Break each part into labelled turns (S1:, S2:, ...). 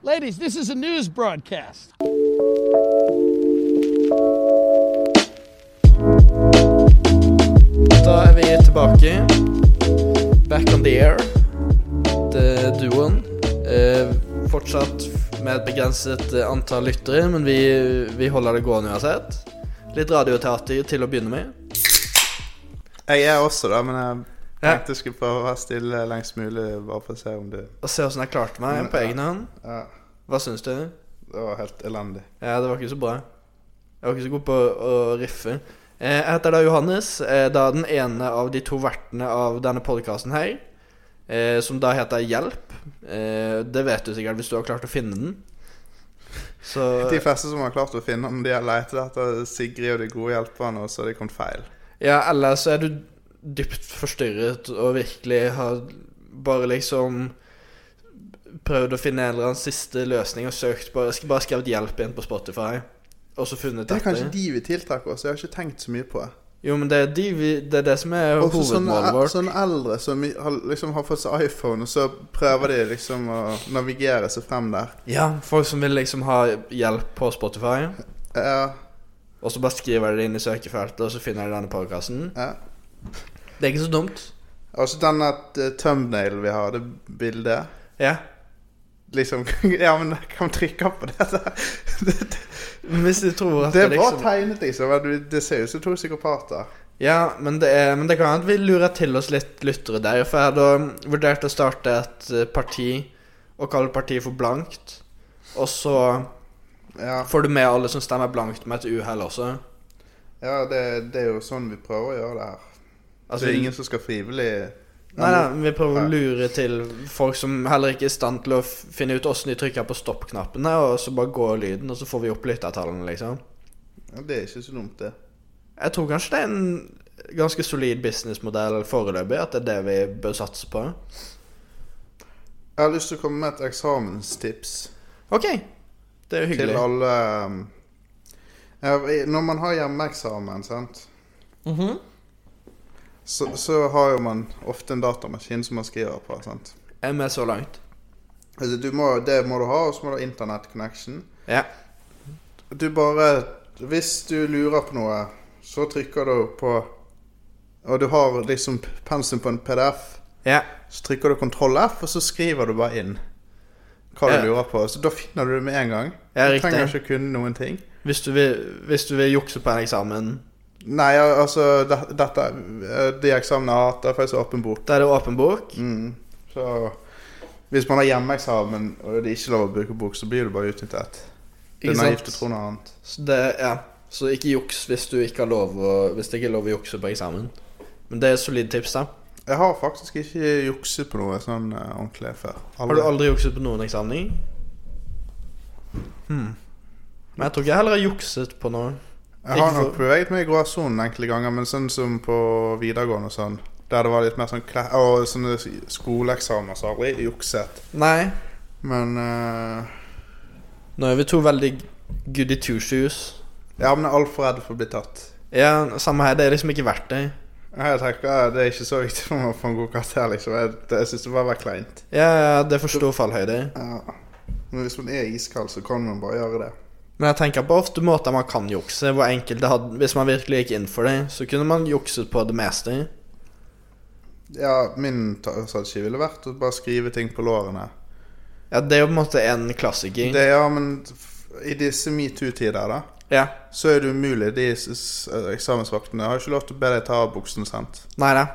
S1: Ladies, this is a news broadcast.
S2: Da er vi tilbake. Back on the air. Det er duoen. Eh, fortsatt med et begrenset eh, antall lyttere, men vi, vi holder det gående uansett. Litt radioteater til å begynne med.
S3: Jeg er også da, men jeg
S2: Ja.
S3: tenkte jeg skulle prøve å være stille lengst mulig, bare for å se om du
S2: Og se åssen jeg klarte meg på egen hånd.
S3: Ja,
S2: Hva syns du?
S3: det var helt elendig.
S2: Ja, det var ikke så bra. Jeg var ikke så god på å riffe. Eh, Jeg heter da Johannes, eh, da den ene av de to vertene av denne podkasten her, eh, som da heter Hjelp. Eh, Det vet du sikkert hvis du har klart å finne den. Så
S3: De fleste som har klart å finne om de har lett etter Sigrid og de gode hjelperne, og så har de kommet feil.
S2: Ja, eller så er du dypt forstyrret og virkelig har bare liksom prøvd å finne en eller annen siste løsning og søkt bare, bare skrevet 'hjelp' igjen på Spotify, og så funnet
S3: Det er kanskje
S2: dette.
S3: de vi tiltrekker oss, jeg har ikke tenkt så mye på det.
S2: Jo, men det er, de vi, det, er det som er
S3: Og så sånne,
S2: hovedmålet vårt.
S3: sånne eldre som har, liksom har fått seg iPhone, og så prøver de liksom å navigere seg frem der.
S2: Ja, folk som vil liksom ha hjelp på Spotify,
S3: Ja,
S2: og så bare skriver de det inn i søkefeltet, og så finner de denne podkasten.
S3: ja.
S2: Det er ikke så dumt.
S3: Og så denne eh, thumbnailen vi har, det bildet.
S2: Ja.
S3: Liksom Ja, men kan man trykke på det der? Det,
S2: Men Hvis de tror at
S3: det
S2: det,
S3: var
S2: liksom
S3: tegnet, liksom. men du- Det ser ut som to psykopater.
S2: Ja, men det, er, men det kan hende vi lurer til oss litt lyttere der. For jeg hadde vurdert å starte et eh, parti og kalle partiet for blankt. Og så
S3: Ja,
S2: får du med alle som stemmer blankt med et uhell også.
S3: ja det, det er jo sånn vi prøver å gjøre det her.
S2: Altså,
S3: det er ingen som skal frivillig
S2: Nei, nei, vi prøver å lure til folk som heller ikke er i stand til å f- finne ut åssen de trykker på stopp-knappene, og så bare går lyden, og så får vi opp lyttertallene, liksom.
S3: Ja, Det er ikke så dumt, det.
S2: Jeg tror kanskje det er en ganske solid businessmodell foreløpig, at det er det vi bør satse på.
S3: Jeg har lyst til å komme med et eksamenstips
S2: OK. Det er jo
S3: til
S2: hyggelig.
S3: alle um, ja, i- Når man har hjemmeeksamen, sant,
S1: Mhm.
S3: så, så har jo man ofte en datamaskin som man skriver på. sant?
S2: Jeg er med så langt.
S3: Altså, du må, det må du ha, og så må du ha internett-connection.
S2: Ja.
S3: Du bare Hvis du lurer på noe, så trykker du på Og du har liksom pensum på en PDF,
S2: Ja.
S3: så trykker du kontroll F, og så skriver du bare inn hva
S2: Ja.
S3: du lurer på. Så da finner du det med en gang.
S2: Ja,
S3: du
S2: riktig.
S3: trenger ikke kunne noen ting.
S2: Hvis du vil, hvis du vil jukse på en eksamen,
S3: Nei, al- altså de- dette, eh, De eksamene jeg har hatt, det er faktisk åpen bok.
S2: da er det åpen bok.
S3: Mm. Så hvis man har hjemmeeksamen og det er ikke lov å bruke bok, så blir du bare utnyttet. Det
S2: Ikke
S3: er
S2: sant?
S3: naivt å tro noe annet.
S2: Så, det, ja. så ikke juks hvis, du ikke har lov å, hvis det ikke er lov å jukse på eksamen. Men det er et solid tips, da.
S3: Jeg har faktisk ikke jukset på noe sånn eh, ordentlig før.
S2: Har du aldri jukset på noen eksamen? Hmm. Men jeg tror ikke jeg heller har jukset på noe.
S3: Jeg har
S2: Ikke
S3: nok
S2: for-
S3: beveget meg i gråsonen enkelte ganger, men sånn som på videregående og sånn, der det var litt mer sånn klæ... Og sånne skoleeksamener, så har jeg aldri jukset.
S2: Nei.
S3: Men eh,
S2: Nå er vi to veldig goody two shoes.
S3: Ja, men jeg er altfor redd for å bli tatt.
S2: Ja, samme her. Det er liksom ikke verdt det.
S3: Jeg tenker eh, Det er ikke så viktig for meg å få en god karakter, liksom. Jeg, det- jeg syns det bare var kleint.
S2: Ja, ja, det er for stor fallhøyde.
S3: Ja. Men hvis man er iskald, så kan man bare gjøre det.
S2: Men jeg tenker på ofte måter man kan jukse. Hvor enkelt det hadde, Hvis man virkelig gikk inn for det, så kunne man jukset på det meste.
S3: Ja, min ta- strategi ville vært å bare skrive ting på lårene.
S2: Ja, Det er jo på en måte en klassiker.
S3: Det, ja, men f- i disse metoo-tider, da,
S2: Ja,
S3: så er det umulig. De s- s- eh, eksamensvaktene har ikke lov til å be deg ta av buksene, sant?
S2: Nei da.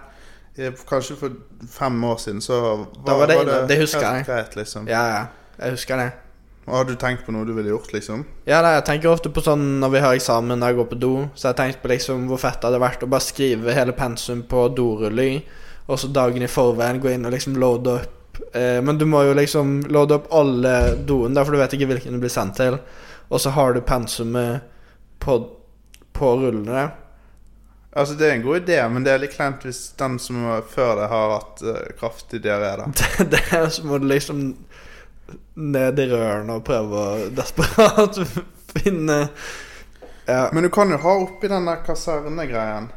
S3: Eh, Kanskje for fem år siden, så var,
S2: Da var det inne- det husker
S3: helt
S2: jeg.
S3: greit, liksom.
S2: Ja, ja. Jeg husker det.
S3: Og Har du tenkt på noe du ville gjort, liksom?
S2: Ja, nei, Jeg tenker ofte på sånn når vi har eksamen når jeg går på do. Så jeg tenkte på liksom hvor fett det hadde vært å bare skrive hele pensum på dorulling, og så dagen i forveien gå inn og liksom loade opp. Eh, men du må jo liksom loade opp alle doene, da, for du vet ikke hvilken du blir sendt til. Og så har du pensumet på, på rullene.
S3: Altså, det er en god idé, men det er litt kleint hvis den som var før det, har hatt eh, kraftig diaré, da.
S2: Det, det er så må du liksom ned i rørene og prøve å desperat finne Ja.
S3: Men du kan jo ha oppi den der kasernegreien.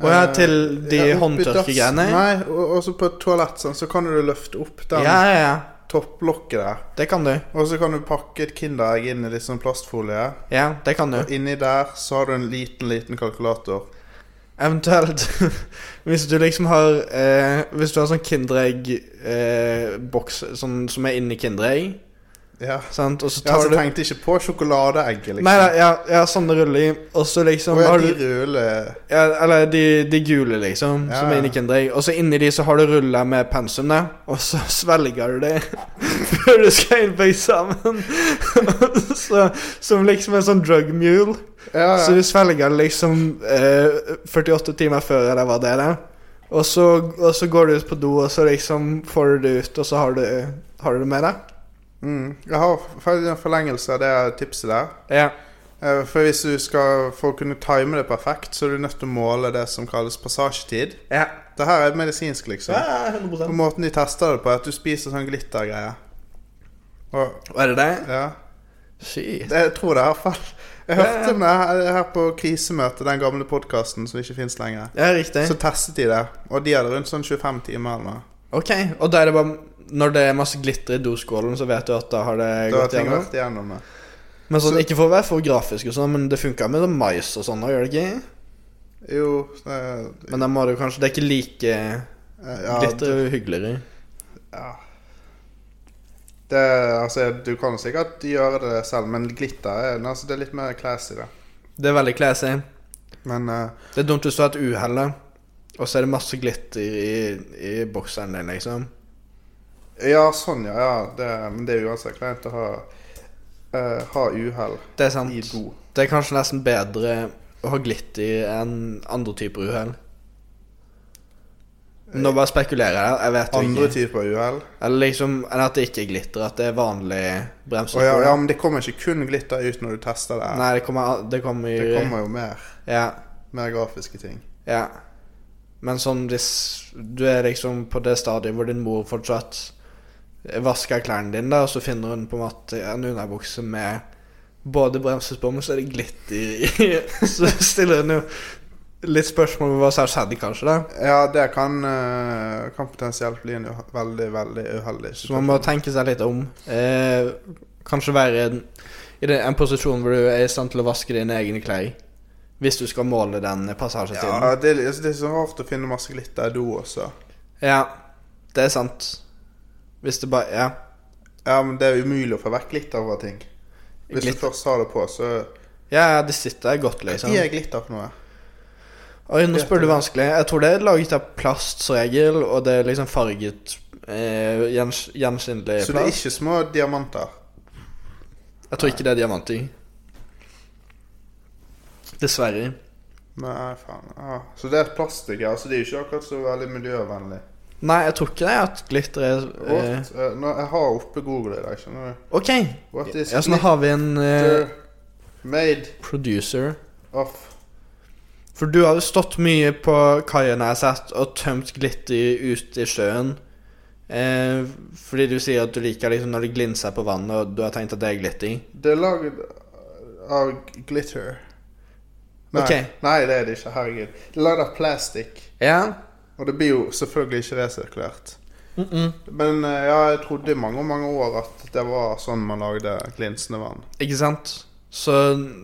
S2: Og ja,
S3: Eh,
S2: til de
S3: ja, oppi dass-
S2: håndtørkegreiene?
S3: Nei, og og så på et toalett, sånn, så kan du løfte opp
S2: Ja,
S3: den.
S2: ja, ja.
S3: topplokket der.
S2: Det kan du.
S3: Og så kan du pakke et Kinderegg inn i litt sånn plastfolie.
S2: Ja, det kan du.
S3: Og inni der så har du en liten, liten kalkulator.
S2: Eventuelt Hvis du liksom har eh, Hvis du har sånn Kinderegg-boks sånn, som er inni Kinderegg,
S3: Ja.
S2: sant, og så
S3: Jeg
S2: tar
S3: altså,
S2: du
S3: tenkte ikke på sjokoladeegget, liksom.
S2: Nei, nei, ja, ja, sånne ruller i, og så liksom
S3: Og ja,
S2: har
S3: de
S2: du
S3: røde
S2: ja, Eller de, de gule, liksom,
S3: Ja,
S2: som
S3: ja.
S2: er inni Kinderegg, og så inni de så har du ruller med pensum, da, og så svelger du det før du skal inn på eksamen. så, som liksom en sånn drug mule.
S3: Ja,
S2: Så
S3: ja.
S2: du svelger liksom eh, 48 timer før eller hva det er. da. Og så, og så går du ut på do, og så liksom får du det ut, og så har du, har du det med deg.
S3: Mm. Jeg har faktisk en forlengelse av det tipset der.
S2: Ja.
S3: Eh, For hvis du skal For å kunne time det perfekt, så er du nødt til å måle det som kalles passasjetid.
S2: ja.
S3: Det her er medisinsk, liksom.
S2: ja sånn.
S3: Og
S2: 100
S3: måten de tester det på, er at du spiser sånn glittergreie. Og
S2: Var det det?
S3: Ja.
S2: Shit.
S3: Det- Jeg tror det, i hvert fall. Jeg hørte om det her her på krisemøtet, den gamle podkasten som ikke fins lenger.
S2: Ja, riktig.
S3: Så testet de det, og de hadde rundt sånn 25 timer eller noe.
S2: Ok, og da er det bare Når det er masse glitter i doskålen, så vet du at da har det
S3: Da har
S2: gått
S3: ting
S2: gjennom.
S3: vært igjennom det.
S2: Men sånn,
S3: Så-
S2: Ikke for å være for grafisk, og sånn, men det funka med sånn mais og sånn òg, gjør det ikke?
S3: Jo det-
S2: Men da må du kanskje Det er ikke like
S3: ja,
S2: Glitter er jo hyggeligere.
S3: Ja. Det, altså, du kan sikkert gjøre det selv, men glitter er, altså, det er litt mer classy, det.
S2: Det er veldig classy.
S3: Men eh,
S2: Det er dumt hvis du har et uhell, da. og så er det masse glitter i, i bokseren din, liksom.
S3: Ja, sånn, ja. ja det, men det er uansett kleint å ha, eh, ha uhell
S2: Det er
S3: i
S2: sant.
S3: do.
S2: Det er kanskje nesten bedre å ha glitter enn andre typer uhell. Nå bare spekulerer jeg, jeg vet jo
S3: Andre
S2: ikke.
S3: typer uhell.
S2: Eller liksom enn at det ikke er glitter, at det er vanlig
S3: Å, Ja,
S2: bremsespor.
S3: ja, men det kommer ikke kun glitter ut når du tester det.
S2: Nei, det kommer, det kommer jo
S3: Det kommer jo mer,
S2: Ja.
S3: mer grafiske ting.
S2: Ja. Men sånn hvis du er liksom på det stadiet hvor din mor fortsatt vasker klærne dine, da, og så finner hun på en måte en underbukse med både bremsespor, men så er det glitter i Så stiller hun jo litt spørsmål om hva som har skjedd, kanskje, da.
S3: Ja, det kan, eh, kan potensielt bli en uha- veldig, veldig uheldig
S2: Så man må
S3: situasjon.
S2: tenke seg litt om. Eh, kanskje være i en, i den- en posisjon hvor du er i stand til å vaske dine egne klær. Hvis du skal måle den passasjetiden.
S3: Ja, det, er- altså, det er så rart å finne masse glitter i do også.
S2: Ja, det er sant. Hvis det bare Ja.
S3: Ja, men det er umulig å få vekk glitter fra ting. Hvis
S2: Glitter.
S3: du først har det på, så
S2: Ja, ja, det sitter godt, liksom.
S3: Gi jeg glitter for noe.
S2: Oi, nå spør du vanskelig. Jeg tror det er laget av plast som regel, og det er liksom farget eh, gjens- gjenskinnelig
S3: Så det er
S2: plast.
S3: ikke små diamanter.
S2: Jeg tror ikke det er diamant i. Dessverre.
S3: Nei, faen. Ja. Så det er plastikk, ja. Så det er jo ikke akkurat så veldig miljøvennlig.
S2: Nei, jeg tror ikke det er at glitter er eh,
S3: What? Eh, Nå, jeg har oppe Google i dag, skjønner du.
S2: OK.
S3: What is
S2: Ja, så nå har vi en eh,
S3: glitter made
S2: producer.
S3: of
S2: For du har jo stått mye på kaien jeg har sett, og tømt glitter ut i sjøen. Eh, fordi du sier at du liker liksom når det glinser på vannet, og du har tenkt at det er glitter.
S3: Det er laget av glitter. Nei,
S2: Ok.
S3: nei, det er det ikke. Herregud. Det er laget av plastikk.
S2: Ja.
S3: Og det blir jo selvfølgelig ikke resirkulert.
S2: Mm -mm.
S3: Men eh, ja, jeg trodde i mange mange år at det var sånn man lagde glinsende vann.
S2: Ikke sant? Så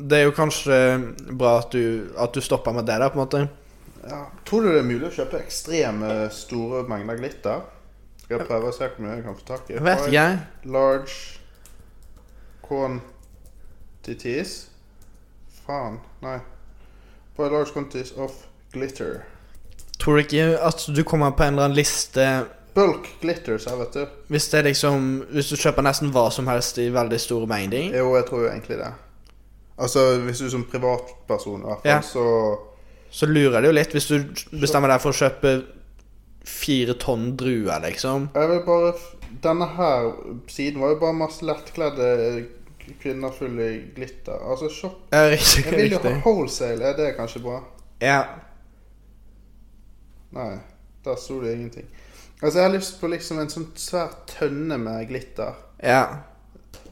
S2: det er jo kanskje bra at du, at du stopper med det, da, på en måte.
S3: Ja. Tror du det er mulig å kjøpe ekstreme store mengder glitter? Skal jeg prøve å se hvor mye jeg kan få tak i?
S2: Jeg vet ikke, jeg.
S3: Large quantities Faen, nei. By large quantities of glitter.
S2: Tror du ikke at du kommer på en eller annen liste
S3: Bulk glitter, sa jeg, vet du.
S2: hvis, det er liksom, hvis du kjøper nesten hva som helst i veldig store mengder?
S3: Jo, jeg tror jo egentlig det. Altså, hvis du som privatperson, i hvert fall,
S2: Ja.
S3: så
S2: Så lurer det jo litt hvis du bestemmer deg for å kjøpe fire tonn druer, liksom.
S3: Jeg vil bare f- Denne her siden var jo bare masse lettkledde kvinner fulle i glitter. Altså, shop
S2: Ja, riktig.
S3: Jeg vil jo ha
S2: riktig.
S3: wholesale. Er det kanskje bra?
S2: Ja.
S3: Nei, der sto det ingenting. Altså, jeg har lyst på liksom en sånn svær tønne med glitter.
S2: ja.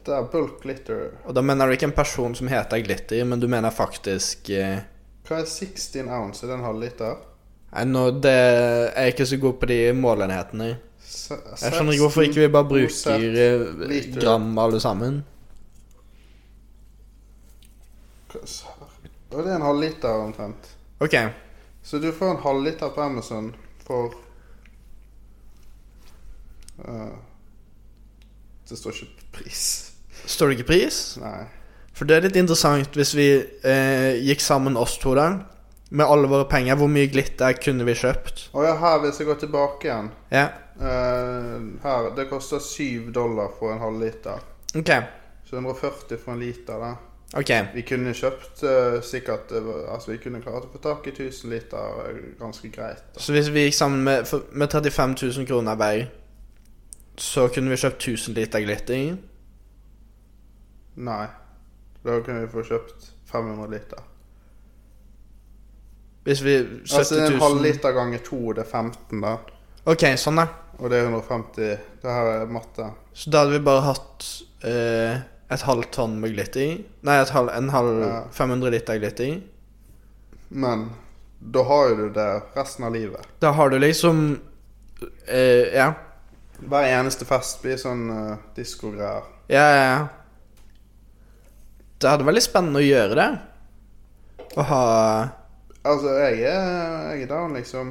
S3: Det er bulk glitter.
S2: Og da mener du ikke en person som heter Glitter, men du mener faktisk eh,
S3: Hva er 16 ounce? Er det en halvliter?
S2: Nei, nå det Jeg er ikke så god på de målenhetene. Jeg skjønner ikke hvorfor ikke vi bare bruker eh,
S3: liter.
S2: gram alle sammen.
S3: Og det er en halvliter omtrent.
S2: Ok.
S3: Så du får en halvliter på Amazon for eh, Det står ikke pris.
S2: Står det ikke pris?
S3: Nei.
S2: For det er litt interessant hvis vi eh, gikk sammen oss to der, med alle våre penger, hvor mye glitter kunne vi kjøpt?
S3: Og ja, her, hvis jeg går tilbake igjen
S2: Ja,
S3: eh, Her, Det koster 7 dollar for en halvliter.
S2: ok.
S3: Så 140 for en liter, da.
S2: Ok,
S3: Vi kunne kjøpt eh, sikkert eh, Altså, vi kunne klart å få tak i 1000 liter eh, ganske greit. da.
S2: Så hvis vi gikk sammen med, for, med 35 000 kroner hver, så kunne vi kjøpt 1000 liter glitter?
S3: Nei. Da kunne vi få kjøpt 500 liter.
S2: Hvis vi 70 000
S3: Altså en halvliter ganger to, det er 15, da.
S2: Ok, sånn, da.
S3: Og det er 150. Det her er matte.
S2: Så da hadde vi bare hatt eh, et halvt tonn med glitter i. Nei, et halv, en halv
S3: Ja.
S2: 500 liter glitter i.
S3: Men da har jo du det resten av livet.
S2: Da har du liksom eh, Ja.
S3: Hver eneste fest blir sånn uh, diskogreier.
S2: Ja, ja, ja. Det hadde vært litt spennende å gjøre det. Å ha
S3: Altså, jeg er, jeg er down, liksom.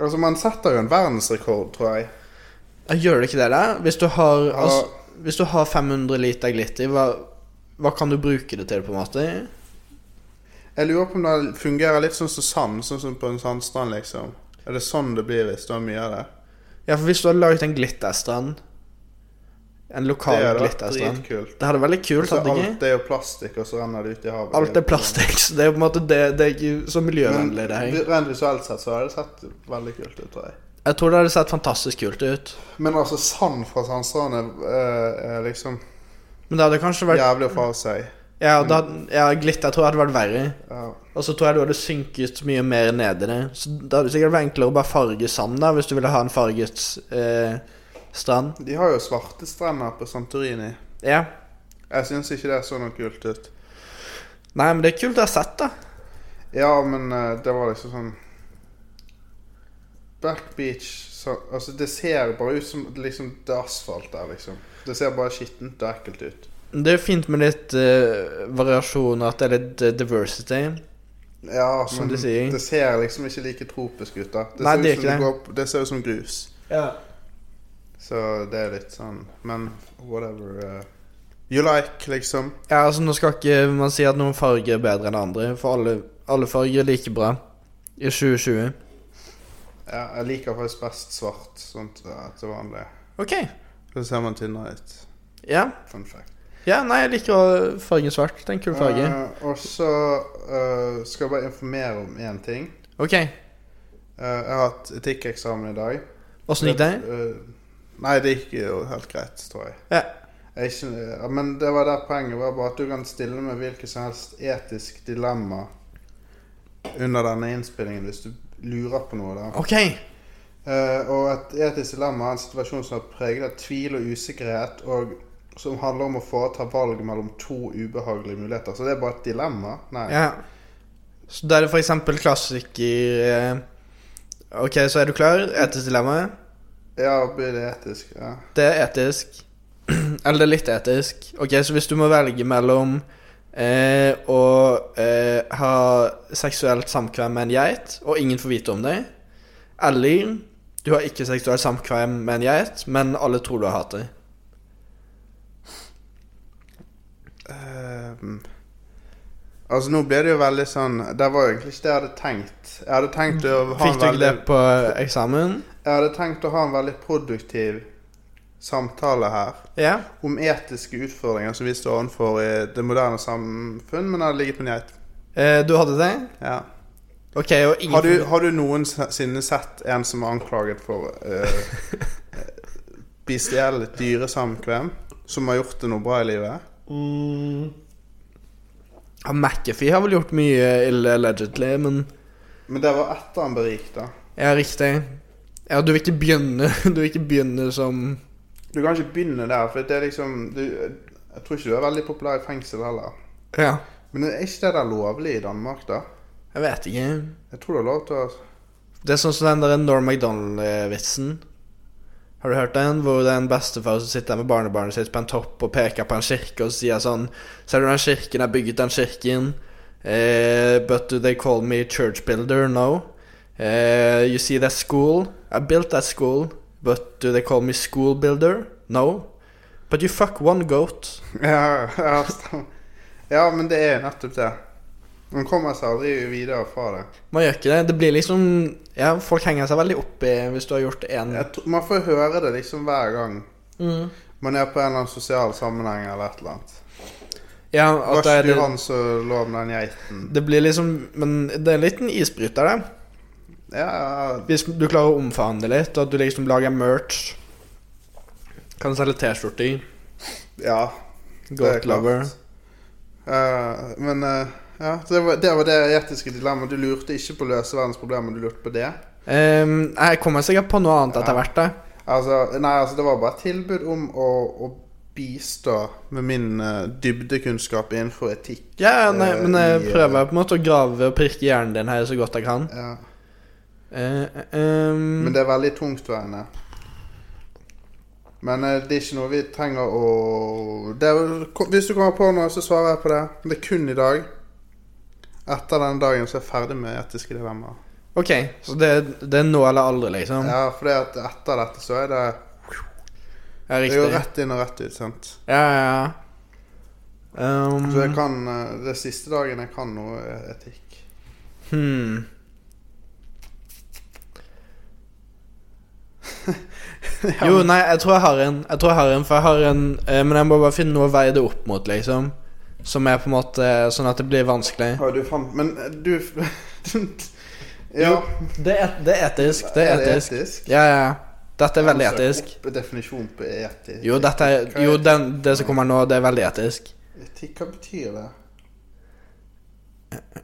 S3: Altså, man setter jo en verdensrekord, tror jeg.
S2: Ja, Gjør det ikke det, da? Hvis du har,
S3: Ja.
S2: altså, hvis du har 500 liter glitter, hva, hva kan du bruke det til, på en måte?
S3: Jeg lurer på om det fungerer litt sånn som sand, sånn som på en sandstrand, liksom. Er det sånn det blir hvis du har mye av det?
S2: Ja, for hvis du hadde laget en glitterstrand En
S3: Det
S2: lokal
S3: hadde vært
S2: glitterstrand
S3: dritkult.
S2: Det hadde vært litt kult,
S3: Så
S2: hadde det ikke?
S3: alt er jo plastikk, og så renner det ut i havet.
S2: Alt er plastikk, så det er jo på en måte det, det er ikke så miljøvennlig det her.
S3: Men rent visuelt sett så hadde det sett veldig kult ut, tror jeg.
S2: Jeg tror det hadde sett fantastisk kult ut.
S3: Men altså, sand fra sandstranden eh, er liksom
S2: Men det hadde kanskje vært
S3: jævlig å få av seg.
S2: Ja, da, ja glitter tror jeg hadde vært verre.
S3: Ja.
S2: Og så tror jeg du hadde synket mye mer ned i det. Så det hadde sikkert vært enklere å bare farge sand da, hvis du ville ha en farget eh, strand.
S3: De har jo svarte strender på Santorini.
S2: Ja.
S3: Jeg syns ikke det så noe kult ut.
S2: Nei, men det er kult å ha sett, da.
S3: Ja, men eh, det var liksom sånn Black Beach så, Altså, det ser bare ut som liksom, det er asfalt der, liksom. Det ser bare skittent og ekkelt ut.
S2: Det er jo fint med litt eh, variasjon, og at det er litt eh, diversity.
S3: Ja,
S2: Som
S3: men
S2: du sier.
S3: det ser liksom ikke like tropisk ut, da. Det
S2: Nei,
S3: ser
S2: det er
S3: ut
S2: ikke
S3: som
S2: det.
S3: går opp- det ser ut som grus.
S2: Ja.
S3: Så det er litt sånn Men whatever eh, you like, liksom.
S2: ja, altså Nå skal ikke man si at noen farger er bedre enn andre, for alle, alle farger er like bra i 2020.
S3: Ja, jeg liker faktisk best svart, sånn eh, til vanlig.
S2: Ok.
S3: Så ser man tynnere ut.
S2: Ja.
S3: Fun fact.
S2: ja, nei, jeg liker å- fargen svart. Det er en kul farge.
S3: Eh, og så eh, skal jeg bare informere om én ting.
S2: Ok,
S3: Eh, jeg har hatt etikkeksamen i dag.
S2: åssen gikk det?
S3: Eh, nei, det gikk jo helt greit, tror jeg.
S2: Ja.
S3: jeg er ikke, ja, men det var der poenget var bare at du kan stille med hvilket som helst etisk dilemma under denne innspillingen hvis du lurer på noe. da.
S2: Ok,
S3: Eh, og et etisk dilemma er en situasjon som er preget av tvil og usikkerhet, og som handler om å foreta valg mellom to ubehagelige muligheter. Så det er bare et dilemma? Nei.
S2: ja. Så da er det for eksempel klassiker eh, Ok, så er du klar? Etisk dilemma.
S3: Ja, blir det etisk? Ja.
S2: Det er etisk. Eller det er litt etisk. Ok, så hvis du må velge mellom eh, å eh, ha seksuelt samkvem med en geit, og ingen får vite om det, eller du har ikke seksuelt samkvem med en geit, men alle tror du har hatt det.
S3: Ehm, altså, nå ble det jo veldig sånn Det var jo egentlig ikke det jeg hadde tenkt. Jeg hadde tenkt å
S2: Fikk
S3: ha en
S2: du ikke
S3: veldig,
S2: det på eksamen?
S3: jeg hadde tenkt å ha en veldig produktiv samtale her.
S2: Ja.
S3: Om etiske utfordringer som vi står overfor i det moderne samfunn, men jeg hadde ligget med en geit.
S2: Eh, du hadde det?
S3: Ja.
S2: Ok, og ingen
S3: Har du, har du noensinne sett en som er anklaget for uh, bestiell dyresamkvem? Som har gjort det noe bra i livet?
S2: Mm. Ja, McAfee har vel gjort mye ille allegedly, men
S3: Men det var etter han berikte.
S2: Ja, riktig. Ja, du vil ikke begynne Du vil ikke begynne som
S3: Du kan ikke begynne der, for det er liksom du, Jeg tror ikke du er veldig populær i fengsel heller.
S2: Ja.
S3: Men er ikke det der lovlig i Danmark, da?
S2: Jeg vet ikke.
S3: Jeg tror det er lov til å
S2: Det er sånn som den der Norm MacDonald-vitsen. Har du hørt den? Hvor det er en bestefar som sitter der med barnebarnet sitt på en topp og peker på en kirke og sier sånn Ser du den kirken? Jeg bygget den kirken. Eh, but do they call me church builder? No. Eh, you see that school? I built that school. But do they call me school builder? No. But you fuck one goat.
S3: Ja, ja, stemmer. ja, men det er jo nettopp det. Man kommer seg aldri videre fra det.
S2: Man gjør ikke det. Det blir liksom Ja, folk henger seg veldig opp i hvis du har gjort én
S3: Jeg tror, man får høre det liksom hver gang
S2: mm.
S3: man er på en eller annen sosial sammenheng eller et eller annet.
S2: Ja,
S3: Var
S2: at det
S3: ikke
S2: er
S3: du han som lå med den geiten?
S2: Det blir liksom Men det er en liten isbryter, det.
S3: Ja, ja,
S2: Hvis du klarer å omforhandle litt, og at du liksom lager merch Kan du selge T-skjorte i.
S3: ja. Det er
S2: Goat
S3: klart.
S2: lover.
S3: Eh, men eh, ja, det var, det var det etiske dilemmaet. Du lurte ikke på å løse verdens problemer, du lurte på det.
S2: Ehm, jeg kommer sikkert på noe annet
S3: Ja.
S2: etter hvert, da.
S3: Altså, nei, altså, det var bare et tilbud om å, å bistå med min eh, dybdekunnskap innenfor etikk.
S2: Ja, ja, nei,
S3: Eh,
S2: men jeg
S3: i, eh,
S2: prøver på en måte å grave og pirke hjernen din her så godt jeg kan.
S3: Ja.
S2: Eh, eh, ehm,
S3: Men det er veldig tungtveiende. Men eh, det er ikke noe vi trenger å det er, vel- ko- Hvis du kommer på noe, så svarer jeg på det. Men det er kun i dag. Etter den dagen så er jeg ferdig med etiske dilemmaer.
S2: Ok, så det, det er nå eller aldri, liksom? Ja,
S3: Ja, for det at etter dette så er det Det er
S2: riktig.
S3: jo rett inn og rett ut, sant.
S2: Ja, ja, ja. Ehm,
S3: Så jeg kan eh, Det er siste dagen jeg kan noe eh, etikk.
S2: hmm. Jo, nei, jeg tror jeg har en. Jeg tror jeg har en, for jeg har en eh, Men jeg må bare finne noe å veie det opp mot, liksom. Som er på en måte sånn at det blir vanskelig.
S3: Ja, du fant Men eh, du
S2: Jo, Det er, et- det er etisk. Det er etisk. Ja, ja. Dette er veldig etisk.
S3: Altså, Opp definisjon på etisk.
S2: Jo, dette er, jo den, det som kommer nå, det er veldig etisk.
S3: Etikk, hva betyr det?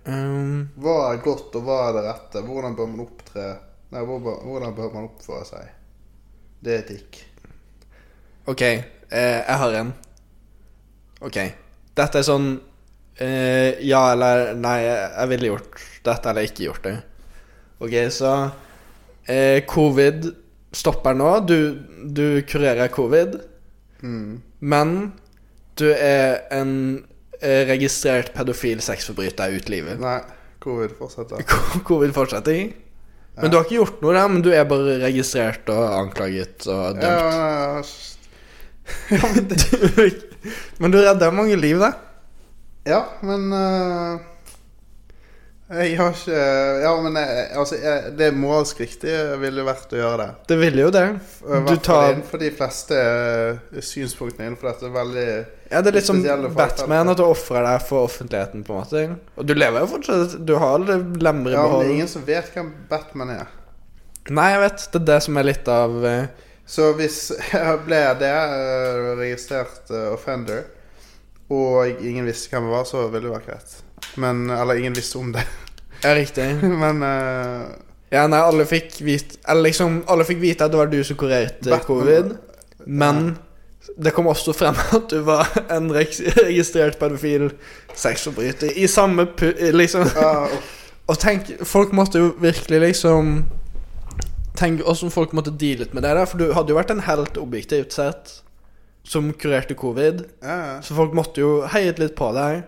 S2: Ehm,
S3: Hva er godt, og hva er det rette? Hvordan bør man opptre Nei, hvor bør- hvordan bør man oppføre seg? Det er etikk.
S2: ok, eh, jeg har en. Ok. Dette er sånn eh, Ja eller nei, jeg ville gjort dette eller ikke gjort det. Ok, så eh, Covid stopper nå. Du, du kurerer covid,
S3: Mm.
S2: men du er en eh, registrert pedofil sexforbryter ut livet.
S3: Nei, covid fortsetter.
S2: Covid fortsetter. Men du har ikke gjort noe der, men du er bare registrert og anklaget og
S3: Ja,
S2: dømt.
S3: ja, ja.
S2: men, du, men du redder mange liv, da.
S3: Ja, men eh, Jeg har ikke Ja, men jeg, altså, jeg, det moralsk riktige ville vært å gjøre det.
S2: Det ville jo det.
S3: I hvert
S2: Du
S3: fall
S2: tar
S3: innenfor de fleste eh, synspunktene innenfor dette veldig
S2: Ja, det er litt som
S3: Spesielle folk,
S2: Batman,
S3: da.
S2: at du ofrer deg for offentligheten, på en måte. Og du lever jo fortsatt Du har det lemmer i
S3: Ja, men det
S2: behold.
S3: er ingen som vet hvem Batman er.
S2: Nei, jeg vet. Det er det som er litt av eh,
S3: Så hvis jeg ble det, eh, registrert eh, offender, og ingen visste hvem jeg var, så ville det vært greit. Men Eller ingen visste om det.
S2: Ja, riktig.
S3: Men eh,
S2: Ja, nei, alle fikk vite Eller liksom, alle fikk vite at det var du som kurerte
S3: Batman.
S2: covid, men det kom også frem at du var en reg- registrert pedofil sexforbryter i samme pu... Liksom
S3: ja, uff.
S2: Og tenk, folk måtte jo virkelig liksom Tenk hvordan folk måtte dealet med det der, for du hadde jo vært en helt objektivt sett som kurerte covid,
S3: ja, ja.
S2: så folk måtte jo heiet litt på deg.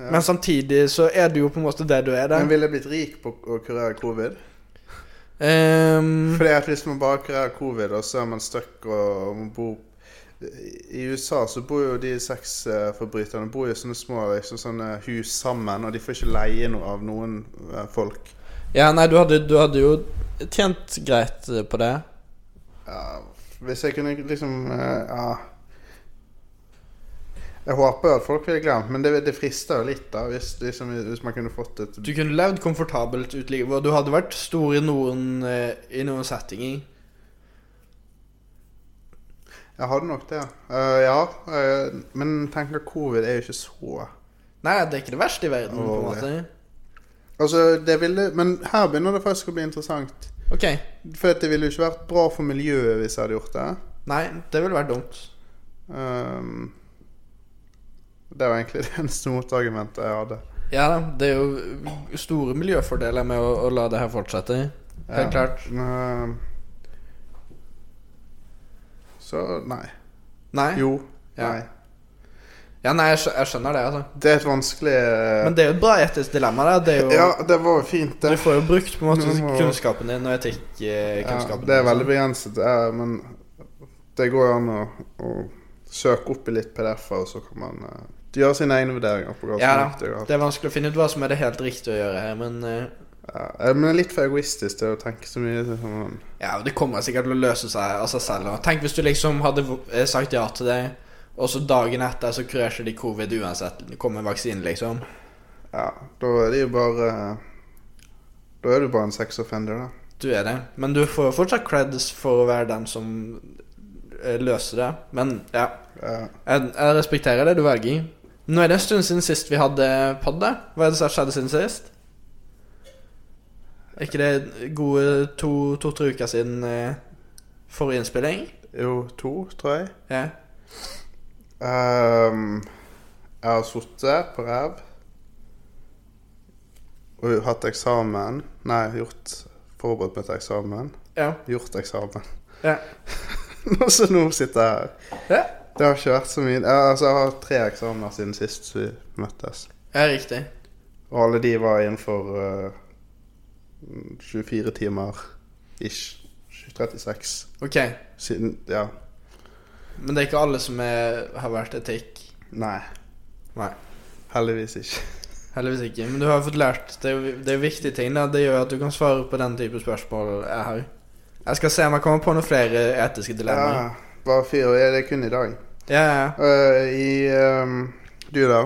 S3: Ja.
S2: Men samtidig så er du jo på en måte det du er, da.
S3: Men ville jeg blitt rik på å kurere covid?
S2: Ehm,
S3: Fordi at hvis man bare kurerer covid, og så er man stuck og man bor I USA så bor jo de sexforbryterne bor jo i sånne små liksom, sånne hus sammen, og de får ikke leie noe av noen eh, folk.
S2: ja, nei, du hadde, du hadde jo tjent greit eh, på det.
S3: Ja, hvis jeg kunne liksom eh, Ja. Jeg håper jo at folk ville glemt, men det, det frister jo litt, da. Hvis, liksom, hvis man kunne fått et
S2: Du kunne levd komfortabelt ut livet, og du hadde vært stor i noen, eh, i noen settinger.
S3: Jeg hadde nok det. Eh, ja, eh, men tenker covid er jo ikke så
S2: Nei, det er ikke det verste i verden, på en måte.
S3: Altså, det ville Men her begynner det faktisk å bli interessant.
S2: Ok.
S3: For at det ville jo ikke vært bra for miljøet hvis jeg hadde gjort det.
S2: Nei, det ville vært dumt.
S3: Ehm, det var egentlig det eneste motargumentet jeg hadde.
S2: Ja, det er jo store miljøfordeler med å, å la det her fortsette. Helt klart.
S3: Men, eh, så nei.
S2: Nei.
S3: Jo.
S2: Ja.
S3: Nei.
S2: Ja, nei, jeg, skjø- jeg skjønner det, altså.
S3: Det er et vanskelig eh,
S2: Men det er jo et bra etisk dilemma, da. Det er jo,
S3: Ja, det var jo fint,
S2: Du
S3: det.
S2: får jo brukt på en måte
S3: Nå må-
S2: kunnskapen din og
S3: Ja,
S2: etikkunnskapen.
S3: det er veldig begrenset, eh, men det går jo an å, å søke opp i litt PDF-er, og så kan man eh, gjøre sine egne vurderinger på hva som
S2: Ja
S3: er
S2: da.
S3: riktig. og alt.
S2: Det er vanskelig å finne ut hva som er det helt riktige å gjøre her, men eh,
S3: Ja, men det er litt for egoistisk det å tenke så mye til sånn
S2: Ja, og det kommer sikkert til å løse seg av seg selv. Og tenk hvis du liksom hadde eh, sagt ja til det, og så dagen etter så krasjer de covid uansett. Det kommer en vaksine, liksom.
S3: Ja, da er det jo bare eh, Da er du bare en sex offender, da.
S2: Du er det. Men du får jo fortsatt creds for å være den som eh, løser det. Men ja,
S3: Ja.
S2: jeg, jeg respekterer det du velger. Nå er det en stund siden sist vi hadde pod, da. Hva er det som skjedde siden sist? Er ikke det gode to- to-tre uker siden eh, forrige innspilling?
S3: Jo, to, tror jeg.
S2: Ja.
S3: Ehm, jeg har sittet på ræv. Og hatt eksamen. Nei, gjort forberedt meg til eksamen.
S2: Ja.
S3: Gjort eksamen.
S2: Ja.
S3: Og så nå sitter jeg her.
S2: ja.
S3: Det har ikke vært så mye Ja, altså, Jeg har tre eksamener siden sist vi møttes.
S2: Ja, riktig.
S3: Og alle de var innenfor eh, 24 timer ish. 36.
S2: Ok,
S3: Siden Ja.
S2: men det er ikke alle som er, har vært etikk.
S3: Nei.
S2: Nei.
S3: Heldigvis ikke.
S2: Heldigvis ikke. Men du har fått lært. Det er, jo- det er viktige ting. Da. Det gjør at du kan svare på den type spørsmål jeg har. Jeg skal se om jeg kommer på noen flere etiske dilemmaer.
S3: Ja, bare fire. og Det er kun i dag.
S2: Ja, ja.
S3: Eh, I ehm, Du, da?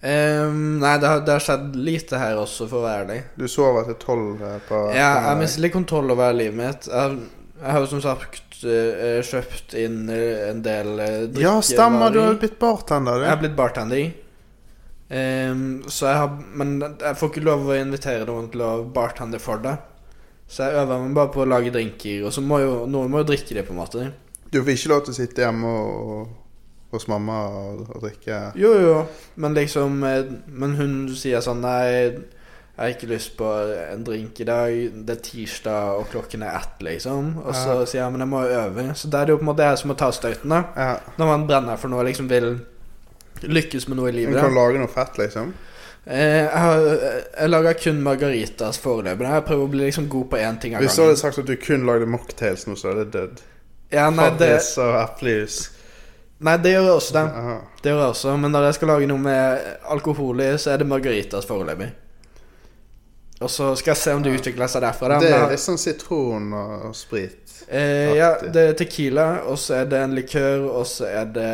S2: Ehm, nei, det har, det har skjedd lite her også, for å være ærlig.
S3: Du sover til tolv eh, på
S2: Ja, jeg
S3: formiddag.
S2: mister litt kontroll over livet mitt. Jeg, jeg har jo som sagt eh, kjøpt inn eh, en del eh, drikkevarer.
S3: Ja, stemmer. Du har blitt bartender, du.
S2: Jeg har blitt bartender. Ehm, så jeg har Men jeg får ikke lov å invitere noen til å bartende for deg. Så jeg øver meg bare på å lage drinker, og så må jo noen må jo drikke det, på en måte.
S3: Du får ikke lov til å sitte hjemme og, og hos mamma og, og drikke
S2: Jo, jo, men liksom eh, Men hun sier sånn Nei, jeg har ikke lyst på en drink i dag. Det er tirsdag, og klokken er ett, liksom. Og så
S3: Ja.
S2: sier jeg men jeg må jo øve. Så da er det jo på en måte jeg som må ta støyten, da.
S3: Ja.
S2: Når man brenner for noe, liksom vil lykkes med noe i
S3: Du
S2: livet.
S3: kan lage noe fett, liksom.
S2: Eh, Jeg, har, jeg lager kun margaritas foreløpig. Jeg prøver å bli liksom god på én ting av
S3: Hvis du hadde
S2: gangen.
S3: sagt at du kun lagde mocktails nå, så hadde det dødd.
S2: Ja, nei, det,
S3: Farris og eplejus.
S2: nei, det gjør jeg også, det.
S3: Aha.
S2: Det gjør jeg også. Men når jeg skal lage noe med alkohol i, så er det margaritas foreløpig. Og så skal jeg se om det utvikler seg derfra. Da.
S3: Det er
S2: Men,
S3: litt sånn sitron og, og sprit.
S2: eh, ja,
S3: artig.
S2: det er tequila, og så er det en likør, og så er det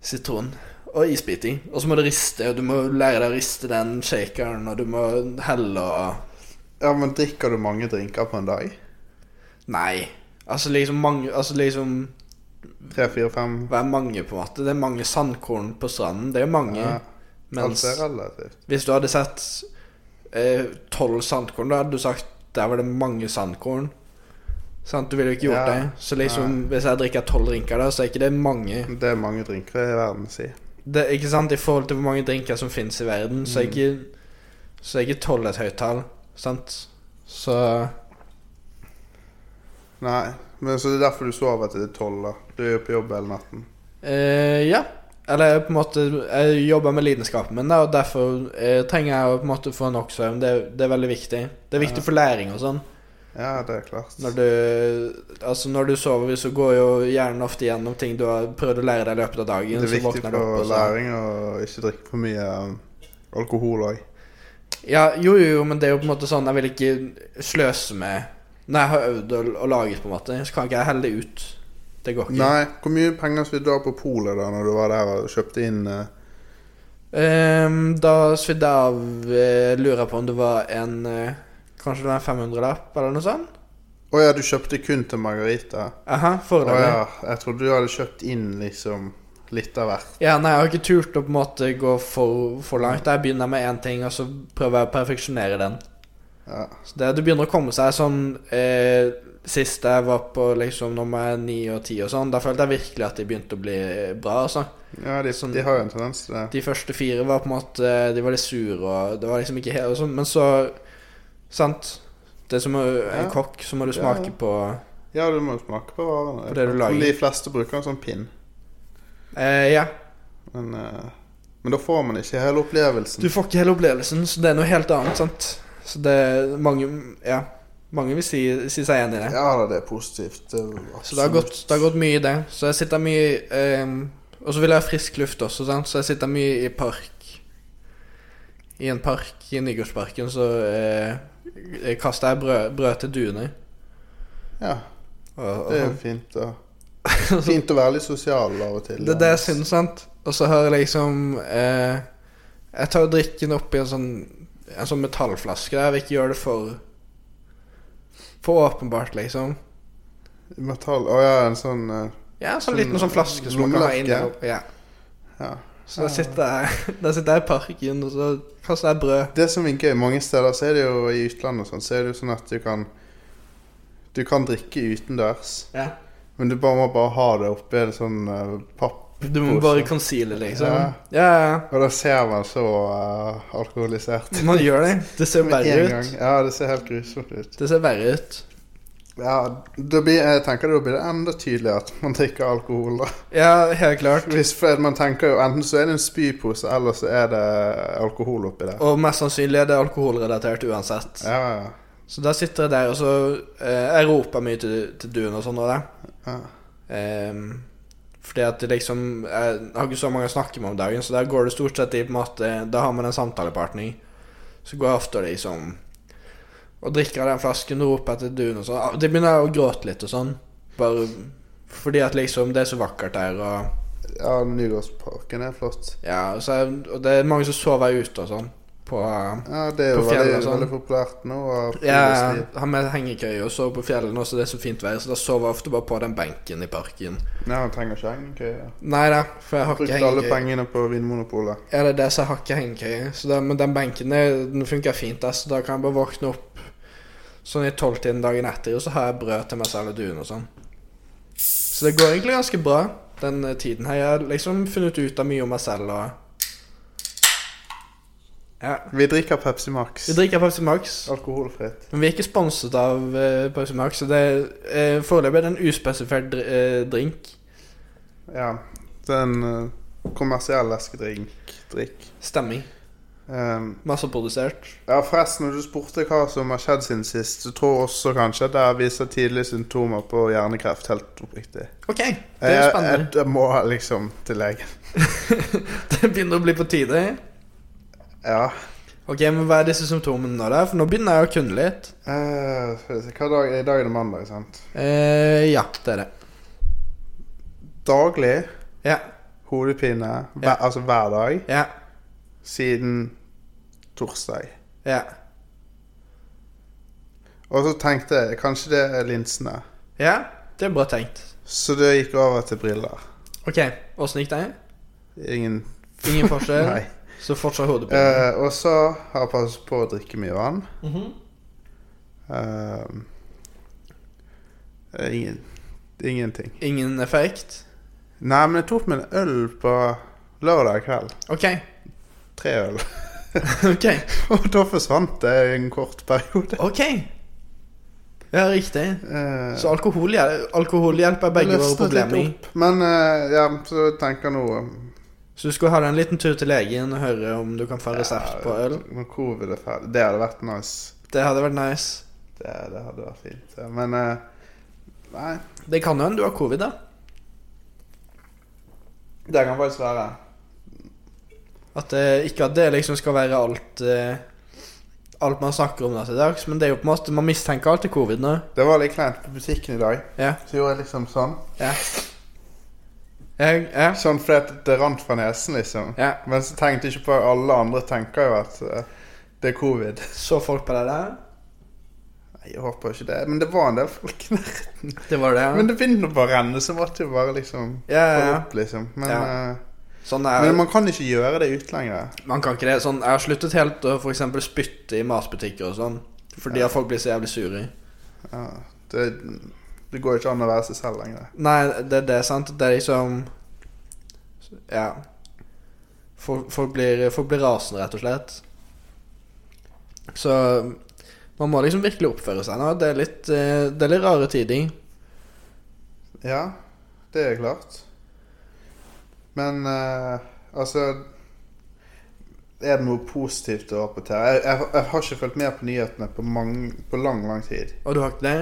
S2: sitron. Og isbiting. Og så må du riste, og du må lære deg å riste den shakeren, og du må helle og
S3: Ja, men drikker du mange drinker på en dag?
S2: Nei. Altså liksom mange Altså liksom
S3: Tre, fire, fem?
S2: Hver mange, på en måte. Det er mange sandkorn på stranden. Det er mange.
S3: Ja.
S2: Mens
S3: Alt er relativt.
S2: hvis du hadde sett eh, tolv sandkorn, da hadde du sagt der var det mange sandkorn. Sant? Du ville jo ikke gjort
S3: Ja.
S2: det. Så liksom, hvis jeg drikker tolv drinker, da, så er ikke det mange.
S3: Det er mange drinker i verden, si.
S2: Det, ikke sant? I forhold til hvor mange drinker som finnes i verden, så
S3: Mm.
S2: er ikke Så er ikke tolv et høyt tall. Sant? Så
S3: Nei, men så det er derfor du sover til tolv, da. Du er jo på jobb hele natten.
S2: Eh, ja. Eller på en måte Jeg jobber med lidenskapen min, da, og derfor eh, trenger jeg å på en måte få nok søvn. Det, er- det er veldig viktig. Det er viktig for læring og sånn.
S3: Ja, det er klart.
S2: Når du Altså når du sover, så går jo hjernen ofte gjennom ting du har prøvd å lære deg i løpet av dagen.
S3: det er
S2: så
S3: viktig
S2: våkner du opp,
S3: for
S2: og sånn. så-
S3: læring å ikke drikke for mye um, alkohol òg.
S2: Ja, jo, jo, jo, men det er jo på en måte sånn Jeg vil ikke sløse med Når jeg har øvd og, og laget, på en måte, så kan ikke jeg helle det ut. Det går ikke.
S3: Nei, hvor mye penger svidde du av på polet da når du var der og kjøpte inn eh,
S2: Ehm, da svidde jeg av eh, Lurer på om det var en eh, Kanskje det var en 500-lapp, eller noe sånt?
S3: Å ja, du kjøpte kun til Margarita?
S2: Aha,
S3: Å
S2: foreløpig. ja.
S3: ja, jeg trodde du hadde kjøpt inn liksom litt av hvert.
S2: nei, jeg har ikke turt å på en måte gå for, for langt. Jeg begynner med én ting, og så prøver jeg å perfeksjonere den.
S3: Ja.
S2: Så det, det begynner å komme seg sånn eh, Sist jeg var på liksom nummer ni og ti og sånn, da følte jeg virkelig at de begynte å bli bra. Altså.
S3: Ja, de,
S2: Sånn-
S3: de har jo en tendens til det.
S2: De første fire var på en måte De var litt sure, og det var liksom ikke helt og sånn, Men så Sant? Det er som å- en
S3: Ja.
S2: kokk, så må du
S3: Ja,
S2: smake
S3: ja.
S2: på
S3: Ja, du må jo smake på varene.
S2: På det du
S3: Jeg
S2: lager.
S3: tror De fleste bruker en sånn pinn.
S2: eh, Ja.
S3: Men, eh, men da får man ikke hele opplevelsen.
S2: Du får ikke hele opplevelsen, så det er noe helt annet, sant? Så det er mange Ja. Mange vil si, si seg enig i det.
S3: Ja da, det er positivt. Det er
S2: Så det har, gått, det har gått mye i det. Så jeg sitter mye ehm, Og så vil jeg ha frisk luft også, sant? så jeg sitter mye i park. I en park i Nygårdsparken så eh, kaster jeg brød, brød til duene.
S3: Ja,
S2: Og, og,
S3: det er
S2: sånn.
S3: jo fint. Da. Fint å være litt sosial av og til.
S2: det er det jeg syns, sant. Og så har jeg liksom eh, Jeg tar drikken oppi en sånn En sånn metallflaske. Jeg vil ikke gjøre det for For åpenbart, liksom.
S3: Metall Å ja, en sånn eh,
S2: Ja, en sånn
S3: Sånn
S2: liten sånn flaske som man kan ha inni.
S3: lommelørke.
S2: der. Ja.
S3: Ja.
S2: Så der sitter, jeg, der sitter jeg i parken, og så kaster jeg brød.
S3: Det som er gøy, mange steder så er det jo i utlandet og sånn, så er det jo sånn at du kan Du kan drikke utendørs,
S2: Ja.
S3: men du bare må bare ha det oppi en sånn eh, papp.
S2: Du må
S3: Pose.
S2: bare conceale, liksom.
S3: Ja.
S2: Ja. ja,
S3: Og da ser man så eh, alkoholisert
S2: ja. Man gjør det. Det ser
S3: Med en
S2: verre
S3: gang.
S2: ut.
S3: Ja, det ser helt grusomt ut.
S2: Det ser verre ut.
S3: Ja, da blir, jeg tenker da blir det enda tydeligere at man drikker alkohol. da.
S2: Ja, helt klart.
S3: Hvis for man tenker jo Enten så er det en spypose, eller så er det alkohol oppi der.
S2: Og mest sannsynlig er det alkoholrelatert uansett.
S3: Ja, ja,
S2: Så da sitter jeg der, og så eh, Jeg roper mye til, til duen og sånn og det.
S3: ja.
S2: Ehm, fordi at det liksom Jeg har ikke så mange å snakke med om dagen, så der går det stort sett i på en måte Da har man en samtalepartner. Så går jeg ofte og liksom Og drikker av den flasken og roper etter duen og sånn. Ah, Det begynner jeg å gråte litt og sånn. Bare fordi at liksom det er så vakkert der, og
S3: ja Nygårdsparken er flott.
S2: ja, så jeg, Og det er mange som sover ute og sånn. På eh,
S3: Ja, det er
S2: På
S3: jo
S2: fjellet
S3: veldig,
S2: og sånn.
S3: veldig populært nå. Og
S2: Jeg
S3: friluftsliv.
S2: har med hengekøye og sover på fjellene, og så det er så fint vær, så da sover jeg ofte bare på den benken i parken.
S3: Nei, man trenger ikke hengekøye.
S2: Nei da, for jeg har ikke
S3: Brukt alle
S2: hengekøye.
S3: pengene på Vinmonopolet.
S2: Ja, det er det som jeg har ikke hengekøye. Så da- men den benken der, den funker fint. Altså. Da kan jeg bare våkne opp sånn i tolvtiden dagen etter, og så har jeg brød til meg selv og duen og sånn. Så det går egentlig ganske bra den eh, tiden her. Jeg har liksom funnet ut av mye om meg selv og Ja.
S3: Vi drikker Pepsi Max.
S2: Vi drikker Pepsi Max,
S3: Alkoholfritt.
S2: men vi er ikke sponset av eh, Pepsi Max, så det er eh, foreløpig er det en uspesifert dr eh, drink.
S3: Ja. Det er en eh, kommersiell leskedrink. Drikk.
S2: Stemming.
S3: Um,
S2: Masseprodusert.
S3: Ja, forresten, når du spurte hva som har skjedd siden sist, så tror jeg også kanskje at det viser tidlige symptomer på hjernekreft, helt oppriktig.
S2: OK, det er
S3: Jeg, jeg,
S2: spennende.
S3: jeg Eh, må liksom til legen.
S2: Det begynner å bli på tide.
S3: Ja.
S2: Ok, men Hva er disse symptomene nå, da? For nå begynner jeg å kunne litt.
S3: Eh, skal vi se, hva dag, I dag er det mandag, sant?
S2: Eh, ja, det er det.
S3: Daglig
S2: Ja,
S3: hodepine, hver,
S2: Ja.
S3: altså hver dag,
S2: ja,
S3: siden torsdag.
S2: ja.
S3: Og så tenkte jeg kanskje det er linsene.
S2: Ja, Det er bra tenkt.
S3: Så det gikk over til briller.
S2: Ok, åssen gikk det?
S3: Ingen
S2: Ingen forskjell?
S3: Nei.
S2: Så fortsatt hodepine?
S3: Eh, og så har jeg passet på å drikke mye vann.
S2: Mhm.
S3: Eh, ingen, ingenting.
S2: Ingen effekt?
S3: Nei, men jeg tok meg en øl på lørdag kveld.
S2: Ok.
S3: Tre øl.
S2: ok,
S3: og da forsvant det i en kort periode.
S2: ok. Ja, riktig.
S3: Eh,
S2: Så alkohol, hjel- alkohol hjelper
S3: det
S2: begge våre
S3: løsnet litt
S2: problemer.
S3: opp. Men eh, ja, så tenker jeg nå
S2: Så du skulle ha deg en liten tur til legen og høre om du kan få resept på øl.
S3: Når covid er ferdig. Det hadde vært nice.
S2: Det hadde vært nice.
S3: Det, det hadde vært fint. ja. Men eh, nei.
S2: Det kan jo hende du har covid, da.
S3: Det kan faktisk være.
S2: At det, ikke at det liksom skal være alt eh, Alt man snakker om da til dags, men det er jo på en måte man mistenker alltid covid nå.
S3: Det var litt kleint på butikken i dag.
S2: Ja.
S3: Så gjorde jeg liksom sånn.
S2: Ja. Ja, ja.
S3: Sånn fordi at det rant fra nesen, liksom.
S2: ja.
S3: Men så tenkte jeg ikke på alle andre tenker jo at eh, det er covid.
S2: Så folk på det der?
S3: Nei, jeg håper ikke det. Men det var en del folk i nærheten.
S2: Det var det, ja.
S3: Men det begynner bare å renne, så måtte jeg bare liksom
S2: ja, ja,
S3: få
S2: ja.
S3: opp, liksom. Men,
S2: Ja.
S3: eh,
S2: Sånn er
S3: men
S2: man,
S3: man kan ikke gjøre det ute lenger.
S2: kan ikke det. Sånn, jeg har sluttet helt å for eksempel spytte i matbutikker og sånn. Fordi
S3: Ja.
S2: at folk blir så jævlig sure.
S3: Ja, det, det går ikke an å være seg selv lenger.
S2: Nei, det, det er sant. Det er liksom Ja. Folk, folk, blir, folk blir rasende, rett og slett. Så Man må liksom virkelig oppføre seg nå. Det er litt, eh, det er litt rare tider.
S3: Ja, det er klart. Men eh, altså Er det noe positivt å rapportere? Jeg, jeg, jeg har ikke fulgt med på nyhetene på, mange, på lang, lang tid.
S2: Og du har ikke det?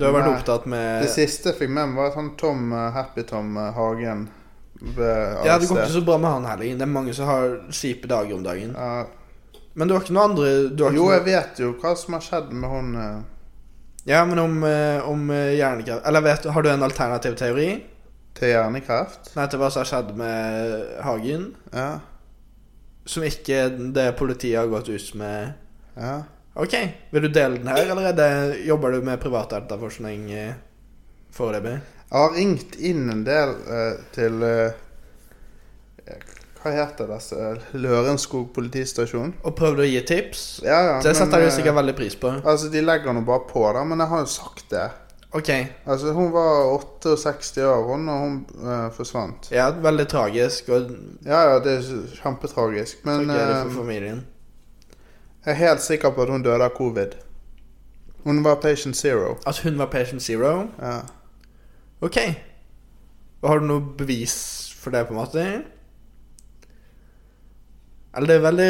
S2: Du har vært
S3: Nei.
S2: opptatt med
S3: Det siste jeg fikk med meg, var at han Tom eh, Happy Tom eh, Hagen ble
S2: Ja, det går ikke
S3: arrestert.
S2: så bra med han heller. Det er mange som har kjipe dager om dagen.
S3: Ja,
S2: Men du har ikke noe andre du har
S3: jo,
S2: ikke
S3: jeg vet jo hva som har skjedd med hun eh,
S2: noe... Ja, men om, eh, om eh, hjernekraft Eller vet, har du en alternativ teori?
S3: til hjernekreft.
S2: Nei, til hva som har skjedd med Hagen?
S3: Ja,
S2: Som ikke det politiet har gått ut med
S3: ja.
S2: Ok, vil du dele den her, eller er det, jobber du med privatetterforskning eh, foreløpig?
S3: Jeg har ringt inn en del eh, til eh, Hva heter disse? Lørenskog politistasjon?
S2: Og prøvd å gi tips?
S3: Ja, ja.
S2: Det setter
S3: men,
S2: du
S3: eh,
S2: sikkert veldig pris på.
S3: Altså, De legger nå bare på, da, men jeg har jo sagt det.
S2: Ok,
S3: Altså, Hun var 68 år hun, når hun eh, forsvant.
S2: ja, veldig tragisk og
S3: Ja, ja, det er kjempetragisk. Men
S2: tragedie
S3: eh,
S2: for familien.
S3: jeg er helt sikker på at hun døde av covid. Hun var patient zero.
S2: At hun var patient zero?
S3: Ja.
S2: Ok. Og har du noe bevis for det, på en måte? Eller det er veldig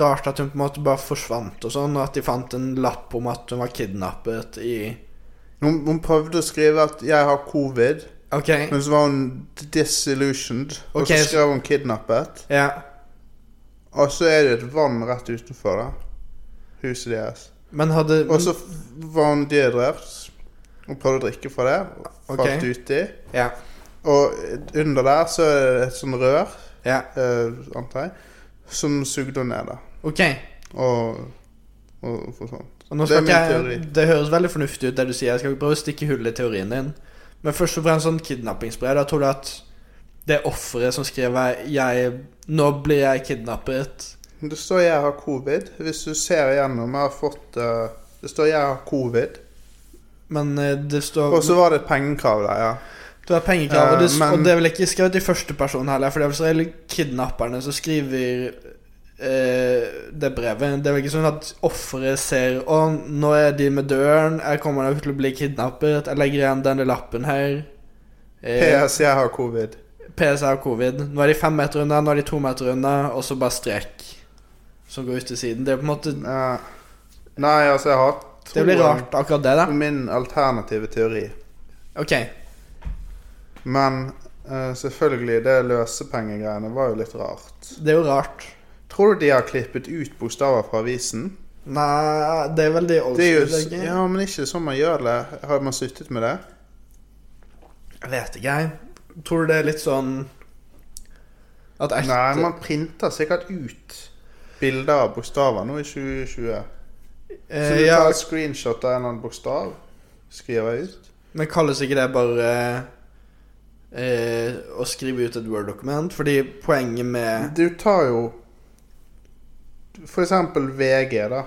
S2: rart at hun på en måte bare forsvant og sånn, og at de fant en lapp om at hun var kidnappet i
S3: Hun, hun prøvde å skrive at 'jeg har covid',
S2: Ok,
S3: men så var hun disillusioned. Og
S2: Ok,
S3: så
S2: så-
S3: skrev hun 'kidnappet'.
S2: ja.
S3: Og så er det et vann rett utenfor da Huset deres
S2: Men hadde
S3: Og så f- var hun dødrept Og prøvde å drikke fra det og
S2: Ok.
S3: Falt uti
S2: Ja.
S3: Og under der så er det et sånn rør
S2: ja.
S3: eh, Antar jeg Som sugde henne ned da
S2: Ok,
S3: Og, og for sånn. sånt
S2: og nå
S3: Det
S2: skal det,
S3: er min
S2: ikke,
S3: teori.
S2: jeg- det høres veldig fornuftig ut det du sier. Jeg skal ikke prøve å stikke hull i teorien din. Men først og fremst sånn kidnappingsbrev. Da tror du at det er offeret som skriver jeg, 'Nå blir jeg kidnappet'.
S3: Men Det står jeg har covid Hvis du ser igjennom Jeg har fått eh, Det står jeg har covid
S2: Men eh, det står
S3: Og så var det et pengekrav der ja
S2: Du har pengekrav. og, det,
S3: Eh, men-
S2: og det er vel ikke skrevet i første person heller, for det er vel så hele kidnapperne som skriver eh, det brevet. Det er vel ikke sånn at offeret ser 'Å, nå er de med døren. Jeg kommer nok til å bli kidnappet. Jeg legger igjen denne lappen her.' Eh,
S3: PS jeg har covid
S2: PS er covid. Nå er de fem meter unna, nå er de to meter unna, og så bare strek som går ut til siden. Det er på en måte
S3: Ja. Eh, Nei altså jeg har
S2: Det blir rart, akkurat det, da.
S3: troen på Min alternative teori
S2: Ok.
S3: Men eh, selvfølgelig, det løsepengegreiene var jo litt rart.
S2: Det er jo rart.
S3: Tror du de har klippet ut bokstaver fra avisen?
S2: Nei, det er vel de old
S3: Det er jo,
S2: school,
S3: s-
S2: ikke?
S3: ja, men ikke sånn man gjør det. Har man sluttet med det?
S2: Jeg vet ikke, jeg. Tror du det er litt sånn At ekte
S3: Nei, man printer sikkert ut bilder av bokstaver nå i 2020. Så
S2: eh,
S3: du
S2: ja,
S3: tar et screenshot av en eller annen bokstav, skriver ut.
S2: Men kalles ikke det bare eh, å skrive ut et Word-dokument? Fordi poenget med
S3: Du tar jo For eksempel VG, da.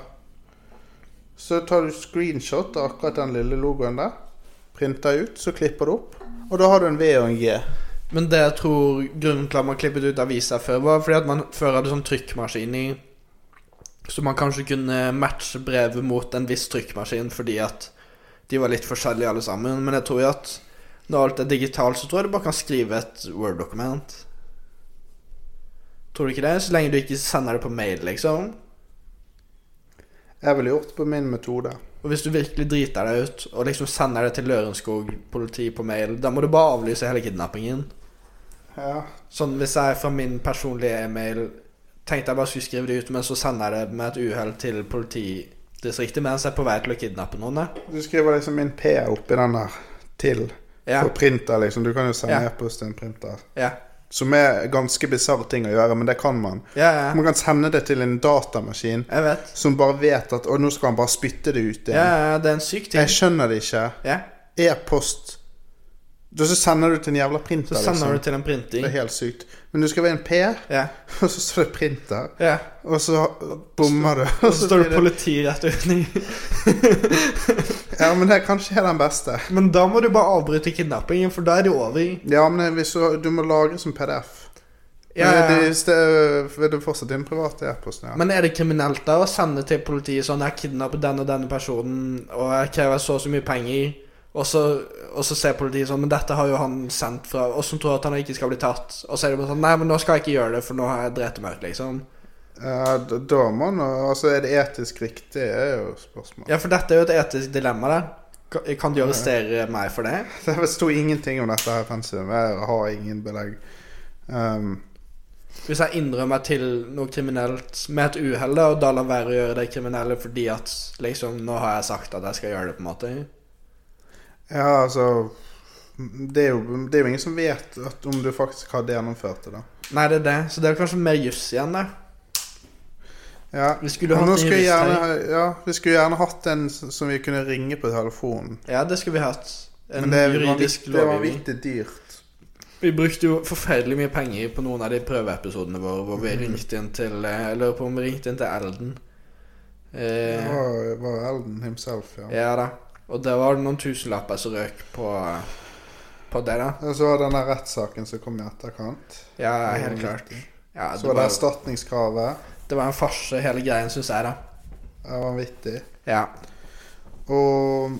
S3: Så tar du screenshot av akkurat den lille logoen der. Printer ut, så klipper du opp. Og da har du en V og en G.
S2: Men det jeg tror grunnen til at man klippet ut aviser før, var fordi at man før hadde sånn trykkmaskin i Så man kanskje kunne matche brevet mot en viss trykkmaskin fordi at de var litt forskjellige alle sammen. Men jeg tror jo at når alt er digitalt, så tror jeg du bare kan skrive et Word-dokument. Tror du ikke det? Så lenge du ikke sender det på mail, liksom.
S3: Jeg ville gjort det på min metode.
S2: Og hvis du virkelig driter deg ut og liksom sender det til Lørenskog politi på mail, da må du bare avlyse hele kidnappingen.
S3: Ja.
S2: Sånn hvis jeg fra min personlige e-mail tenkte jeg bare skulle skrive det ut, men så sender jeg det med et uhell til politidistriktet mens jeg er på vei til å kidnappe noen. da.
S3: Du skriver liksom inn P oppi den der til.
S2: Ja,
S3: Og printer, liksom. Du kan jo sende
S2: Ja.
S3: e-post til en printer.
S2: ja,
S3: Som er ganske bisarr ting å gjøre, men det kan man.
S2: ja, ja.
S3: Man kan sende det til en datamaskin
S2: Jeg vet.
S3: som bare vet at Og nå skal han bare spytte det ut
S2: Ja,
S3: igjen.
S2: ja, det er en syk ting.
S3: Jeg skjønner det ikke.
S2: Ja.
S3: e-post Da så sender du til en jævla
S2: Så
S3: printer,
S2: sender du
S3: liksom.
S2: til en
S3: Det
S2: printing.
S3: er helt sykt. Men du skal være en P,
S2: Ja,
S3: og så står det printer,
S2: ja.
S3: og så bommer du.
S2: Og så står
S3: blir
S2: det politi rett under.
S3: Ja, men det er kanskje den beste.
S2: Men da må du bare avbryte kidnappingen, for da er det over.
S3: Ja, men hvis du, du må lagre som PDF.
S2: Ja, ja.
S3: Men det, det, det er fortsatt din private e-post. Ja.
S2: Men er det kriminelt da å sende til politiet sånn 'Jeg kidnappet den og denne personen, og jeg krever så og så mye penger', og så, og så ser politiet sånn 'Men dette har jo han sendt fra Og som tror at han ikke skal bli tatt. Og så er det bare sånn 'Nei, men nå skal jeg ikke gjøre det, for nå har jeg drept meg ut', liksom.
S3: Ja, d- da må nå Altså, er det etisk riktig, er jo spørsmålet.
S2: Ja, for dette er jo et etisk dilemma, da. Kan- Kan de arrestere meg for det?
S3: Det sto ingenting om dette her i pensum. Jeg har ingen belegg. Um,
S2: Hvis jeg innrømmer til noe kriminelt med et uhell, da, og da lar være å gjøre det kriminelle fordi at liksom Nå har jeg sagt at jeg skal gjøre det, på en måte.
S3: ja, altså det er, jo, det er jo ingen som vet at om du faktisk hadde gjennomført det, da.
S2: Nei, det er det. Så det er kanskje mer juss igjen, da.
S3: Ja.
S2: Vi skulle
S3: Men
S2: hatt
S3: nå
S2: en
S3: skulle jeg
S2: jurist her.
S3: gjerne, ja, vi skulle gjerne hatt en s- som vi kunne ringe på telefonen.
S2: Ja, det skulle vi hatt. En
S3: Men det er
S2: juridisk
S3: vanvitt- det er
S2: lovgivning.
S3: vanvittig dyrt.
S2: Vi brukte jo forferdelig mye penger på noen av de prøveepisodene våre hvor
S3: Mhm.
S2: vi ringte inn til eh, Jeg lurer på om vi ringte inn til Elden.
S3: Det
S2: Eh,
S3: var, var Elden himself, ja.
S2: ja da. Og der var det noen tusenlapper som røk på, på det, da.
S3: Og så var den der rettssaken som kom i etterkant.
S2: Ja,
S3: Det var
S2: helt klart.
S3: vanvittig.
S2: Ja,
S3: Mhm. Så
S2: det,
S3: var det
S2: var,
S3: erstatningskravet.
S2: det var en farse, hele greien, syns jeg, da.
S3: Det var vanvittig.
S2: Ja.
S3: Og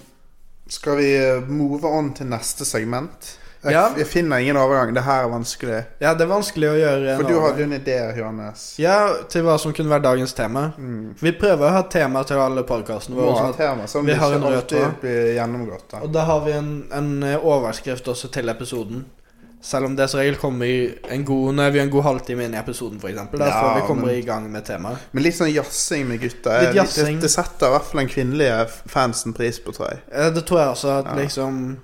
S3: skal vi move on til neste segment? Jeg,
S2: Ja.
S3: jeg finner ingen overgang. Det her er vanskelig.
S2: ja, det er vanskelig å gjøre
S3: For
S2: en
S3: du
S2: overgang.
S3: hadde jo en idé, Johannes.
S2: Ja, til hva som kunne være dagens tema.
S3: Mm.
S2: Vi prøver å ha tema til alle podkastene
S3: Må
S2: våre.
S3: ha
S2: sånn at-
S3: tema som
S2: vi
S3: ikke
S2: har en rød
S3: alltid
S2: tråd.
S3: blir gjennomgått. Da.
S2: Og da har vi en, en eh, overskrift også til episoden. Selv om det som regel kommer i en god Når vi er en god halvtime inn i episoden, f.eks. Da
S3: Ja,
S2: før vi kommer
S3: men-
S2: i gang med temaet.
S3: Men litt sånn jazzing med gutter
S2: Litt
S3: det-
S2: jazzing.
S3: Det, det setter i hvert fall den kvinnelige fansen pris på, tror jeg.
S2: Eh, Det tror jeg også at
S3: Ja.
S2: liksom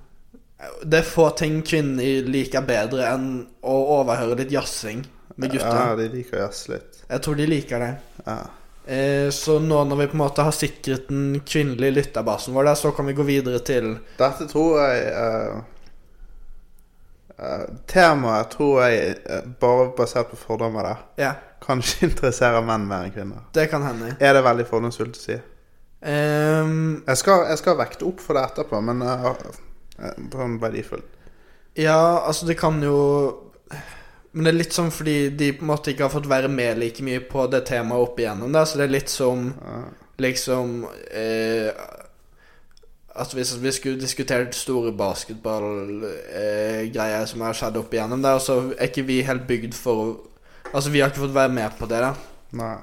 S2: Det er få ting kvinner liker bedre enn å overhøre litt jazzing med
S3: Ja,
S2: gutter.
S3: de liker å jazze litt.
S2: Jeg tror de liker det.
S3: Ja.
S2: Eh, Så nå når vi på en måte har sikret den kvinnelige lytterbasen vår der, så kan vi gå videre til
S3: Dette tror jeg eh, eh, Temaet tror jeg, eh, bare basert på fordommer der,
S2: Ja,
S3: kanskje interesserer menn mer enn kvinner.
S2: det kan hende.
S3: Er det veldig fordomsfullt å si?
S2: Um,
S3: Jeg skal, jeg skal vekte opp for det etterpå, men eh, eh, sånn verdifullt.
S2: Ja, altså det kan jo Men det er litt sånn fordi de på en måte ikke har fått være med like mye på det temaet opp igjennom, da, så det er litt som
S3: Eh,
S2: liksom eh, At hvis vi skulle diskutert store basketballgreier eh, greier som har skjedd opp igjennom, da, og så er ikke vi helt bygd for å Altså, vi har ikke fått være med på det, da.
S3: nei.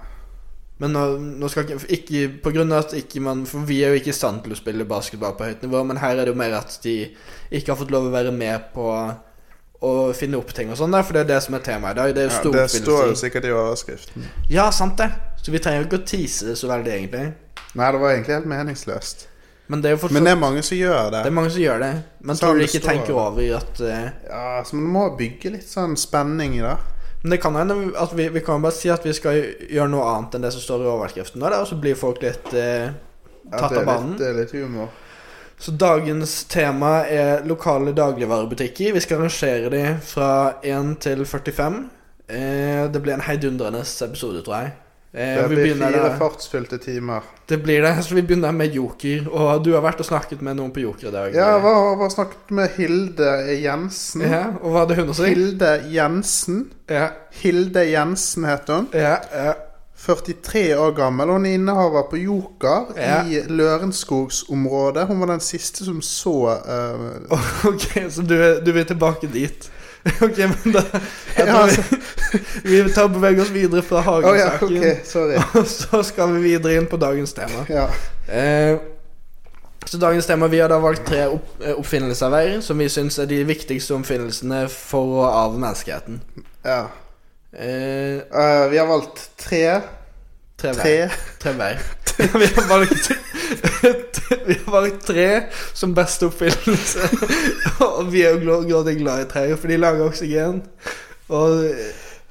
S2: Men nå, nå skal ikke, ikke På grunn av at ikke man For vi er jo ikke i stand til å spille basketball på høyt nivå, men her er det jo mer at de ikke har fått lov å være med på å finne opp ting og sånn, der, for det er det som er temaet i dag. Det er jo
S3: Ja, det står jo
S2: storoppfinnelser.
S3: sikkert i overskriften.
S2: Ja, sant det. Så vi trenger jo ikke å tease det så veldig, egentlig.
S3: Nei, det var egentlig helt meningsløst.
S2: Men det er jo fortsatt
S3: Men det er mange som gjør det.
S2: Det er mange som gjør det. Men
S3: Sånn
S2: tror de
S3: det
S2: ikke
S3: står.
S2: tenker over at eh,
S3: Ja, så Man må bygge litt sånn spenning i det.
S2: Men det kan hende at vi, vi kan bare si at vi skal gjøre noe annet enn det som står i overskriften nå, da, og så blir folk litt eh,
S3: At
S2: tatt av
S3: det, er litt,
S2: banen.
S3: det er litt humor.
S2: Så dagens tema er lokale dagligvarebutikker. Vi skal rangere de fra 1 til 45. Eh, det blir en heidundrende episode, tror jeg. Eh,
S3: Det
S2: vi
S3: blir
S2: begynner
S3: fire
S2: da-
S3: fartsfylte timer.
S2: det blir det, så vi begynner med Joker. Og du har vært og snakket med noen på Joker i dag. Eh,
S3: Ja, hva har snakket med Hilde Jensen?
S2: Ja, og hva hadde hun å si?
S3: Hilde Jensen.
S2: Ja,
S3: Hilde Jensen heter hun.
S2: ja, ja.
S3: 43 år gammel. Hun er innehaver på Joker
S2: Ja.
S3: i Lørenskogsområdet. Hun var den siste som så eh,
S2: Ok, så du, er- du vil tilbake dit. Ok, men da jeg
S3: Ja, altså.
S2: tror vi, vi tar beveger oss videre fra
S3: Å ja,
S2: hagesaken.
S3: ok. Sorry.
S2: Og så skal vi videre inn på dagens tema.
S3: Ja.
S2: Eh, så dagens tema Vi har da valgt tre opp, eh, oppfinnelser hver, som vi syns er de viktigste oppfinnelsene for og av menneskeheten.
S3: ja.
S2: Eh,
S3: Eh, vi har valgt tre.
S2: tre hver.
S3: Tre.
S2: Tre hver. vi, har valgt, vi har valgt tre som beste oppfinnelse. og vi er jo glå- grådig glad i trær, for de lager oksygen. Og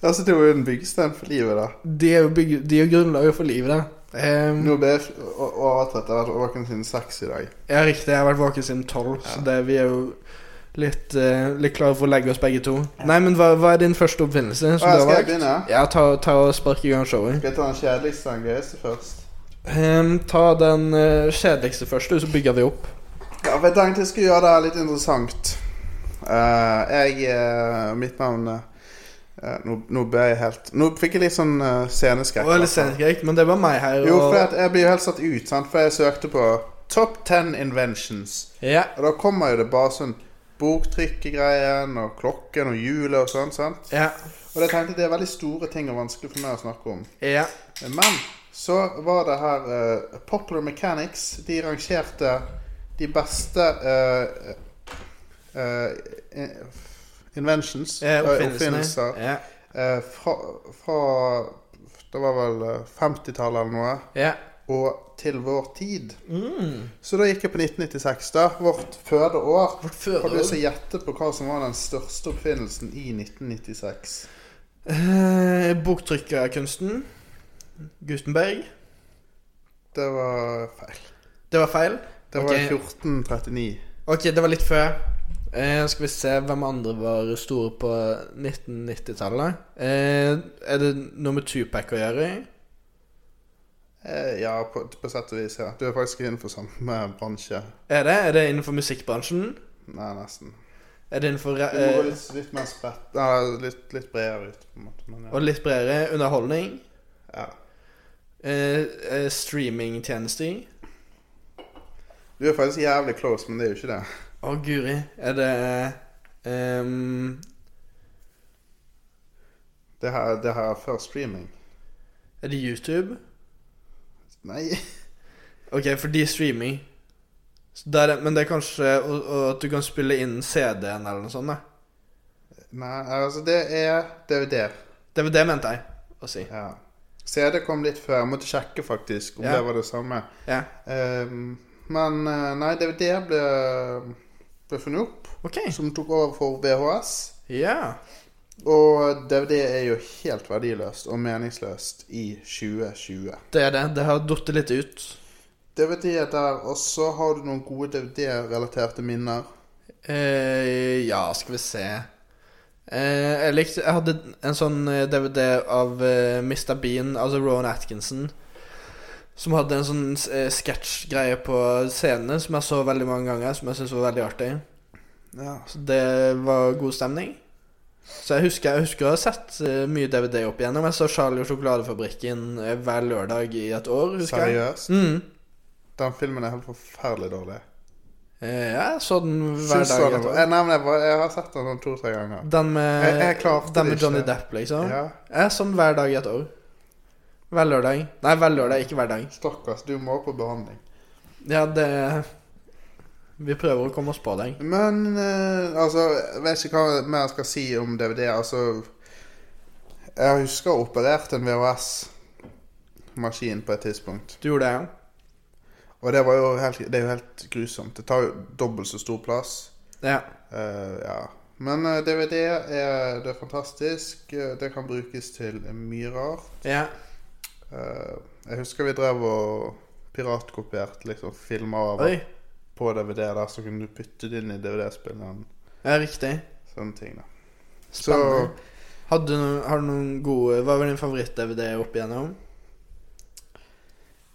S3: Altså, det var jo en byggestein for livet, da.
S2: de er jo, bygge, de er jo grunnlaget for livet, da. Eh,
S3: Nå ble jeg f- o- overtrett. Jeg har vært våken siden seks i dag.
S2: Ja, riktig. Jeg har vært våken siden tolv, så det, vi er jo litt, eh, litt klare for å legge oss begge to. Nei, men hva, hva er din første oppfinnelse?
S3: Å, skal jeg begynne?
S2: Ja, ta, ta og spark i gang showet.
S3: Skal jeg ta den kjedeligste og den gøyeste først?
S2: Ehm, ta den eh, kjedeligste først, og så bygger vi opp.
S3: Ja, for jeg tenkte jeg skulle gjøre det her litt interessant. Eh, jeg eh, Mitt navn eh, Ja, nå, nå ble jeg helt Nå fikk jeg litt sånn uh, sceneskrekk.
S2: Og litt sceneskrekk, men det var meg her. Og...
S3: Jo, for at jeg blir jo helt satt ut, sant? for jeg søkte på Top 10 Inventions.
S2: Ja.
S3: Og da kommer jo det bare sånn boktrikkegreien og klokken og hjulet og sånn. sant?
S2: Ja.
S3: Og jeg tenkte det er veldig store ting og vanskelig for meg å snakke om.
S2: Ja. eh,
S3: Men så var det her eh, Popular Mechanics. De rangerte de beste eh, eh, eh, inventions,
S2: ja
S3: eh,
S2: oppfinnelsene. Ja.
S3: eh, fra, fra Det var vel eh, 50-tallet eller noe.
S2: ja. Mm.
S3: Og til vår tid. Så da gikk jeg på 1996, da. Vårt fødeår.
S2: Vårt fødeår.
S3: Har du lyst til å gjette på hva som var den største oppfinnelsen i 1996?
S2: Eh, boktrykkerkunsten. Gutenberg.
S3: Det var feil.
S2: Det var feil.
S3: Det var
S2: Ok.
S3: 1439.
S2: Ok, det var litt før. Eh, skal vi se hvem andre var store på 1990-tallet. Eh, er det noe med Tupac å gjøre?
S3: Eh, ja, på, på sett og vis, ja. Du er faktisk innenfor samme bransje.
S2: Er det? Er det innenfor musikkbransjen?
S3: Nei, nesten.
S2: Er det innenfor
S3: Du må gå
S2: eh,
S3: litt, litt mer spredt Nei, litt, litt bredere ut, på en måte. Men, ja.
S2: Og litt bredere underholdning?
S3: ja.
S2: Eh, eh, Streamingtjenester?
S3: Du er faktisk jævlig close, men det er jo ikke det.
S2: Å, guri. Er det eh, ehm,
S3: Det her, det her er før streaming.
S2: Er det YouTube?
S3: Nei.
S2: Ok, for de streamer. Så der er- Men det er kanskje og, og at du kan spille inn CD-en eller noe sånt? da.
S3: Nei, altså, det er DVD.
S2: Det var det mente jeg å si.
S3: Ja. CD kom litt før. Jeg måtte sjekke faktisk om
S2: Ja.
S3: det var det samme.
S2: Ja,
S3: Ehm, men eh, nei, DVD ble, ble funnet opp,
S2: ok.
S3: som tok over for VHS.
S2: Ja.
S3: Og DVD er jo helt verdiløst og meningsløst i 2020.
S2: Det er det. Det har datt litt ut.
S3: DVD er der, og så har du noen gode DVD-relaterte minner.
S2: Eh, ja, skal vi se. Eh, jeg likte Jeg hadde en sånn eh, DVD av eh, Mr. Bean, altså Rowan Atkinson, som hadde en sånn eh, sketsjgreie på scenene som jeg så veldig mange ganger, som jeg syntes var veldig artig.
S3: Ja.
S2: Så det var god stemning. Så jeg husker jeg husker å ha sett eh, mye DVD opp igjennom. Jeg så Charlie og sjokoladefabrikken eh, hver lørdag i et år, husker jeg.
S3: Seriøst.
S2: Mm.
S3: Den filmen er helt forferdelig dårlig.
S2: Eh, ja, jeg så den hver
S3: Syns
S2: dag.
S3: du
S2: i
S3: den
S2: et
S3: var-
S2: år.
S3: jeg, nei, men jeg, var- jeg har sett den sånn to-tre ganger.
S2: Den med,
S3: Jeg- jeg klarte
S2: den
S3: det
S2: med Johnny
S3: ikke.
S2: Depp, liksom.
S3: Ja.
S2: Jeg så den hver dag i et år. Hver lørdag. Nei, hver lørdag, ikke hver dag.
S3: Stakkars, du må på behandling.
S2: Ja, det Vi prøver å komme oss på deg.
S3: Men eh, altså, jeg vet ikke hva mer jeg skal si om DVD. Altså, jeg husker jeg opererte en VHS-maskin på et tidspunkt.
S2: Du gjorde det, ja?
S3: Og det, var jo helt, det er jo helt grusomt. Det tar jo dobbelt så stor plass.
S2: Ja.
S3: Eh, ja. Men eh, DVD er, det er fantastisk. Eh, Det kan brukes til mye rart.
S2: ja.
S3: Eh, jeg husker vi drev og piratkopierte liksom, filmer av
S2: Oi.
S3: på DVD, der, så kunne du putte det inn i DVD-spilleren.
S2: Ja, riktig.
S3: Sånne ting, da. Så
S2: Spennende. Hadde du noen, har du noen gode Hva var din favoritt-DVD opp igjennom?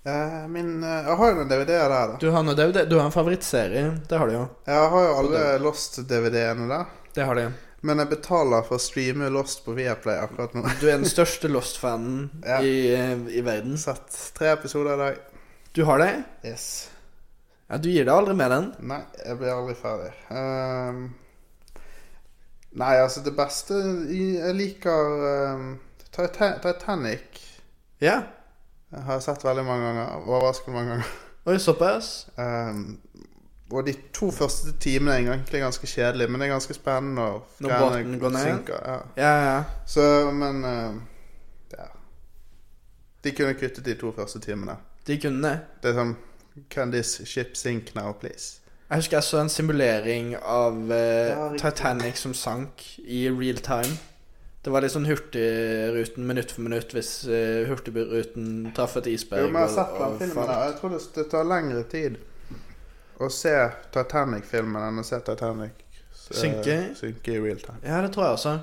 S3: Eh, min, eh, jeg har jo noen DVD-er der, da.
S2: Du har, noe DVD, du har en favorittserie. Det har du jo.
S3: Jeg har jo alle Lost-DVD-ene der.
S2: Det har de.
S3: Men jeg betaler for å streame Lost på Viaplay akkurat nå.
S2: Du er den største Lost-fanen
S3: Ja.
S2: i, i verden.
S3: Sett tre episoder i dag.
S2: Du har det?
S3: Yes.
S2: Ja, du gir deg aldri med den.
S3: Nei, jeg blir aldri ferdig. Ehm, nei, altså, det beste i- Jeg liker ehm, Titan Titanic.
S2: Ja.
S3: Jeg har sett veldig mange ganger. Overraskende mange ganger.
S2: Oi, såpass?
S3: Ehm, og de to første timene er egentlig ganske kjedelige, men det er ganske spennende. Og
S2: Når
S3: greiene
S2: båten går ned?
S3: synker, Ja.
S2: Ja, ja.
S3: Så, men eh, Ja. De kunne kuttet de to første timene.
S2: De kunne det.
S3: Det er sånn Can this ship sink now, please?
S2: Jeg husker jeg så en simulering av eh,
S3: Ja, riktig.
S2: Titanic som sank i real time. Det var litt sånn Hurtigruten minutt for minutt hvis eh, Hurtigruten traff et isberg.
S3: Jo, men jeg har
S2: og-
S3: sett den
S2: og
S3: filmen
S2: falt.
S3: der. Jeg tror det, det tar lengre tid å se Titanic-filmen enn å se Titanic eh,
S2: Synke?
S3: synke i real time.
S2: Ja, det tror jeg også.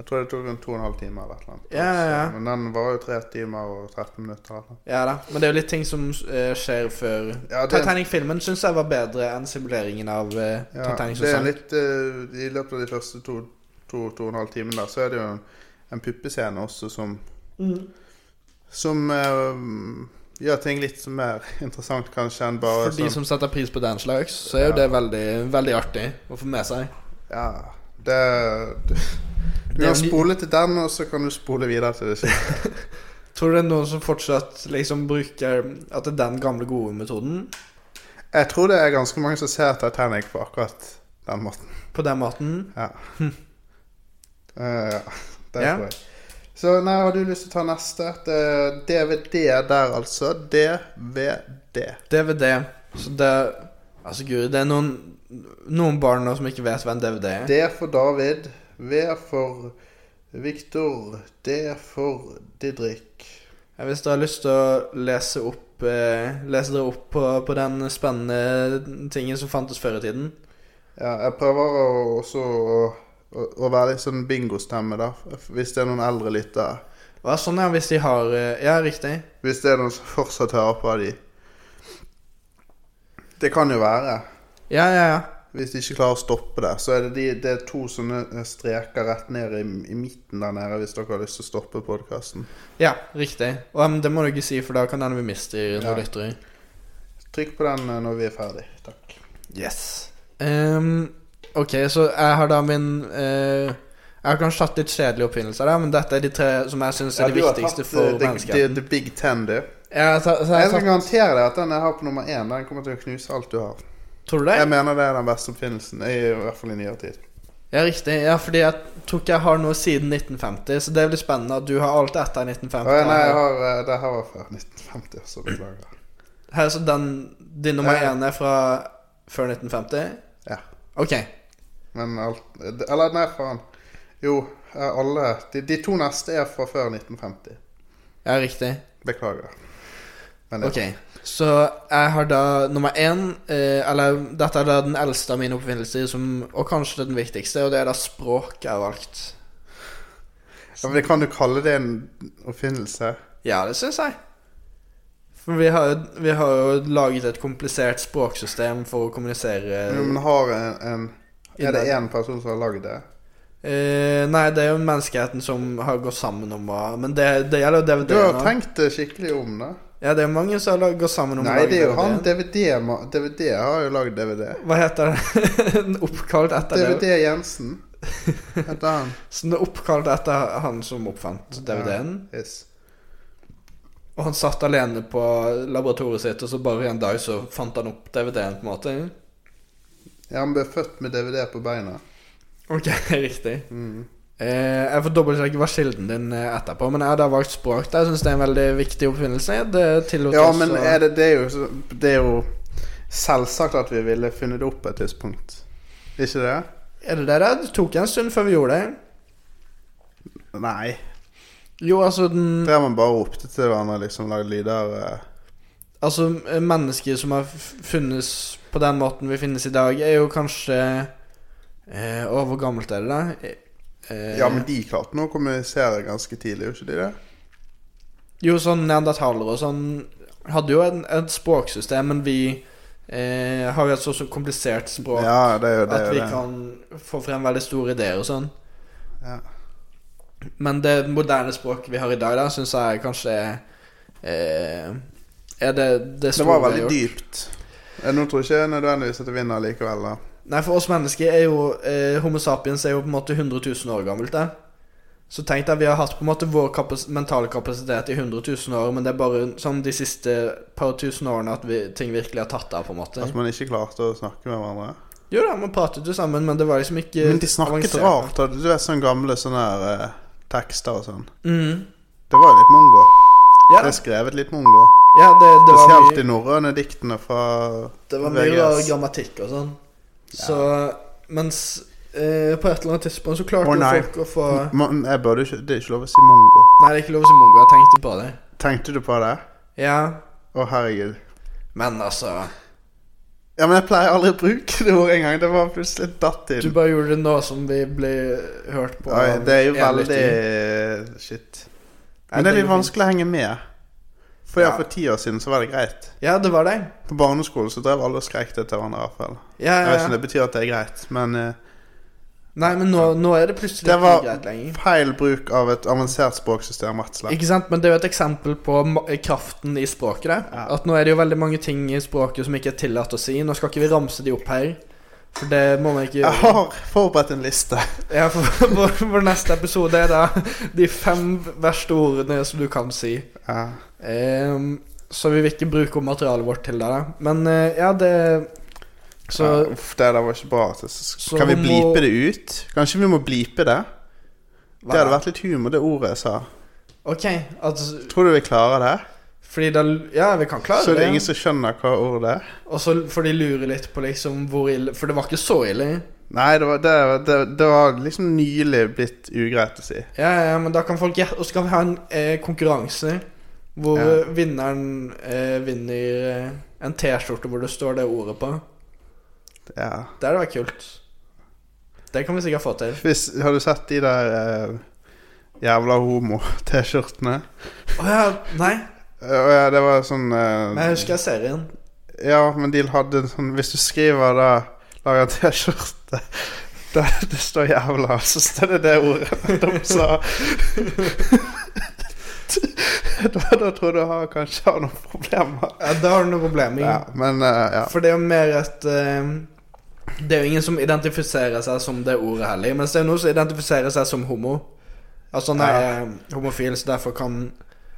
S3: Jeg tror det tok rundt to og en halv time eller et eller annet.
S2: Ja, ja, ja.
S3: Men den var jo tre timer og 13 minutter. Eller. noe.
S2: Ja da, Men det er jo litt ting som eh, skjer før
S3: Ja, det-
S2: Titanic-filmen syns jeg var bedre enn simuleringen av eh,
S3: Ja,
S2: Titanic
S3: det
S2: som
S3: er
S2: sank.
S3: litt eh, I løpet av de første to, to, to og en halv timene der, så er det jo en, en puppescene også som
S2: Mm.
S3: Som eh, gjør ting litt mer interessant, kanskje, enn bare sånn-
S2: For de som setter pris på den slags, så er jo det veldig, veldig artig å få med seg.
S3: Ja, det Du, du
S2: Det er
S3: kan
S2: ny-
S3: spole til den, og så kan du spole videre til det siste.
S2: Tror du det er noen som fortsatt liksom bruker At det er den gamle, gode metoden
S3: Jeg tror det er ganske mange som ser Titanic på akkurat den måten.
S2: på den måten?
S3: Ja. Eh, ja. Det
S2: Ja.
S3: tror jeg. Så nei, har du lyst til å ta neste? Det er DVD der, altså. DVD.
S2: DVD. Så det Altså, guri, det er noen, noen barn nå som ikke vet hva en DVD er.
S3: D for David. V for Viktor. D for Didrik.
S2: Hvis du har lyst til å lese opp eh, Lese dere opp på, på den spennende tingen som fantes før i tiden
S3: Ja, jeg prøver å, også å, å, å være litt sånn bingostemme, da. Hvis det er noen eldre lyttere.
S2: Hva er sånn ja, hvis de har eh, Ja, riktig.
S3: Hvis det er noen som fortsatt hører på de. Det kan jo være.
S2: Ja, ja, ja.
S3: Hvis de ikke klarer å stoppe det, så er det, de, det er to sånne eh, streker rett ned i, i midten der nede hvis dere har lyst til å stoppe podkasten.
S2: Ja, riktig. Og em, det må du ikke si, for da kan hende vi mister noen
S3: Ja.
S2: lyttere.
S3: Trykk på den eh, når vi er ferdig. Takk.
S2: Yes. Ehm, ok, så jeg har da min eh, Jeg har kanskje tatt litt kjedelige oppfinnelser, da, men dette er de tre som jeg syns eh, er de viktigste for
S3: the, the,
S2: menneskeheten.
S3: the Big Ten, du.
S2: Jeg har ta- så jeg
S3: Jeg
S2: har
S3: kan
S2: tatt,
S3: garantere deg at den jeg har på nummer én, den kommer til å knuse alt du har.
S2: tror du det?
S3: Jeg mener det er den beste oppfinnelsen, i hvert fall i nyere tid.
S2: Ja, riktig. Ja, fordi jeg tror ikke jeg har noe siden 1950, så det blir spennende at du har alt etter 1950.
S3: Å, ja, nei, jeg har, eh, det her var før 1950, så beklager.
S2: Her, så den, din nummer
S3: Ja.
S2: én er fra før 1950?
S3: Ja.
S2: Ok.
S3: Men alt Eller nei, faen. Jo, eh, alle de, de to neste er fra før 1950.
S2: Ja, riktig.
S3: Beklager. Men
S2: Ok, så jeg har da nummer én eh, Eller dette er da den eldste av mine oppfinnelser, som, og kanskje den viktigste, og det er da språk jeg har valgt.
S3: Ja, men det Kan du kalle det en oppfinnelse?
S2: Ja, det syns jeg. For vi har, jo- vi har jo laget et komplisert språksystem for å kommunisere
S3: Jo, men har en, en Er det én person som har lagd det?
S2: eh, Nei, det er jo menneskeheten som har gått sammen om å Men det, det gjelder jo
S3: Du har
S2: DVD-en.
S3: tenkt det skikkelig om det.
S2: Ja, det er mange som har lag- gått sammen om
S3: Nei,
S2: å lage
S3: det er jo han
S2: DVD-en.
S3: DVD ma- DVD har jo lagd DVD.
S2: Hva heter det? oppkalt etter
S3: DVD
S2: det?
S3: Jensen. Heter han.
S2: Så det er oppkalt etter han som oppfant DVD-en?
S3: Yes.
S2: Og han satt alene på laboratoriet sitt, og så bare en dag så fant han opp DVD-en, på en måte.
S3: Ja, han ble født med DVD på beina.
S2: Ok, riktig.
S3: Mm.
S2: Eh, jeg får dobbeltsjekke hva kilden din er etterpå, men jeg har da valgt språk. da. Jeg syns det er en veldig viktig oppfinnelse. Det tillot
S3: Ja,
S2: oss
S3: men
S2: å-
S3: er det, det, er jo, så- det er jo selvsagt at vi ville funnet det opp på et tidspunkt. Ikke det?
S2: er det det der? Det tok en stund før vi gjorde det.
S3: Nei.
S2: Jo, altså den
S3: Der man bare ropte til hverandre, liksom lagde lyder eh.
S2: Altså, mennesker som har f- funnes på den måten vi finnes i dag, er jo kanskje eh, Å, hvor gammelt er det, da? Eh,
S3: Ja, men de klarte nå å kommunisere ganske tidlig, gjorde ikke de det?
S2: Jo, sånn neandertalere og sånn hadde jo en, et språksystem, men vi eh, har jo et så, så komplisert språk
S3: Ja, det er jo det.
S2: at
S3: er
S2: vi
S3: jo det.
S2: kan få frem veldig store ideer og sånn.
S3: Ja.
S2: Men det moderne språket vi har i dag, da, syns jeg kanskje er eh, Er det det
S3: Det
S2: store vi
S3: var
S2: har
S3: veldig
S2: gjort.
S3: dypt. Eh, Nå tror jeg ikke nødvendigvis at det vinner likevel, da.
S2: Nei, for oss mennesker er jo eh, Homo sapiens er jo på en måte 100 000 år gammelt. Da. Så tenk deg, vi har hatt på en måte vår kapas mentale kapasitet i 100 000 år, men det er bare sånn de siste par tusen årene at vi, ting virkelig har tatt av, på en måte.
S3: At man ikke klarte å snakke med hverandre.
S2: Jo da, man pratet jo sammen, men det var liksom ikke
S3: Men de snakket
S2: avansert.
S3: rart. da. Du vet sånne gamle sånne her, eh, tekster og sånn.
S2: Mm.
S3: Det var jo litt mongo.
S2: Ja,
S3: Det
S2: da.
S3: er skrevet litt mongo.
S2: ja det, det var
S3: Spesielt
S2: mye,
S3: de norrøne diktene fra
S2: det var mye
S3: VGS.
S2: rar grammatikk og sånn. Så Mens eh, på et eller annet tidspunkt så klarte
S3: Å,
S2: jo
S3: nei.
S2: folk å få
S3: Man, jeg burde ikke, Det er ikke lov å si mongo.
S2: Nei, det er ikke lov å si mongo. Jeg tenkte på det.
S3: Tenkte du på det?
S2: Ja,
S3: Å, herregud.
S2: men altså
S3: Ja, men jeg pleier aldri å bruke det ordet engang. Det var plutselig datt
S2: Du
S3: inn.
S2: bare gjorde det nå som vi ble hørt på.
S3: Oi,
S2: av
S3: det er jo
S2: en
S3: veldig
S2: lytter.
S3: Shit.
S2: Nei,
S3: Men det er litt
S2: går
S3: vanskelig å henge med. For ja.
S2: Ja.
S3: for ti år siden så var det greit.
S2: fint. Ja, det var det.
S3: På barneskolen så drev alle og skrek det til hverandre. i hvert fall
S2: Ja,
S3: Jeg
S2: ja,
S3: vet ikke om
S2: ja.
S3: det betyr at det er greit, men eh,
S2: Nei, men nå, nå er det plutselig
S3: Det var
S2: ikke greit lenger.
S3: feil bruk av et avansert språksystem, rett og slett.
S2: Ikke sant, Men det er jo et eksempel på ma- kraften i språket. der
S3: Ja.
S2: At Nå er det jo veldig mange ting i språket som ikke er tillatt å si. Nå skal ikke vi ramse de opp her. For det må man ikke
S3: Jeg
S2: gjøre.
S3: har forberedt en liste.
S2: Ja, for Vår vår neste episode er da de fem verste ordene som du kan si.
S3: Ja.
S2: Ehm, så vi vil ikke bruke om materialet vårt til det. da. Men eh, ja, det Så
S3: Ja, uff, det der var ikke bra. Så,
S2: Så
S3: kan vi
S2: må-
S3: blipe det ut? Kanskje vi må blipe det?
S2: hva
S3: Det hadde
S2: da?
S3: vært litt humor, det ordet jeg sa.
S2: OK. Altså,
S3: Tror du vi klarer det?
S2: fordi da Ja, vi kan klare
S3: Så det er ingen
S2: det.
S3: som skjønner hva ordet er?
S2: Og så får de lure litt på liksom hvor ille For det var ikke så ille.
S3: Nei, det var, det, det, det var liksom nylig blitt ugreit å si.
S2: Ja, ja, men da kan folk gjette. Og så kan vi ha en eh, konkurranse hvor
S3: Ja.
S2: eh, vinneren eh, vinner eh, en T-skjorte hvor det står det ordet på.
S3: Ja.
S2: Det hadde vært kult. Det kan vi sikkert få til.
S3: Hvis, har du sett de der eh, jævla homo-T-skjortene?
S2: Å ja, nei.
S3: Eh, og ja, det var sånn eh,
S2: Men jeg husker jeg serien.
S3: Ja, men de hadde en sånn Hvis du skriver da Lager en T-skjorte der det står 'jævla', så står det det ordet de sa. da, da tror du har kanskje har noen problemer.
S2: Ja, da har du noe problem.
S3: Ja,
S2: Ingen.
S3: men eh, ja.
S2: For det er jo mer et eh, Det er jo ingen som identifiserer seg som det ordet heller, mens det er noen som identifiserer seg som homo. Altså han er eh, homofil, så derfor kan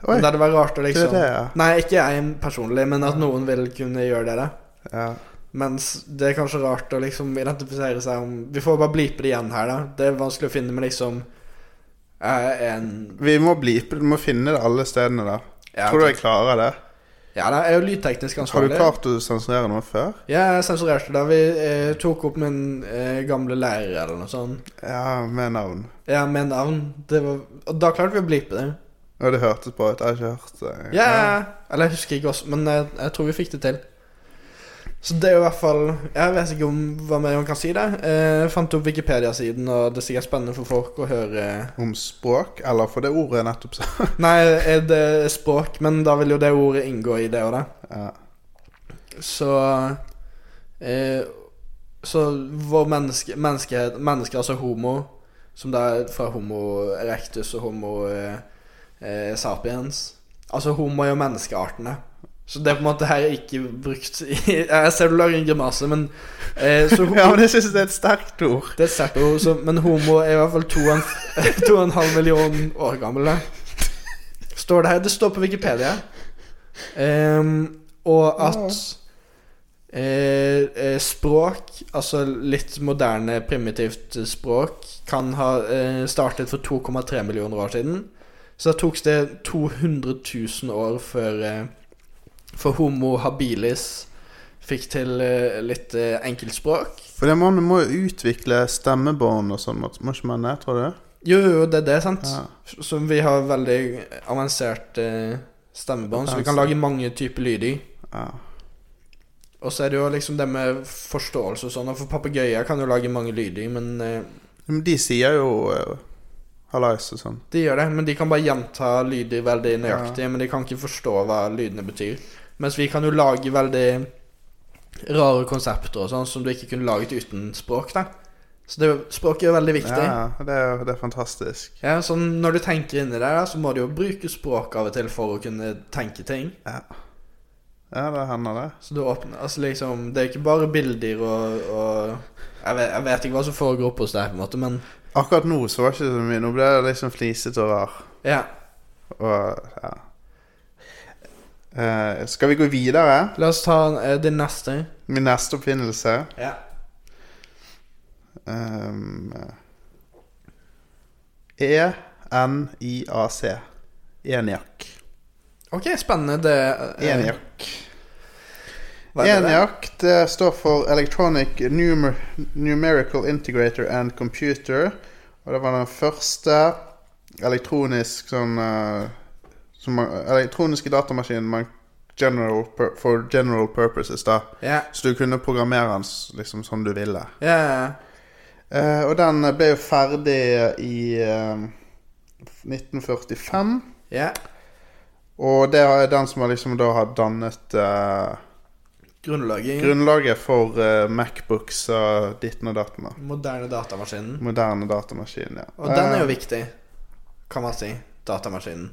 S3: Oi,
S2: Men Det hadde vært rart å
S3: det er
S2: liksom
S3: det, ja.
S2: Nei, ikke jeg personlig, men at noen vil kunne gjøre det. da.
S3: ja.
S2: Mens det er kanskje rart å liksom identifisere seg om Vi får bare blipe det igjen her, da. Det er vanskelig å finne med liksom eh, en
S3: Vi må blipe Du må finne det alle stedene, da.
S2: ja,
S3: tror du jeg klarer det?
S2: ja, da, jeg er jo lydteknisk
S3: Har du
S2: ansvarlig.
S3: klart å sensurere noe før?
S2: Ja, jeg sensurerte da vi eh, tok opp min eh, gamle lærer eller noe sånt.
S3: Ja, med navn.
S2: Ja, med navn. Det var, og da klarte vi å blipe det.
S3: Og det hørtes bra ut. Jeg har ikke hørt eh, det.
S2: Ja, eller jeg husker ikke også, men jeg, jeg tror vi fikk det til. Så det er jo i hvert fall Jeg vet ikke om hva mer man kan si der. Eh, Jeg fant opp Wikipedia-siden, og det er sikkert spennende for folk å høre
S3: Om språk, eller for det ordet jeg nettopp sa.
S2: Nei, er det er språk, men da vil jo det ordet inngå i det og det.
S3: Ja.
S2: Så eh, Så vår menneske, menneskehet Mennesker, altså homo, som da er fra homo erectus og homo eh, eh, sapiens Altså homo er jo menneskeartene. Så det er på en måte her ikke brukt i Jeg ser du lager en grimase, men eh, så,
S3: ja, men jeg synes det er et sterkt ord.
S2: Det er et sterkt ord, så, men homo er i hvert fall to og en- to og en halv million år gammel. Da. Står det her. Det står på Wikipedia. Ehm, og at eh, eh, språk, altså litt moderne, primitivt eh, språk, kan ha eh, startet for 2,3 millioner år siden. Så da tok det 200 000 år før, eh, før homo habilis fikk til eh, litt eh, enkeltspråk.
S3: For det man må jo utvikle stemmebånd og sånn, må må ikke man det, tror du?
S2: Jo, jo, jo, det er det, sant?
S3: Ja.
S2: Så vi har veldig avansert eh, stemmebånd, så vi kan lage mange typer lyd i.
S3: ja.
S2: Og så er det jo liksom det med forståelse og sånn, og for papegøyer kan jo lage mange lyder i, men eh,
S3: Men de sier jo eh, hallais og sånn.
S2: de gjør det. Men de kan bare gjenta lyder veldig nøyaktig,
S3: Ja.
S2: men de kan ikke forstå hva lydene betyr. Mens vi kan jo lage veldig rare konsepter og sånn som du ikke kunne laget uten språk, da. Så det, språket er jo veldig viktig.
S3: Ja, det er, det er fantastisk.
S2: Ja, så Når du tenker inni deg, da, så må du jo bruke språk av og til for å kunne tenke ting.
S3: Ja, det hender det.
S2: Så du åpner Altså liksom Det er ikke bare bilder og, og jeg, vet, jeg vet ikke hva som foregår oppe hos deg, på en måte, men
S3: Akkurat nå så var det ikke så mye. Nå ble det liksom flisete og rar.
S2: ja.
S3: Og ja. Eh, skal vi gå videre?
S2: La oss ta eh, din neste.
S3: Min neste oppfinnelse
S2: Ja.
S3: ehm, E E-N-I-A-C. E Enjakk.
S2: OK, spennende. Det eh,
S3: Enjakk.
S2: hva er det der?
S3: Enjakk det eh, står for Electronic Numer Numerical Integrator and Computer. Og det var den første elektronisk sånn eh, som, man- Elektroniske datamaskinen man general pur for general purposes, da.
S2: Ja.
S3: Så du kunne programmere den s- liksom som du ville.
S2: Ja, ja.
S3: Eh, og den ble jo ferdig i eh, 1945.
S2: ja.
S3: Og det er den som har liksom da har dannet eh,
S2: Grunnlaget i
S3: Grunnlaget for eh, Macbooks og ditten og datten. da.
S2: moderne datamaskinen.
S3: Moderne datamaskin. ja.
S2: Og den er jo
S3: Eh,
S2: viktig, kan man si. Datamaskinen.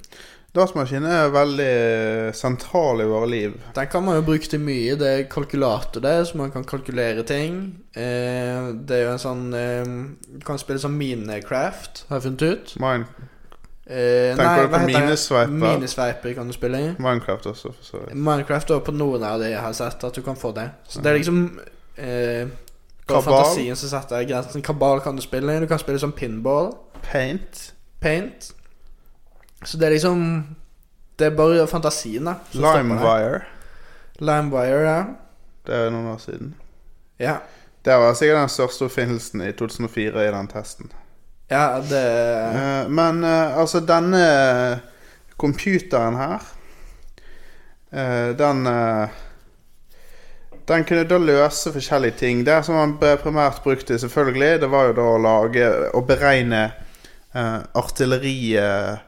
S3: Datamaskinen er veldig eh, sentral i våre liv.
S2: Den kan man jo bruke til mye. Det er kalkulator der, så man kan kalkulere ting. Eh, det er jo en sånn eh, Du kan spille sånn Minecraft, har jeg funnet ut.
S3: Mine,
S2: Eh,
S3: Tenker du på
S2: hva heter det?
S3: minesveiper?
S2: Minesveiper kan du spille i.
S3: Minecraft også, for så vidt.
S2: Minecraft og på noen av de jeg har sett at du kan få det. Så det er liksom eh, det var
S3: Mm. Kabal?
S2: Fantasien som setter grensen. Kabal kan du spille i. Du kan spille sånn pinball.
S3: Paint.
S2: Paint. Så det er liksom Det er bare fantasien, da. som stopper deg.
S3: Limewire.
S2: Limewire, ja.
S3: Det er noen år siden.
S2: ja.
S3: Det var sikkert den største oppfinnelsen i 2004 i den testen.
S2: Ja, det
S3: Eh, Men eh, altså, denne computeren her eh, Den eh, Den kunne da løse forskjellige ting. Det som man ble primært brukte, selvfølgelig, det var jo da å lage Å beregne eh, artillerikurver,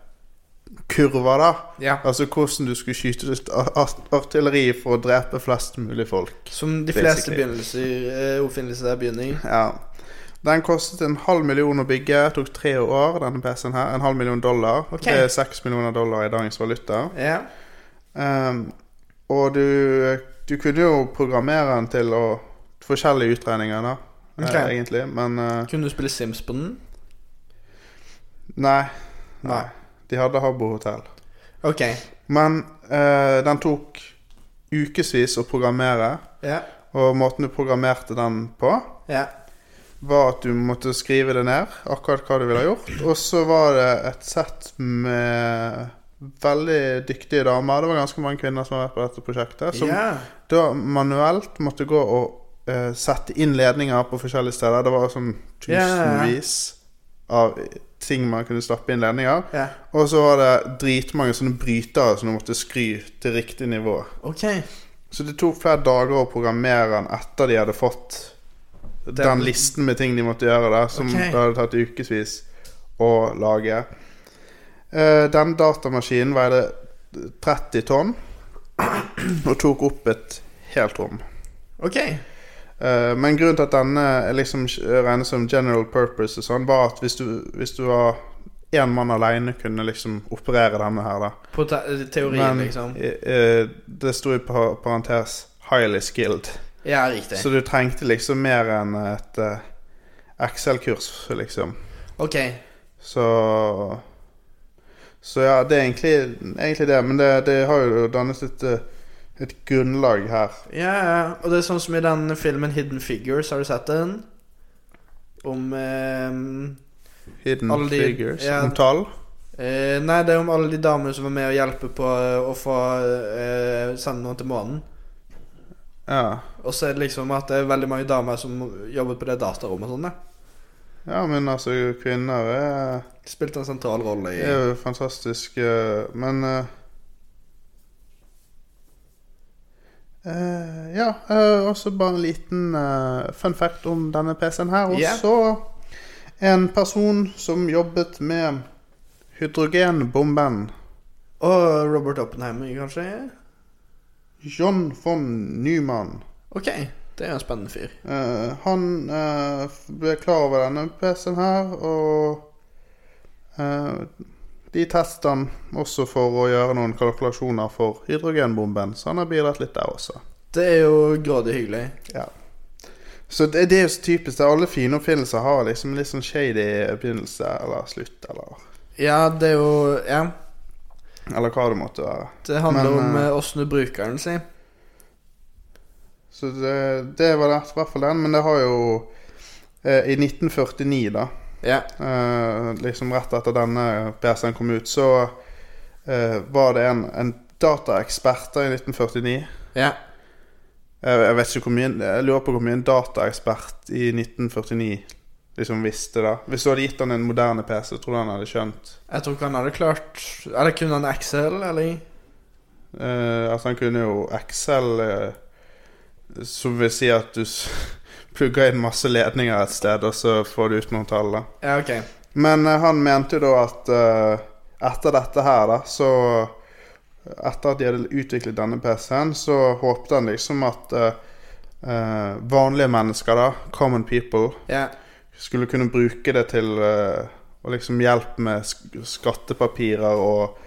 S3: da.
S2: Ja.
S3: Altså hvordan du skulle skyte ut ar- ar- artilleri for å drepe flest mulig folk.
S2: Som de fleste
S3: Basically.
S2: begynnelser, eh, oppfinnelser der begynner i.
S3: Ja. Den kostet en halv million å bygge. Tok tre år, denne PC-en her. En halv million dollar.
S2: Ok.
S3: Det er seks millioner dollar i dagens valuta.
S2: Ja.
S3: Ehm, og du, du kunne jo programmere den til å Forskjellige utregninger, da. eh,
S2: Ok.
S3: egentlig. Men eh,
S2: Kunne du spille Sims på den?
S3: nei. Nei.
S2: Nei.
S3: De hadde Habbo hotell.
S2: Ok.
S3: Men eh, den tok ukevis å programmere.
S2: Ja.
S3: Og måten du programmerte den på,
S2: Ja.
S3: var at du måtte skrive det ned, akkurat hva du ville ha gjort. Og så var det et sett med veldig dyktige damer. Det var ganske mange kvinner som har vært på dette prosjektet. Som
S2: ja.
S3: da manuelt måtte gå og eh, sette inn ledninger på forskjellige steder. Det var sånn
S2: Ja, ja, ja.
S3: tusenvis av ting man kunne stappe inn ledninger.
S2: ja.
S3: Og så var det dritmange sånne brytere som du måtte skry til riktig nivå.
S2: Ok.
S3: Så det tok flere dager å programmere den etter de hadde fått den,
S2: Den-
S3: listen med ting de måtte gjøre der, som
S2: Ok.
S3: det hadde tatt ukevis å lage. Eh, den datamaskinen veide 30 tonn og tok opp et helt rom.
S2: Ok.
S3: Eh, men grunnen til at denne er liksom ikke- regnes som general purpose, og sånn, var at hvis du, hvis du var én mann aleine, kunne liksom operere denne her, da.
S2: På te teorien,
S3: Men
S2: liksom.
S3: eh, eh, det sto i pa- parentes 'highly skilled'.
S2: Ja, riktig.
S3: Så du trengte liksom mer enn et eh, Excel-kurs, liksom.
S2: Ok.
S3: Så Så ja, det er egentlig, egentlig det. Men det, det har jo dannet et, eh, et grunnlag her.
S2: Ja, ja. Og det er sånn som i den filmen Hidden Figures, har du sett den? Om eh,
S3: Hidden
S2: Alle de-
S3: figures.
S2: ja.
S3: Om tall.
S2: Eh, nei, det er om alle de damene som var med å hjelpe på eh, å få eh, sende noen til månen.
S3: Ja.
S2: Og så er det liksom at det er veldig mange damer som jobber på det datarommet og sånn, da.
S3: ja, men altså, kvinner er,
S2: Spilte en sentral rolle i
S3: er jo fantastisk eh, Men eh, eh, ja, eh, også bare en liten eh, fun fact om denne PC-en her. Og
S2: Ja.
S3: så en person som jobbet med hydrogenbomben.
S2: Og Robert Oppenheimer, kanskje?
S3: John von Neumann.
S2: Ok, det er jo en spennende fyr.
S3: Eh, han eh, f- ble klar over denne PC-en her, og eh, de testet han også for å gjøre noen kalkulasjoner for hydrogenbomben, så han har bidratt litt der også.
S2: Det er jo grådig hyggelig.
S3: Ja. Så det, det er jo så typisk. det er Alle fine oppfinnelser har liksom litt sånn shady begynnelse eller slutt, eller,
S2: Ja, det er jo Ja.
S3: eller hva det måtte være.
S2: Det handler
S3: Men,
S2: om
S3: eh,
S2: eh, åssen du bruker den, si.
S3: Så det, det var det, i hvert fall den, men det har jo eh, I 1949, da
S2: Ja.
S3: Eh, liksom rett etter denne PC-en kom ut, så eh, var det en, en dataekspert da i 1949
S2: Ja.
S3: Eh, Jeg vet ikke hvor mye Jeg lurer på hvor mye en dataekspert i 1949 liksom visste, da. Hvis du hadde gitt han en moderne PC, tror du han hadde skjønt
S2: Jeg tror ikke han hadde klart Eller kunne han Excel, eller?
S3: Eh, At han kunne jo Excel, eh, som vil si at du s- plugger inn masse ledninger et sted, og så får du ut noen tall, da.
S2: Ja, ok.
S3: Men eh, han mente jo da at eh, etter dette her, da, så Etter at de hadde utviklet denne PC-en, så håpte han liksom at eh, eh, vanlige mennesker, da, common people,
S2: Ja.
S3: skulle kunne bruke det til eh, å liksom hjelpe med sk- skattepapirer og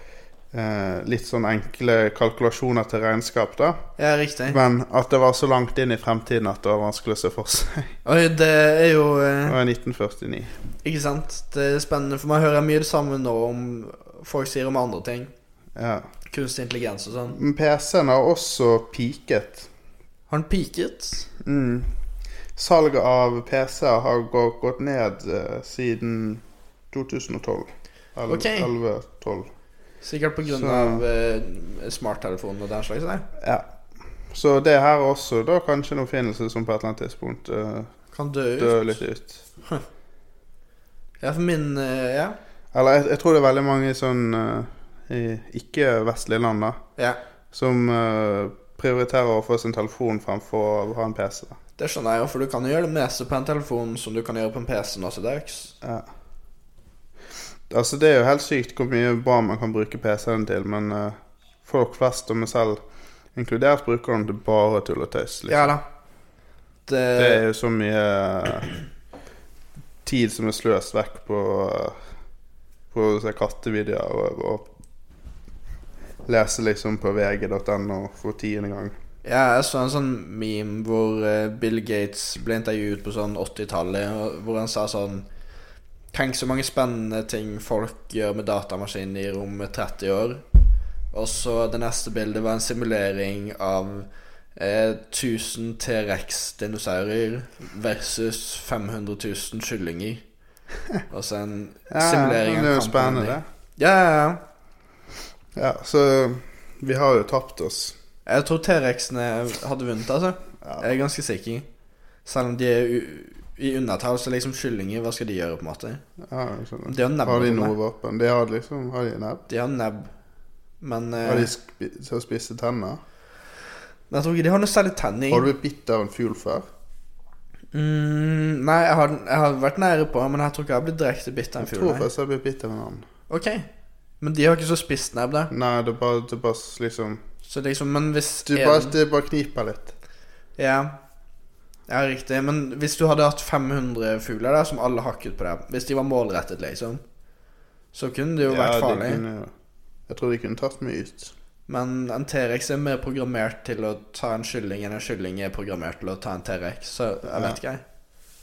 S3: eh, litt sånn enkle kalkulasjoner til regnskap, da.
S2: ja, riktig.
S3: Men at det var så langt inn i fremtiden at det var vanskelig å se for seg.
S2: Oi, det er jo eh,
S3: Det var i 1949.
S2: Ikke sant? Det er spennende, for man hører mye det samme nå om folk sier om andre ting.
S3: Ja.
S2: Kunstig intelligens og sånn.
S3: Men PC-en har også peaket.
S2: Har den peaket?
S3: Mm. Salget av PC-er har gå- gått ned eh, siden 2012. Eller
S2: Ok.
S3: 11-12.
S2: Sikkert pga.
S3: Så-
S2: Uh, smarttelefonen og den slags. Der.
S3: Ja. Så det her er også da kanskje en oppfinnelse som på et eller annet tidspunkt eh,
S2: Kan dø ut.
S3: dør litt ut.
S2: Ja, for min eh, Ja.
S3: Eller jeg, jeg tror det er veldig mange sånn eh, i ikke-vestlige land da,
S2: ja.
S3: som eh, prioriterer å få sin telefon fremfor å ha en PC.
S2: Det skjønner jeg jo, for du kan jo gjøre det meste på en telefon som du kan gjøre på en PC nå til dags.
S3: Ja. Altså, det er jo helt sykt hvor mye bra man kan bruke PC-en til, men eh, folk flest og meg selv inkludert bruker den til bare tull og tøys. Liksom.
S2: da. Det,
S3: Det er jo så mye eh, tid som er sløst vekk på, eh, på å se kattevideoer og, og lese liksom på vg.no for tiende gang.
S2: Ja, jeg så en sånn meme hvor eh, Bill Gates ble intervjuet på sånn 80-tallet, og- hvor han sa sånn Tenk så mange spennende ting folk gjør med datamaskinen i rommet 30 år. Og så det neste bildet var en simulering av eh, 1000 T-rex-dinosaurer versus 500 000 kyllinger. Og så en simulering av
S3: men det er jo
S2: kampen
S3: spennende,
S2: i-
S3: det.
S2: Ja, ja, ja.
S3: Ja, så vi har jo tapt oss.
S2: Jeg tror T-rexene hadde vunnet, altså.
S3: Ja.
S2: Jeg er ganske sikker. Selv om de er u i undertall, så liksom kyllinger, hva skal de gjøre, på en måte?
S3: Ja, jeg skjønner.
S2: De har nebb.
S3: Har de
S2: på
S3: noe
S2: meg.
S3: våpen? De har liksom Har de nebb?
S2: De har nebb. Men, eh,
S3: Har de spi så spisse tenner?
S2: men jeg tror ikke de har noe særlig tenning.
S3: Har du blitt bitt av en fugl før?
S2: Mm, nei, jeg har, jeg har vært nære på, men jeg tror ikke jeg har blitt direkte bitt av en
S3: Jeg tror
S2: fugl. nei.
S3: først jeg ble bitt av en annen.
S2: Ok. Men de har ikke så spisst nebb, da.
S3: Nei, det er bare, det er bare s- liksom
S2: Så liksom, men hvis
S3: Du
S2: en-
S3: bare, det bare kniper litt.
S2: Ja. ja, riktig. Men hvis du hadde hatt 500 fugler der som alle hakket på deg, hvis de var målrettet, liksom, så kunne det jo vært
S3: de
S2: farlig.
S3: kunne jo- Jeg tror de kunne tatt meg ut.
S2: Men en T-rex er mer programmert til å ta en kylling enn en kylling er programmert til å ta en T-rex, så jeg vet ikke. jeg.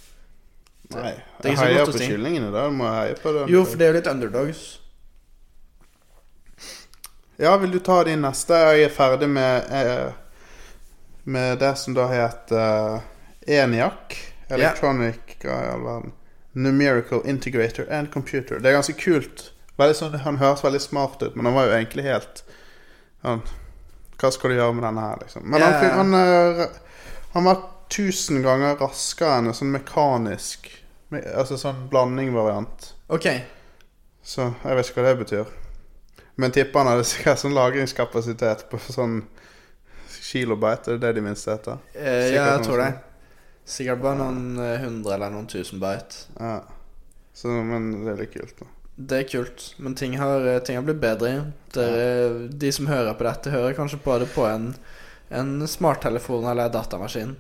S3: Nei.
S2: det er
S3: Jeg
S2: ikke så
S3: heier
S2: godt å
S3: på
S2: si.
S3: kyllingene, da. Du må heie på dem.
S2: Jo, for det er jo litt underdogs.
S3: Ja, vil du ta din neste? Jeg er ferdig med eh, Med det som da heter ENIAC. Electronic Hva i all verden? Numerical Integrator and Computer. Det er ganske kult. Veldig sånn, han høres veldig smart ut, men han var jo egentlig helt han, Hva skal du gjøre med denne her, liksom? Men
S2: Ja.
S3: han, han, eh, han var tusen ganger raskere enn en sånn mekanisk me- Altså sånn blandingvariant.
S2: Ok. eh,
S3: Så jeg vet ikke hva det betyr. Men tipper han hadde sikkert sånn lagringskapasitet på sånn kilobyte. Er det det de minste heter?
S2: Eh, ja,
S3: Sikkert noen
S2: jeg tror det.
S3: sånn.
S2: Sikkert bare noen eh, hundre eller noen tusen bite.
S3: Ja. Så, men det er litt kult, da.
S2: Det er kult, men ting har, eh, ting har blitt bedre. Dere, de som hører på dette, hører kanskje på det på en, en smarttelefon eller en datamaskin,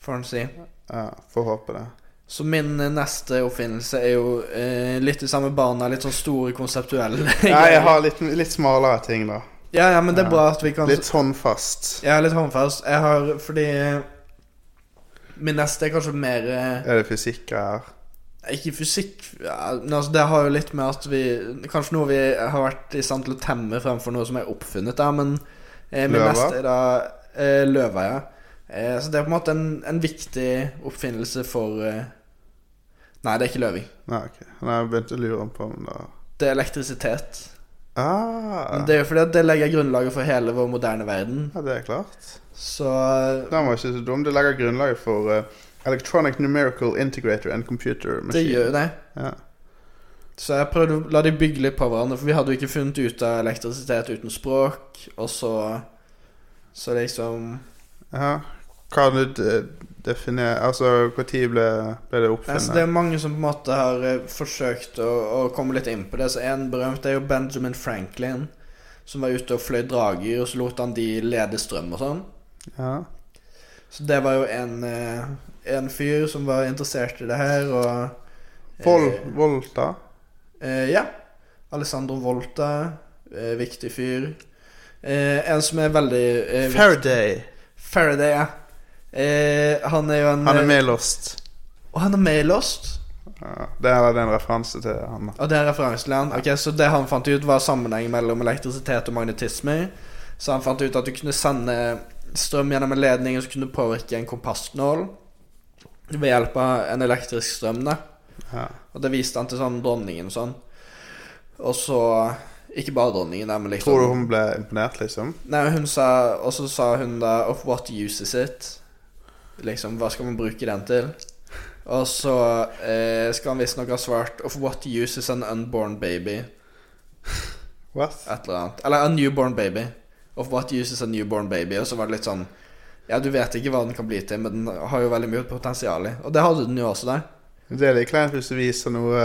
S2: får en si.
S3: Ja, Får håpe det.
S2: Så min eh, neste oppfinnelse er jo eh, litt i samme bane, litt sånn store konseptuelle
S3: Ja, jeg har litt, litt smalere ting, da.
S2: Ja, ja, men det er bra at vi kan
S3: Litt håndfast.
S2: Jeg er litt håndfast. Jeg har fordi Min neste er kanskje mer eh,
S3: Er det fysikk her?
S2: Ikke fysikk ja, men altså Det har jo litt med at vi Kanskje noe vi har vært i stand til å temme fremfor noe som er oppfunnet, da, men eh, min
S3: Løva?
S2: neste er da eh, løva, ja. Eh, så det er på en måte en, en viktig oppfinnelse for eh, Nei, det er ikke løving.
S3: Nei, ok. Nei, jeg begynte å lure på om det
S2: Det er elektrisitet.
S3: ah,
S2: Men det er jo fordi at det legger grunnlaget for hele vår moderne verden.
S3: Ja, det er klart.
S2: Så
S3: Den var ikke så dum. Det legger grunnlaget for eh, Electronic Numerical Integrator and Computer
S2: det
S3: Machine.
S2: gjør jo det.
S3: Ja.
S2: Så jeg prøvde å la de bygge litt på hverandre, for vi hadde jo ikke funnet ut av elektrisitet uten språk, og så Så liksom
S3: Ja. Kan du de- definere Altså, når ble, ble det
S2: Nei, så Det
S3: oppfunnet?
S2: er mange som på en måte har eh, forsøkt å, å komme litt inn på det. Så en berømt er jo Benjamin Franklin, som var ute og fløy drager, og så lot han de lede strøm og sånn.
S3: Ja.
S2: Så det var jo en, eh, en fyr som var interessert i det her, og eh,
S3: Vol Volta.
S2: Eh, ja. Alessandro Volta. Eh, viktig fyr. Eh, en som er veldig eh, vik-
S3: Faraday.
S2: Faraday, ja. Eh, han er jo en
S3: Han er med i Lost.
S2: Og han er med i Lost.
S3: Ja, det er det er en referanse til han. da.
S2: Og det er referansen til han. Ok, så det han fant ut, var sammenheng mellom elektrisitet og magnetisme. Så han fant ut at du kunne sende strøm gjennom en ledning som kunne påvirke en kompassnål ved hjelp av en elektrisk strøm. da
S3: Ja.
S2: Og det viste han til sånn dronningen og sånn. Og så Ikke bare dronningen, da, men liksom
S3: Tror du hun ble imponert, liksom?
S2: Nei, hun sa Og så sa hun da Of what use is it? Liksom, hva skal man bruke den til? Og så eh, skal han visstnok ha svart Of what use is an unborn baby?
S3: What?
S2: Et eller annet. Eller a newborn baby. Of what use is a newborn baby? Og så var det litt sånn Ja, du vet ikke hva den kan bli til, men den har jo veldig mye potensial i. Og det hadde den jo også der.
S3: Det er litt kleint hvis du viser noe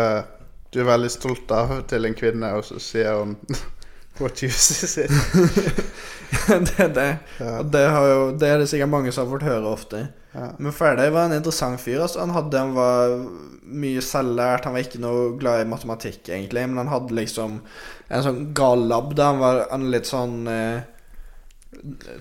S3: du er veldig stolt av til en kvinne, og så sier hun What use is it?
S2: det er det.
S3: Ja.
S2: Og det, har jo, det er det sikkert mange som har fått høre ofte.
S3: Ja.
S2: Men Faraday var en interessant fyr. Altså. Han, hadde, han var mye selvlært. Han var ikke noe glad i matematikk, egentlig, men han hadde liksom en sånn gal lab. Da. Han var en litt sånn eh,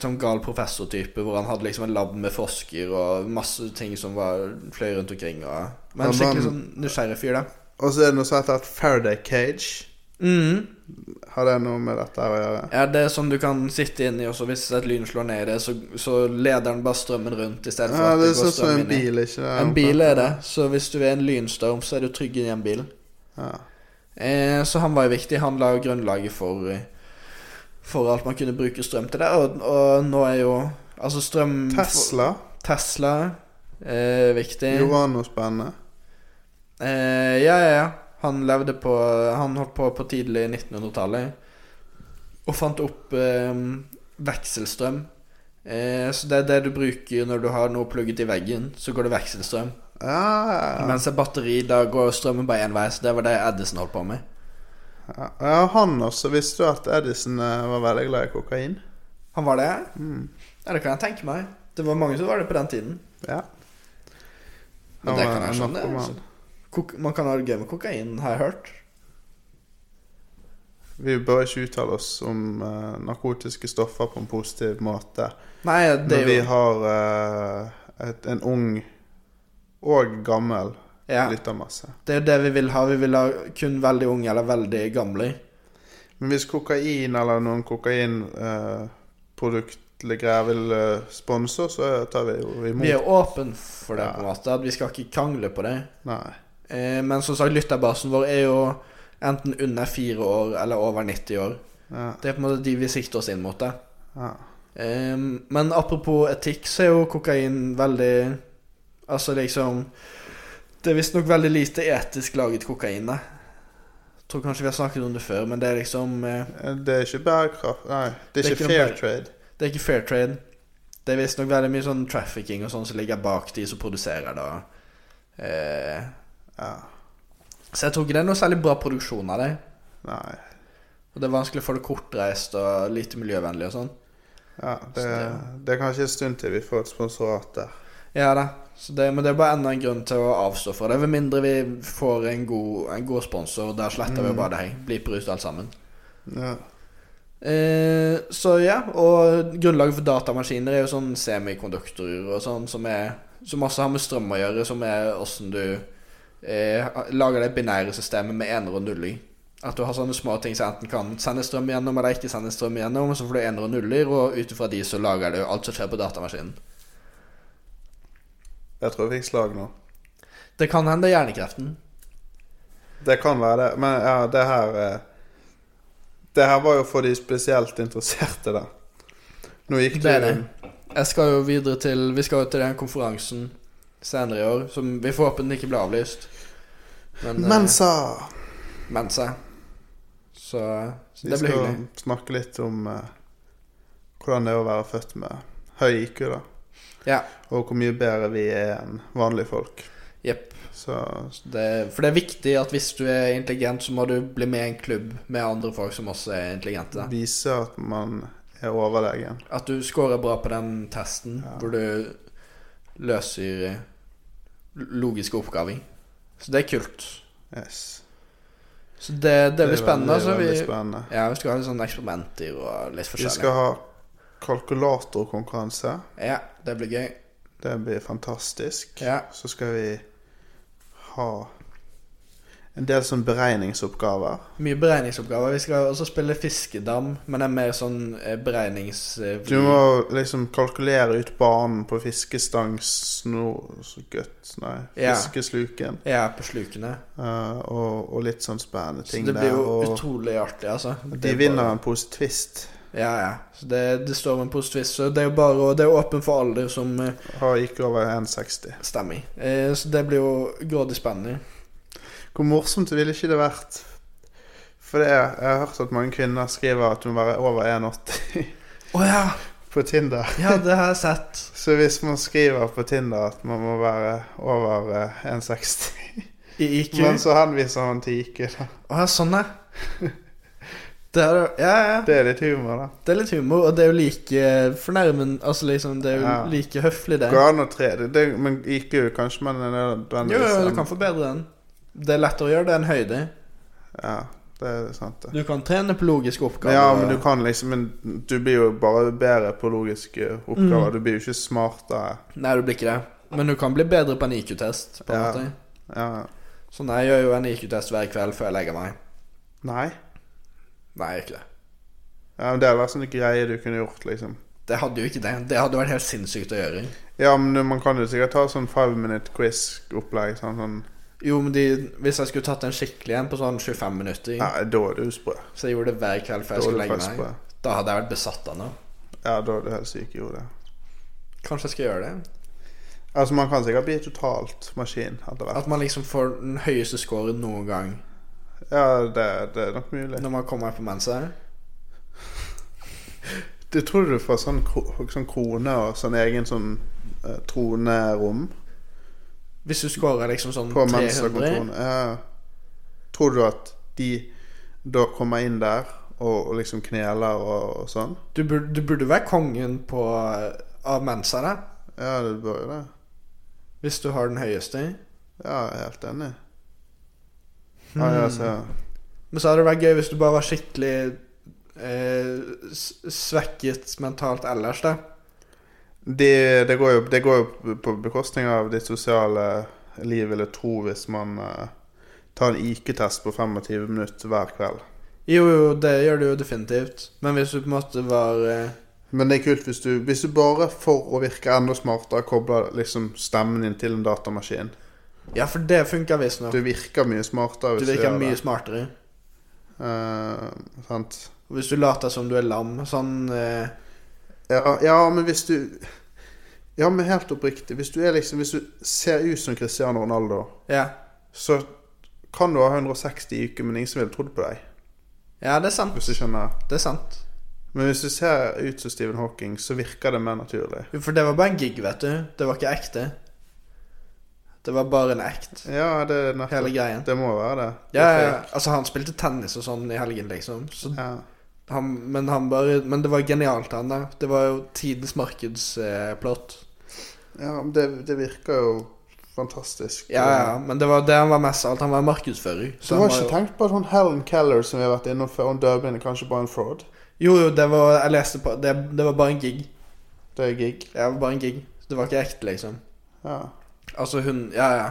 S2: Sånn gal professor-type, hvor han hadde liksom en lab med forsker og masse ting som var fløy rundt omkring. Og, men
S3: Ja,
S2: en skikkelig sånn
S3: men-
S2: nysgjerrig fyr, da.
S3: Og så er det noe som heter et Faraday cage.
S2: Mhm.
S3: Har det noe med dette her å gjøre?
S2: Ja, det er sånn du kan sitte inni, og så hvis et lyn slår ned i det, så, så leder den bare strømmen rundt istedenfor
S3: Ja,
S2: at
S3: det
S2: det
S3: er
S2: går
S3: sånn som
S2: strøm
S3: en
S2: inn i.
S3: bil, ikke det?
S2: En bil er det, så hvis du er i en lynstorm, så er du trygg i en bil.
S3: Ja.
S2: Eh, så han var jo viktig. Han la jo grunnlaget for, eh, for alt man kunne bruke strøm til der, og, og nå er jo Altså strøm
S3: Tesla
S2: Tesla eh, viktig.
S3: gjorde han noe spennende.
S2: Eh, ja, ja, ja. Han levde på Han holdt på på tidlig 1900-tallet og fant opp eh, vekselstrøm. Eh, så det er det du bruker når du har noe plugget i veggen, så går det vekselstrøm.
S3: Ja,
S2: Mens et batteri, da går strømmen bare én vei, så det var det Edison holdt på med.
S3: ja, ja, han også. Visste du at Edison eh, var veldig glad i kokain?
S2: Han var det?
S3: Mm.
S2: Ja, det kan jeg tenke meg. Det var mange som var det på den tiden.
S3: Ja.
S2: Men det kan jeg
S3: Han var
S2: skjønne.
S3: en narkoman.
S2: altså. Kok man kan ha det gøy med kokain, har jeg hørt.
S3: Vi bør ikke uttale oss om eh, narkotiske stoffer på en positiv måte.
S2: Nei, det
S3: Når
S2: er
S3: vi
S2: jo
S3: har eh, et, en ung og gammel
S2: ja,
S3: lyttermasse.
S2: Det er jo det vi vil ha. Vi vil ha kun veldig unge eller veldig gamle.
S3: Men hvis kokain eller noen kokainproduktgreier vil eh, sponse, oss, så tar vi jo imot.
S2: Vi er åpne for det,
S3: Ja.
S2: på en måte. At vi skal ikke krangle på det.
S3: Nei.
S2: Eh, men som sagt, lytterbasen vår er jo enten under fire år eller over 90 år.
S3: Ja,
S2: Det er på en måte de vi sikter oss inn mot. det
S3: ja.
S2: Eh, men apropos etikk, så er jo kokain veldig Altså liksom Det er visstnok veldig lite etisk laget kokain, da. Tror kanskje vi har snakket om det før, men det er liksom eh,
S3: Det er ikke bærekraft Nei, det er,
S2: Det er
S3: ikke,
S2: ikke noe
S3: fair
S2: bære-
S3: trade.
S2: Det er ikke fair trade. Det er visstnok veldig mye sånn trafficking og sånn som ligger bak de som produserer det. og, Eh,
S3: Ja.
S2: så jeg tror ikke det er noe særlig bra produksjon av det.
S3: Nei.
S2: Og det er vanskelig å få det kortreist og lite miljøvennlig og sånn.
S3: Ja, det,
S2: Så
S3: det er kanskje en stund til vi får et sponsorat der.
S2: Ja da. Så det, men det er bare enda en grunn til å avstå fra det. Med mindre vi får en god, en god sponsor. Da sletter vi jo bare det her. Bliper ut alt sammen.
S3: Ja.
S2: Eh, så ja, og grunnlaget for datamaskiner er jo sånn semikonduktorer og sånn, som, er, som også har med strøm å gjøre, som er åssen du eh, lager det binære systemet med ener og nuller i. At du har sånne små ting som enten kan sende strøm igjennom eller ikke sende strøm igjennom, og så får du ener og nuller, og ut ifra de så lager du alt som skjer på datamaskinen.
S3: Jeg tror jeg fikk slag nå.
S2: Det kan hende det er hjernekreften.
S3: Det kan være det, men ja, det her eh, Det her var jo for de spesielt interesserte, da. Nå gikk du
S2: Det er det. Jeg skal jo videre til Vi skal jo til den konferansen senere i år, som vi forhåpentlig ikke blir avlyst. Men, eh,
S3: Mensa!
S2: Mensa. Så, så
S3: Vi
S2: det blir
S3: skal
S2: hyggelig.
S3: snakke litt om eh, hvordan det er å være født med høy IQ, da.
S2: Ja.
S3: Og hvor mye bedre vi er enn vanlige folk.
S2: Jepp.
S3: Så
S2: Det- For det er viktig at hvis du er intelligent, så må du bli med i en klubb med andre folk som også er intelligente.
S3: vise at man er overlegen.
S2: At du scorer bra på den testen
S3: Ja.
S2: hvor du løser logiske oppgaver. Så det er kult.
S3: Yes.
S2: Så det, det
S3: er
S2: blir spennende.
S3: veldig,
S2: så vi,
S3: veldig spennende.
S2: ja, vi skal ha litt sånne eksperimenter og litt
S3: Vi
S2: forskjellig.
S3: skal ha kalkulatorkonkurranse.
S2: Ja, det blir gøy.
S3: Det blir fantastisk.
S2: Ja.
S3: Så skal vi ha en del sånn beregningsoppgaver.
S2: Mye beregningsoppgaver. Vi skal også spille fiskedam, men det er mer sånn eh, beregnings... eh,
S3: Du må liksom kalkulere ut banen på fiskestangsgutt Nei,
S2: Ja.
S3: fiskesluken.
S2: Ja, på slukene.
S3: Eh, og, og litt sånn spennende
S2: Så
S3: ting
S2: det blir
S3: der.
S2: jo
S3: Og
S2: utrolig artig, altså. Det
S3: de
S2: er
S3: vinner
S2: bare-
S3: en pose Twist.
S2: Ja, ja. Så det, det står om en positiv tvist. Så det er jo bare å- Det er jo åpen for alder som eh,
S3: Har ikke over 1,60.
S2: Stemmer. Eh, så det blir jo grådig spennende.
S3: Hvor morsomt ville ikke det vært? For det er, jeg har hørt at mange kvinner skriver at du må være over 1,80
S2: Å ja!
S3: på Tinder.
S2: Ja, det har jeg sett.
S3: Så hvis man skriver på Tinder at man må være over eh, 1,60
S2: I IQ.
S3: Men så henviser han til IQ, da.
S2: Å ja, sånn, ja. Det er, jo- ja, ja.
S3: Det er litt humor, da.
S2: Det er litt humor, og det er jo like fornærmende Altså liksom, det er jo
S3: Ja.
S2: like høflig, det.
S3: Går an å tre det, det, men IQ kanskje man er nødvendigvis
S2: Jo, jo, du
S3: en-
S2: kan forbedre den. Det er lettere å gjøre det enn høyde.
S3: Ja, det er sant, det.
S2: Du kan trene på logiske oppgaver.
S3: Ja, men du kan liksom Men du blir jo bare bedre på logiske oppgaver. Du blir jo ikke smartere.
S2: Nei, du blir ikke det. Men du kan bli bedre på en IQ-test. på en
S3: Ja.
S2: måte.
S3: Ja.
S2: Sånn, jeg gjør jo en IQ-test hver kveld før jeg legger meg.
S3: Nei.
S2: Nei, jeg gjør ikke det.
S3: Ja, men det hadde vært sånne greier du kunne gjort, liksom.
S2: Det hadde jo ikke det. Det hadde vært helt sinnssykt å gjøre.
S3: Ja, men man kan jo sikkert ta sånn five minute quiz-opplegg. Sånn, sånn.
S2: Jo, men de, hvis jeg skulle tatt en skikkelig en på sånn 25 minutter,
S3: Nei, da er du sprø.
S2: så jeg gjorde det hver kveld før
S3: Da
S2: jeg
S3: er du
S2: skulle legge
S3: fast
S2: meg,
S3: på det.
S2: da hadde jeg vært besatt av noe.
S3: Ja, da er du helt syk i hodet.
S2: Kanskje jeg skal gjøre det?
S3: Altså, man kan sikkert bli totalt maskin etter hvert.
S2: At man liksom får den høyeste scoren noen gang
S3: Ja, det, det er nok mulig.
S2: når man kommer på mensa.
S3: Det tror du du får sånn, kro- sånn krone og sånn egen sånn eh, tronerom
S2: Hvis du scorer liksom sånn
S3: på
S2: 300
S3: mensakontorene? Ja. Tror du at de da kommer inn der og, og liksom kneler og, og sånn?
S2: du burde, du burde være kongen på, av mensa, da.
S3: Ja, det bør jo det.
S2: Hvis du har den høyeste.
S3: Ja, jeg er helt enig. Ja, ja, så,
S2: Men så hadde det vært gøy hvis du bare var skikkelig eh, s- svekket mentalt ellers, da.
S3: de, det, går jo, det går jo på bekostning av ditt sosiale liv, vil jeg tro, hvis man eh, tar en IQ-test på 25 minutter hver kveld.
S2: Jo, jo, det gjør du jo definitivt. Men hvis du på en måte var eh,
S3: Men det er kult hvis du, hvis du bare for å virke enda smartere kobler liksom stemmen din til en datamaskin.
S2: Ja, for det funker visstnok.
S3: Du virker mye smartere
S2: Du
S3: hvis
S2: virker
S3: gjør
S2: mye
S3: det.
S2: smartere.
S3: Eh, sant?
S2: Og Hvis du later som du er lam, sånn eh,
S3: Ja, ja, men hvis du Ja, men helt oppriktig. Hvis du, er liksom, hvis du ser ut som Cristiano Ronaldo,
S2: Ja.
S3: så kan du ha 160 i uken, men ingen som ville trodd på deg.
S2: Ja, det er sant.
S3: Hvis du skjønner.
S2: Det er sant.
S3: Men hvis du ser ut som Stephen Hawking, så virker det mer naturlig.
S2: Jo, For det var bare en gig, vet du. Det var ikke ekte. Det var bare en act.
S3: Ja, det er nettopp
S2: Hele greien.
S3: Det må være det.
S2: Ja,
S3: Det
S2: ja,
S3: er
S2: ja. altså han spilte tennis og sånn i helgen, liksom. Så
S3: fake. ja.
S2: han, men han bare Men det var genialt, han der. Det var jo tidens markedsplott.
S3: ja men det, det virker jo fantastisk.
S2: ja, ja, men det var det han var mest av alt. Han var markedsfører.
S3: Du
S2: han
S3: har
S2: var
S3: ikke
S2: jo-
S3: tenkt på at sånn Helen Keller som vi har vært innom før, hun døde henne kanskje bare en fraud?
S2: Jo, jo, det var Jeg leste på Det, det var bare en gig.
S3: Det er gig.
S2: Det var bare en gig. Det var ikke ekte, liksom.
S3: Ja.
S2: Altså, hun Ja, ja.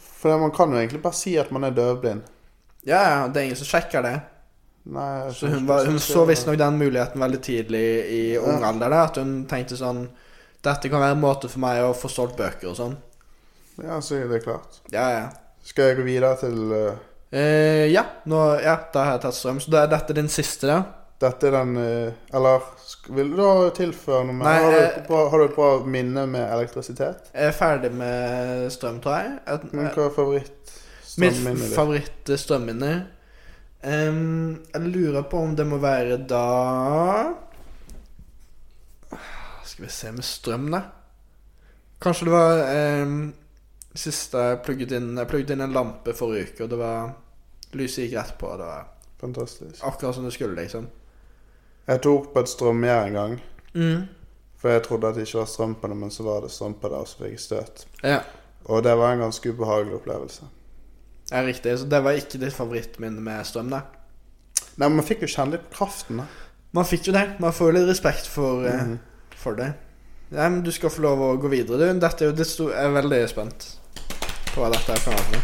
S3: For det- man kan jo egentlig bare si at man er døvblind.
S2: Ja, ja, det er ingen som sjekker det.
S3: Nei, jeg
S2: Så
S3: tror
S2: hun,
S3: ikke
S2: var,
S3: det
S2: hun
S3: skal
S2: så
S3: skje.
S2: visstnok den muligheten veldig tidlig i ung
S3: Ja.
S2: alder. Da, at hun tenkte sånn Dette kan være en måte for meg å få solgt bøker og sånn.
S3: Ja, så er det klart.
S2: Ja, ja.
S3: Skal jeg gå videre til eh,
S2: Eh, ja, nå, ja, da har jeg tatt strøm. Så da er dette din siste, da?
S3: Dette er den eh, Eller sk- vil du da tilføre noe mer?
S2: Nei,
S3: har, du
S2: eh,
S3: et bra, har du et bra minne med elektrisitet?
S2: Jeg er ferdig med strøm, tror jeg. Et,
S3: Hva er
S2: mitt
S3: favorittstrømminnet ditt?
S2: favoritt-strømminne Ehm, Jeg lurer på om det må være da Skal vi se med strøm, da. Kanskje det var ehm, Siste jeg plugget inn Jeg plugget inn en lampe forrige uke, og det var Lyset gikk rett på. og Det var
S3: Fantastisk.
S2: akkurat som det skulle, liksom.
S3: Jeg tok på et strømgjerde en gang.
S2: Mm.
S3: For jeg trodde at det ikke var strøm på det, men så var det strøm på det, og så fikk jeg støt.
S2: Ja,
S3: Og det var en ganske ubehagelig opplevelse.
S2: ja, riktig. Så det var ikke ditt favorittminne med strøm, da.
S3: Nei, men man fikk jo kjenne litt på kraften, da.
S2: Man fikk jo det. Man får jo litt respekt for, eh,
S3: Mhm.
S2: for det. Ja, men du skal få lov å gå videre, du. Dette er jo det sto- Jeg er veldig spent på hva dette er for noe.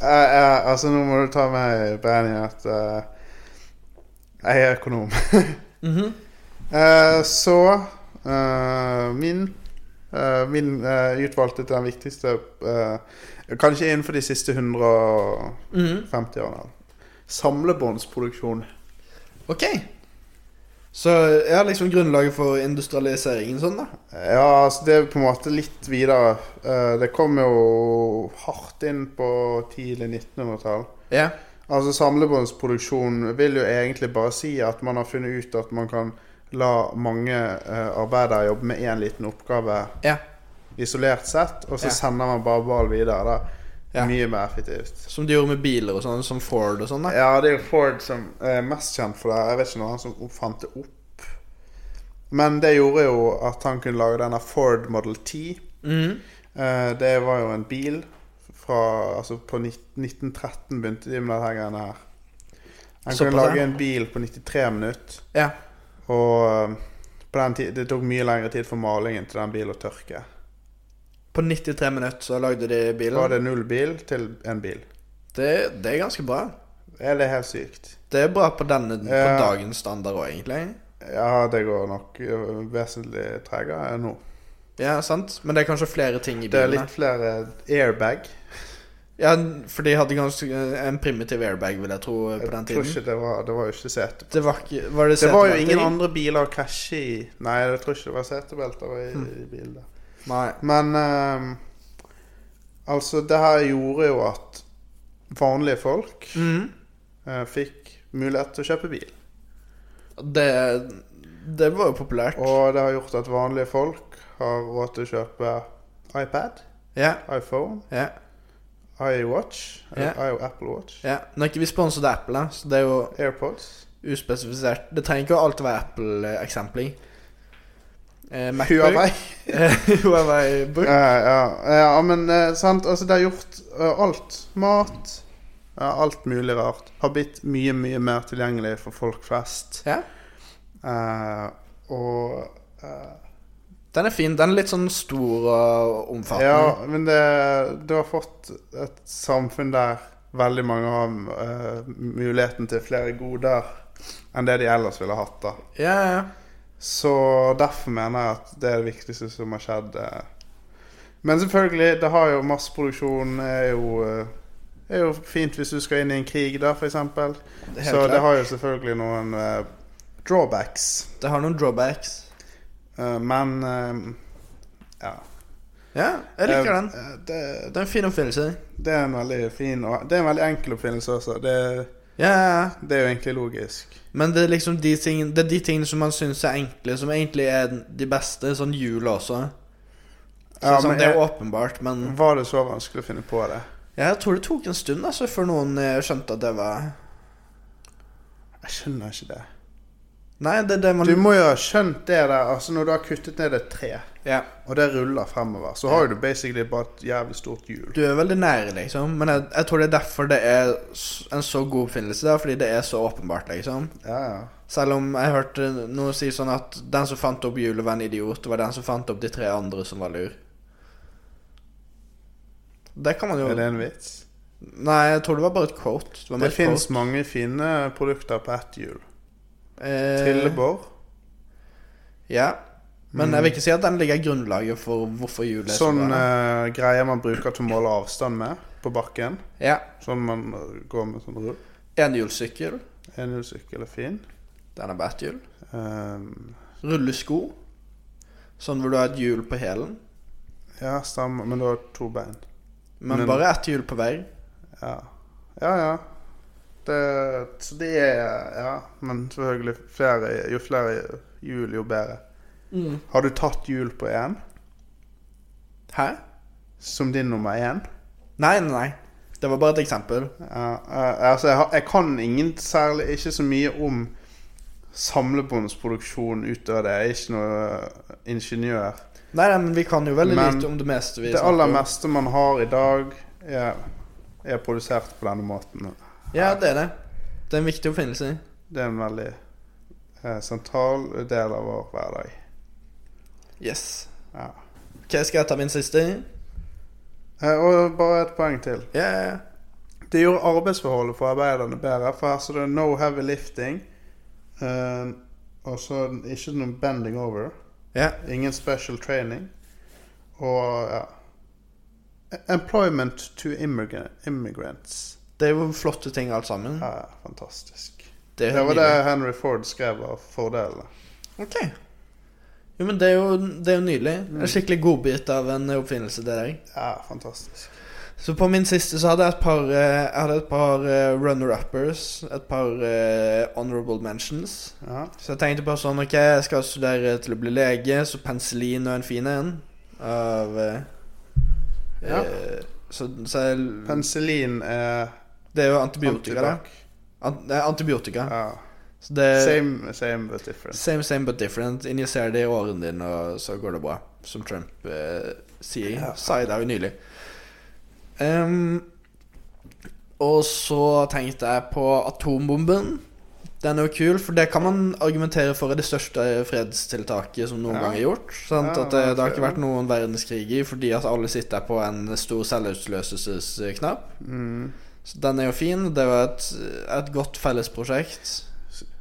S3: Jeg- jeg- altså, nå må du ta meg i beregning at eh, jeg er økonom.
S2: Mhm.
S3: Eh, så eh, min eh, Min eh, utvalgte til den viktigste eh, Kanskje innenfor de siste 150
S2: Mhm.
S3: årene. Samlebåndsproduksjon.
S2: Ok. Så ja, liksom grunnlaget for industrialiseringen sånn, da.
S3: Ja, altså det er på en måte litt videre. Eh, Det kom jo hardt inn på tidlig 1900-tall.
S2: Ja.
S3: Altså Samlebåndsproduksjon vil jo egentlig bare si at man har funnet ut at man kan la mange eh, arbeidere jobbe med én liten oppgave
S2: Ja.
S3: isolert sett, og så
S2: Ja.
S3: sender man bare ball videre. da
S2: Ja.
S3: Mye mer effektivt.
S2: Som de gjorde med biler og sånn, som Ford og sånn, da.
S3: Ja, det er jo Ford som er mest kjent for det. Jeg vet ikke om det var han som oppfant det opp. Men det gjorde jo at han kunne lage denne Ford Model 10.
S2: Mhm.
S3: Eh, Det var jo en bil fra Altså på nitt- 1913 begynte de med dette greiene her. Han kunne
S2: Såpass, ja.
S3: lage en bil på 93 minutter.
S2: Ja.
S3: Og eh, på den tid, det tok mye lengre tid for malingen til den bilen å tørke.
S2: På 93 minutter så lagde de
S3: Da var
S2: bilen.
S3: det null bil til en bil.
S2: Det, det er ganske bra.
S3: Er det helt sykt?
S2: Det er bra på denne på
S3: Ja.
S2: dagens standard òg, egentlig.
S3: Ja, det går nok eh, vesentlig tregere enn nå.
S2: Ja, sant? Men det er kanskje flere ting i
S3: Det er
S2: bilen.
S3: litt
S2: da.
S3: flere airbag.
S2: Ja, for de hadde ganske eh, en primitiv airbag, vil jeg tro, eh, på
S3: Jeg
S2: den
S3: tror
S2: tiden.
S3: ikke det var, det var jo ikke sete.
S2: Det var ikke Var det
S3: Det var jo
S2: setebelte
S3: ingen
S2: i?
S3: andre biler å krasje i. Nei, jeg tror ikke det var setebelter
S2: Hmm.
S3: i, i bilen. der.
S2: Nei.
S3: Men ehm, altså, det her gjorde jo at vanlige folk
S2: Mhm.
S3: eh, fikk mulighet til å kjøpe bil.
S2: Det, det var jo populært.
S3: Og det har gjort at vanlige folk har råd til å kjøpe iPad,
S2: Ja,
S3: iPhone,
S2: ja,
S3: iWatch,
S2: Ja.
S3: eller i- Apple Watch,
S2: ja. Nå er ikke vi sponset av Apple, da, så det er jo
S3: AirPods,
S2: uspesifisert. Det trenger ikke alltid være Apple-eksempel i. Eh, MacBook. Eh,
S3: Huawei.
S2: Huawei Book.
S3: Ja, Eh, ja, ja, men eh, sant, altså det har gjort eh, alt. Mat, ja, alt mulig rart. Har blitt mye, mye mer tilgjengelig for folk flest.
S2: Ja.
S3: Eh, og eh,
S2: Den er fin. Den er litt sånn stor og omfattende.
S3: Ja, men det, du har fått et samfunn der veldig mange har eh, muligheten til flere goder enn det de ellers ville hatt, da.
S2: Ja, ja. ja.
S3: Så derfor mener jeg at det er det viktigste som har skjedd. eh. Men selvfølgelig, det har jo masseproduksjon er jo, eh, er jo fint hvis du skal inn i en krig, da, f.eks. Så
S2: Helt klart.
S3: det har jo selvfølgelig noen eh, drawbacks.
S2: Det har noen drawbacks.
S3: Eh, men eh, ja.
S2: Ja, jeg liker
S3: Eh,
S2: den.
S3: eh, Det,
S2: Det er en fin oppfinnelse.
S3: det er en veldig fin og Det er en veldig enkel oppfinnelse også. Det,
S2: Ja, ja, ja.
S3: det er jo egentlig logisk.
S2: Men det er liksom de tingene, det er de tingene som man syns er enkle, som egentlig er de beste. Sånn jul også. Så
S3: Ja,
S2: sånn,
S3: men
S2: det er
S3: jeg-
S2: åpenbart, men
S3: Var det så vanskelig å finne på det?
S2: ja, Jeg tror det tok en stund altså, før noen eh, skjønte at det var
S3: Jeg skjønner ikke det.
S2: Nei, det er det man
S3: Du må jo ha skjønt det der. Altså Når du har kuttet ned et tre
S2: ja.
S3: Og det ruller fremover. Så har jo du basically bare et jævlig stort hjul.
S2: Du er veldig nære, liksom. Men jeg, jeg tror det er derfor det er s- en så god oppfinnelse. da, Fordi det er så åpenbart, liksom.
S3: Ja, ja.
S2: Selv om jeg hørte noen si sånn at den som fant opp hjulet, var en idiot. Det var den som fant opp de tre andre som var lur. Det kan man jo
S3: Er det en vits?
S2: Nei, jeg tror det var bare et quote. Det, var
S3: Det
S2: bare et
S3: fins
S2: quote.
S3: mange fine produkter på ett hjul.
S2: Eh,
S3: Trillebår.
S2: Ja. Men jeg vil ikke si at den ligger i grunnlaget for hvorfor hjulet er
S3: Mm. Sånn
S2: så bra.
S3: eh, greier man bruker til å måle avstand med på bakken.
S2: Ja.
S3: Sånn man eh, går med sånn rull.
S2: Enhjulssykkel.
S3: Enhjulssykkel er fin.
S2: Den er bare ett hjul.
S3: Ehm,
S2: Rullesko. Sånn hvor du har et hjul på hælen.
S3: ja, stemmer. Men du har to bein.
S2: Men,
S3: Men-
S2: bare ett hjul på hver.
S3: Ja, ja. ja. Det, så det er Ja, men selvfølgelig flere, jo flere hjul, jo bedre. Har du tatt hjul på én?
S2: Hæ?
S3: som din nummer én?
S2: Nei, nei, nei. Det var bare et eksempel.
S3: Ja, eh, altså, jeg, har, jeg kan ingen særlig Ikke så mye om samlebåndsproduksjon utover det. Jeg er ikke noe eh, ingeniør.
S2: Nei, nei, men vi kan jo veldig
S3: Men
S2: lite om det meste vi
S3: Det aller
S2: om.
S3: meste man har i dag, er, er produsert på denne måten.
S2: Ja, det er det. Det er en viktig oppfinnelse.
S3: Det er en veldig eh, sentral del av vår hverdag.
S2: Yes.
S3: Ja.
S2: Ok, skal jeg ta min siste?
S3: Eh, Og bare et poeng til.
S2: Ja, ja, ja.
S3: Det gjorde arbeidsforholdet for arbeiderne bedre, for her står det 'no heavy lifting'. eh, og så ikke noe 'bending over'.
S2: Ja.
S3: Ingen special training. Og ja Employment to immigra- immigrants.
S2: Det er jo flotte ting alt sammen.
S3: Ja, fantastisk.
S2: Det er
S3: Det var
S2: nydelig.
S3: det Henry Ford skrev av fordelene.
S2: Ok. Jo, men det er jo, det er jo nydelig.
S3: Mm.
S2: En skikkelig godbit av en oppfinnelse, det der.
S3: Ja, fantastisk.
S2: Så på min siste så hadde jeg et par, eh, jeg hadde et par eh, runner-uppers, et par eh, honorable mentions.
S3: Ja.
S2: Så jeg tenkte bare sånn, ok, jeg skal studere til å bli lege, så penicillin er en fin en. Av eh,
S3: Ja.
S2: eh, Så, så jeg,
S3: Penicillin er
S2: Det er jo antibiotika, da.
S3: antibac.
S2: Ant, det er antibiotika.
S3: Ja.
S2: Så det
S3: Eh, Same, same but different.
S2: Same, same but different. Injiser det i årene dine, og så går det bra. Som Trump eh, sier.
S3: Ja.
S2: Sa jeg det jo nylig. Ehm, og så tenkte jeg på atombomben. Den er jo kul, for det kan man argumentere for er det største fredstiltaket som noen
S3: Ja.
S2: gang er gjort. Sant?
S3: Ja,
S2: at det, det har
S3: det
S2: ikke
S3: er
S2: vært noen verdenskriger fordi at alle sitter på en stor selvutløselsesknapp.
S3: Mm.
S2: Så den er jo fin. Det er jo et, et godt fellesprosjekt.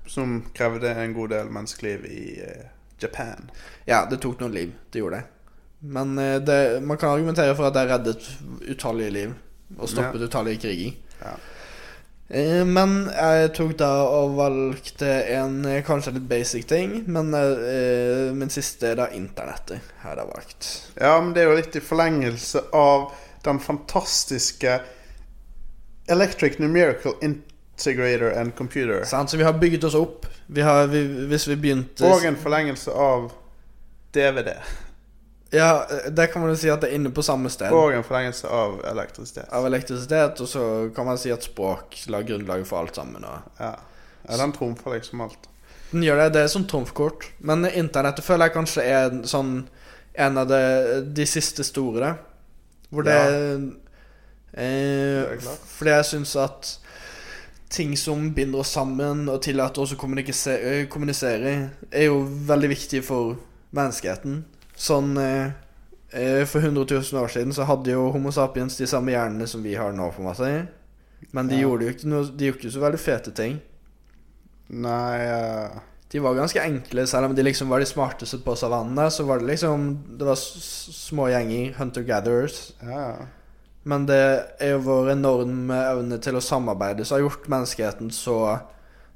S3: Som krevde en god del menneskeliv i eh, Japan.
S2: Ja, det tok noen liv. Det gjorde det. Men eh, det, man kan argumentere for at det reddet utallige liv og stoppet utallige kriger.
S3: Ja.
S2: Eh, Men jeg tok da og valgte en eh, kanskje litt basic ting, men eh, min siste er da internettet. Her har jeg valgt.
S3: Ja, men det er jo litt i forlengelse av den fantastiske Electric Numerical Integrator and Computer.
S2: Sant, Så vi har bygget oss opp. Vi har, vi, hvis vi begynte
S3: Og en forlengelse av DVD.
S2: Ja, eh, der kan man jo si at det er inne på samme sted.
S3: Og en forlengelse av elektrisitet.
S2: Av elektrisitet, og så kan man si at språk la grunnlaget for alt sammen. og...
S3: Ja. ja, den trumfer liksom alt.
S2: Den gjør det. Det er som trumfkort. Men internettet føler jeg kanskje er en sånn en av de, de siste store. Hvor det,
S3: Det er
S2: eh,
S3: klart.
S2: Fordi jeg syns at ting som binder oss sammen og tillater oss å kommunisere, kommunisere er jo veldig viktig for menneskeheten. Sånn eh, eh, For 100 000 år siden så hadde jo Homo sapiens de samme hjernene som vi har nå, på en måte. Men de
S3: Ja.
S2: gjorde jo ikke noe De gjorde ikke så veldig fete ting.
S3: Nei eh,
S2: De var ganske enkle, selv om de liksom var de smarteste på savannene. Så var det liksom Det var s- s- små gjenger, hunter-gatherers.
S3: Ja, ja.
S2: Men det er jo vår enorme evne til å samarbeide som har gjort menneskeheten så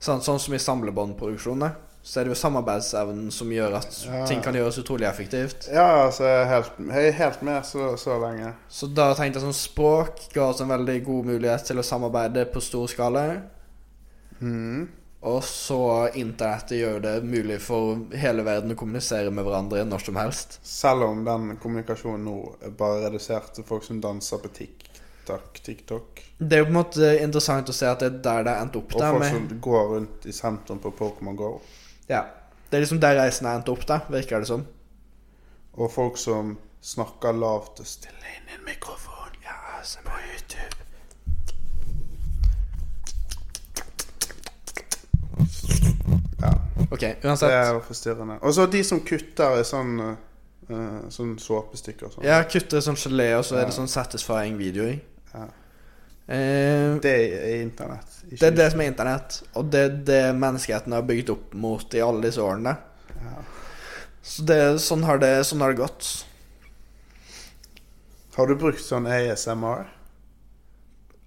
S2: Sånn, sånn som i samlebåndproduksjoner. Så er det jo samarbeidsevnen som gjør at
S3: Ja.
S2: ting kan gjøres utrolig effektivt.
S3: Ja, altså, jeg er helt, jeg er helt med så, så lenge.
S2: Så da tenkte jeg sånn språk ga oss en veldig god mulighet til å samarbeide på stor skala.
S3: Mhm.
S2: Og så internettet gjør det mulig for hele verden å kommunisere med hverandre når som helst.
S3: Selv om den kommunikasjonen nå er bare redusert til folk som danser på TikTok, TikTok
S2: Det er jo på en måte interessant å se at det er der det har endt opp.
S3: og
S2: Der
S3: folk
S2: med,
S3: som går rundt i sentrum på Pokémon Go,
S2: ja. Det er liksom der reisen har endt opp, da, virker det som.
S3: og folk som snakker lavt og stille inn i en mikrofon på YouTube. Ja,
S2: Ok,
S3: det
S2: uansett.
S3: er jo forstyrrende. Og så de som kutter i sånn eh, sånn såpestykker og sånn.
S2: Ja, kutter sånn gelé, og så er det
S3: Ja.
S2: sånn satisfying-videoer.
S3: Ja.
S2: Eh,
S3: Det er internett. ikke-
S2: det er det som er internett, og det er det menneskeheten har bygd opp mot i alle disse årene.
S3: Ja.
S2: Så det, sånn, har det, sånn har det gått.
S3: Har du brukt sånn ASMR?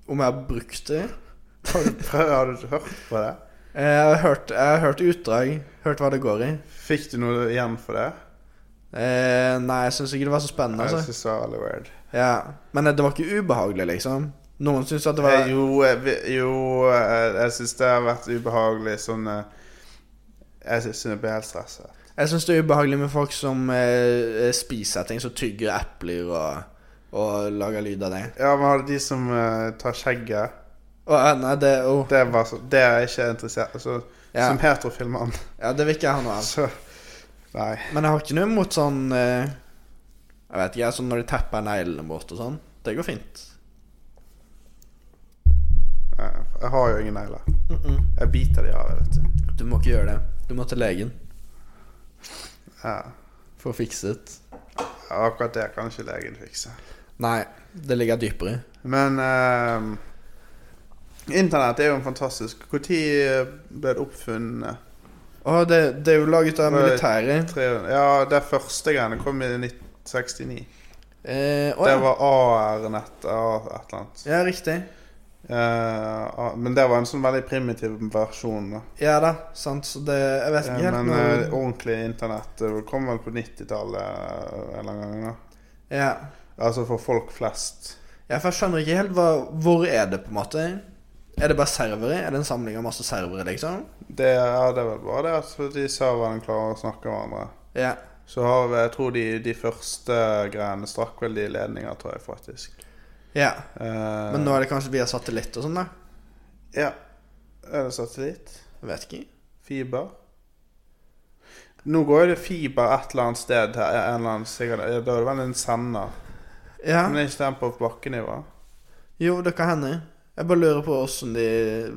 S2: Om jeg har brukt det
S3: Har du, prøvd, har du hørt på det?
S2: Eh, Jeg har hørt, jeg har hørt utdrag, hørt hva det går i.
S3: Fikk du noe igjen for det?
S2: Altså. Eh, nei, jeg syns ikke det var så spennende.
S3: Jeg
S2: Altså.
S3: synes det var veldig weird.
S2: Ja, Men eh, det var ikke ubehagelig, liksom? Noen syns at det var
S3: Eh, Jo, eh, vi- jo eh, jeg syns det har vært ubehagelig sånn eh, Jeg syns jeg blir helt stressa.
S2: eh, Jeg syns det er ubehagelig med folk som eh, spiser ting, som tygger epler og, og lage lyd av det.
S3: Ja, men har du de som eh, tar skjegget?
S2: Å, eh, nei, det, å,
S3: Det, var, så- det er jeg ikke interessert altså,
S2: Ja.
S3: Som heterofilmann.
S2: ja, det vil ikke jeg ha noe av.
S3: Så Nei.
S2: Men jeg har ikke noe imot sånn eh, Jeg vet ikke, sånn når de tepper neglene bort og sånn. Det går fint.
S3: Jeg Eh, jeg har jo ingen negler.
S2: Mm -mm.
S3: Jeg biter de av. Vet du.
S2: Du må ikke gjøre det. Du må til legen
S3: Ja.
S2: for å fikse det.
S3: Ja, Akkurat det kan ikke legen fikse.
S2: Nei, det ligger dypere.
S3: Men ehm, Internett er jo en fantastisk Når ble det oppfunnet?
S2: Å, det, det er jo laget av
S3: Nei.
S2: militæret.
S3: 300 Ja, det første greiene kom i 1969.
S2: Eh, å,
S3: Det
S2: ja.
S3: var AR-nett og et eller annet.
S2: ja, riktig.
S3: Eh, ah, men det var en sånn veldig primitiv versjon. da.
S2: Ja da, sant. Så det Jeg vet
S3: Eh,
S2: ikke helt
S3: men eh,
S2: noe
S3: ordentlig internett det kom vel på 90-tallet eh, en eller annen gang. da.
S2: ja.
S3: Altså for folk flest.
S2: ja, for jeg skjønner ikke helt hva Hvor er det, på en måte? Er det bare servere? Er det en samling av masse servere, liksom?
S3: Det er, det er vel bare det at de serverne klarer å snakke med hverandre.
S2: Ja.
S3: Så har vi, jeg tror de, de første greiene strakk vel de ledninger, tror jeg faktisk.
S2: ja.
S3: Eh,
S2: Men nå er det kanskje via satellitt og sånn, da?
S3: Ja. Er det satellitt?
S2: Jeg vet ikke.
S3: Fiber? Nå går jo det fiber et eller annet sted her. En eller annen, sikkert, ja, da er det vel en sender.
S2: Ja.
S3: Men er ikke den på bakkenivå?
S2: Jo, det kan hende. Jeg bare lurer på åssen de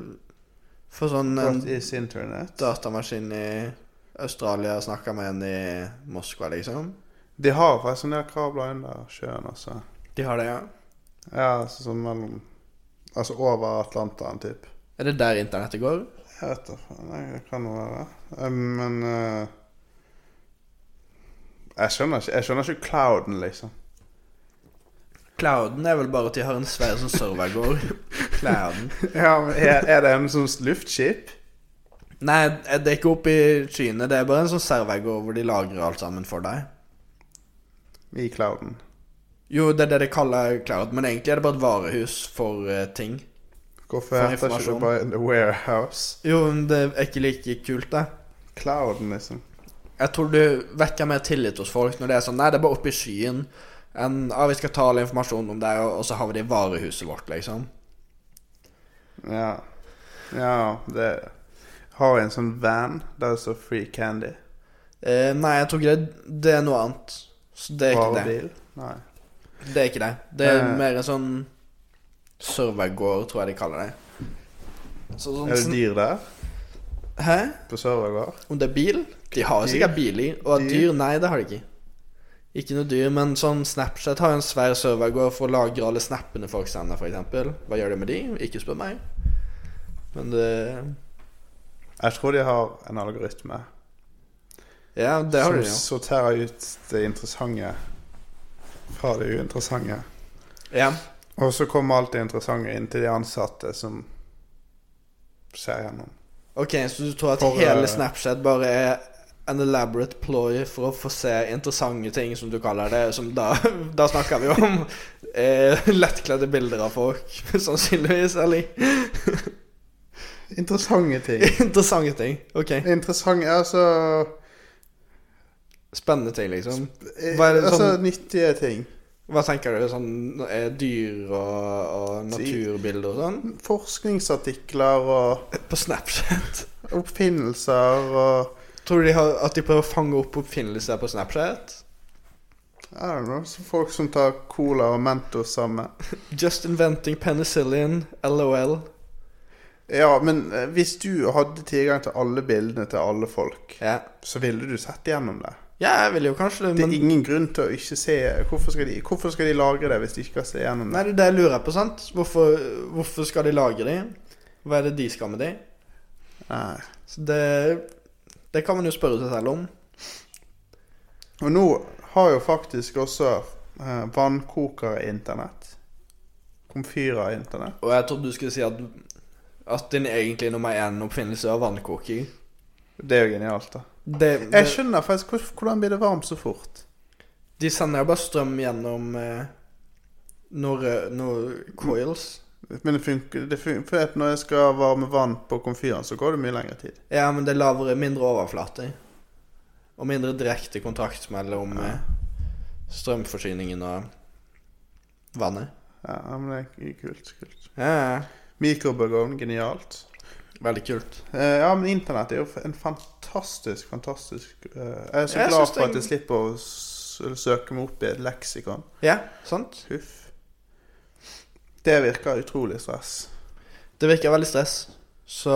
S2: får sånn en
S3: What is internet?
S2: datamaskin i Australia og snakker med en i Moskva, liksom.
S3: De har faktisk en del kabler under sjøen, altså.
S2: De har det, ja.
S3: Ja, altså sånn mellom Altså over Atlanteren, typ.
S2: Er det der internettet går?
S3: Jeg vet da faen. jeg, Det kan jo være. Eh, Men eh, jeg, skjønner ikke, jeg skjønner ikke clouden, liksom.
S2: Clouden er vel bare at de har en svær sånn servergård. Clouden.
S3: Ja, men er, er det en sånn luftskip?
S2: Nei, det er ikke oppe i skyene. Det er bare en sånn servergård hvor de lagrer alt sammen for deg.
S3: I clouden.
S2: Jo, det er det de kaller cloud, men egentlig er det bare et varehus for eh, ting.
S3: Hvorfor
S2: For
S3: heter ikke
S2: informasjon.
S3: det bare The Warehouse?
S2: Jo, men det er ikke like kult, det.
S3: Clouden, liksom.
S2: Jeg tror du vekker mer tillit hos folk når det er sånn Nei, det er bare oppe i skyen. Enn ja, vi skal ta all informasjon om deg, og og så har vi det i varehuset vårt, liksom.
S3: Ja. Ja, det Har vi en sånn van der det står Free Candy?
S2: Eh, nei, jeg tror ikke det. Det er noe annet. Så det er ikke det.
S3: Varebil? Nei.
S2: Det er ikke det. Det er
S3: Eh.
S2: mer en sånn servergård, tror jeg de kaller det. Så sånn,
S3: Er det dyr der?
S2: Hæ?
S3: På servergård?
S2: Om det er bil? De har jo
S3: Dyr?
S2: sikkert bil i. Og
S3: Dyr?
S2: dyr? Nei, det har de ikke. Ikke noe dyr, men sånn Snapchat har jo en svær servergård for å lagre alle snappene folk sender, f.eks. Hva gjør de med de? Ikke spør meg. Men det
S3: Jeg tror de har en algoritme
S2: Ja, det har
S3: som
S2: de jo.
S3: sorterer ut det interessante fra det uinteressante.
S2: Ja.
S3: Og så kommer alt det interessante inn til de ansatte som ser gjennom.
S2: Ok, så du tror at
S3: For, eh,
S2: hele Snapchat bare er an elaborate ploy for å få se interessante ting, som du kaller det, som da, da snakker vi om eh, lettkledde bilder av folk, sannsynligvis, eller
S3: Interessante ting.
S2: interessante ting. Ok,
S3: Interessante Altså,
S2: spennende ting, liksom. Hva
S3: Hva
S2: er det
S3: altså
S2: sånn-
S3: nyttige ting.
S2: Hva tenker du, sånn eh, dyr og, og naturbilder og sånn?
S3: Forskningsartikler og
S2: På Snapchat.
S3: oppfinnelser og
S2: Tror du de har, at de prøver å fange opp oppfinnelser på Snapchat?
S3: I don't know, så folk som tar cola og Mentos sammen.
S2: Just inventing penicillin, lol.
S3: Ja, men eh, hvis du hadde tilgang til alle bildene til alle folk,
S2: Ja,
S3: så ville du sett gjennom det.
S2: ja jeg vil jo kanskje det,
S3: Det
S2: men...
S3: er ingen grunn til å ikke se Hvorfor skal de, hvorfor skal de lagre det hvis de ikke kan se gjennom det?
S2: Nei, det er det jeg lurer på, sant? Hvorfor, hvorfor skal de lagre de? Hva er det de skal med de?
S3: Nei.
S2: Så det, det kan man jo spørre seg selv om.
S3: Og nå har jo faktisk også eh, vannkokere internett. Komfyrer internett.
S2: Og jeg trodde du skulle si at, at din egentlig nummer én oppfinnelse var vannkoking.
S3: Det er jo genialt, da.
S2: Det, det,
S3: Jeg skjønner faktisk hvor- hvordan blir det varmt så fort.
S2: de sender jo bare strøm gjennom eh, noen rø- noen coils.
S3: Men det funker, det funker for at når jeg skal varme vann på komfyren, så går det mye lengre tid.
S2: Ja, men det er lavere, mindre overflater. Og mindre direkte kontakt mellom eh, strømforsyningen og Vannet.
S3: Ja, men det er kult. kult.
S2: Ja, ja.
S3: Mikrobølgeovn, genialt.
S2: Veldig kult.
S3: Eh, ja, men internett er jo en fantastisk, fantastisk eh, Jeg er så
S2: Jeg
S3: glad
S2: synes
S3: for at
S2: det-
S3: jeg slipper å s- søke meg opp i et leksikon.
S2: Ja, sant.
S3: Huff. Det virker utrolig stress.
S2: Det virker veldig stress. Så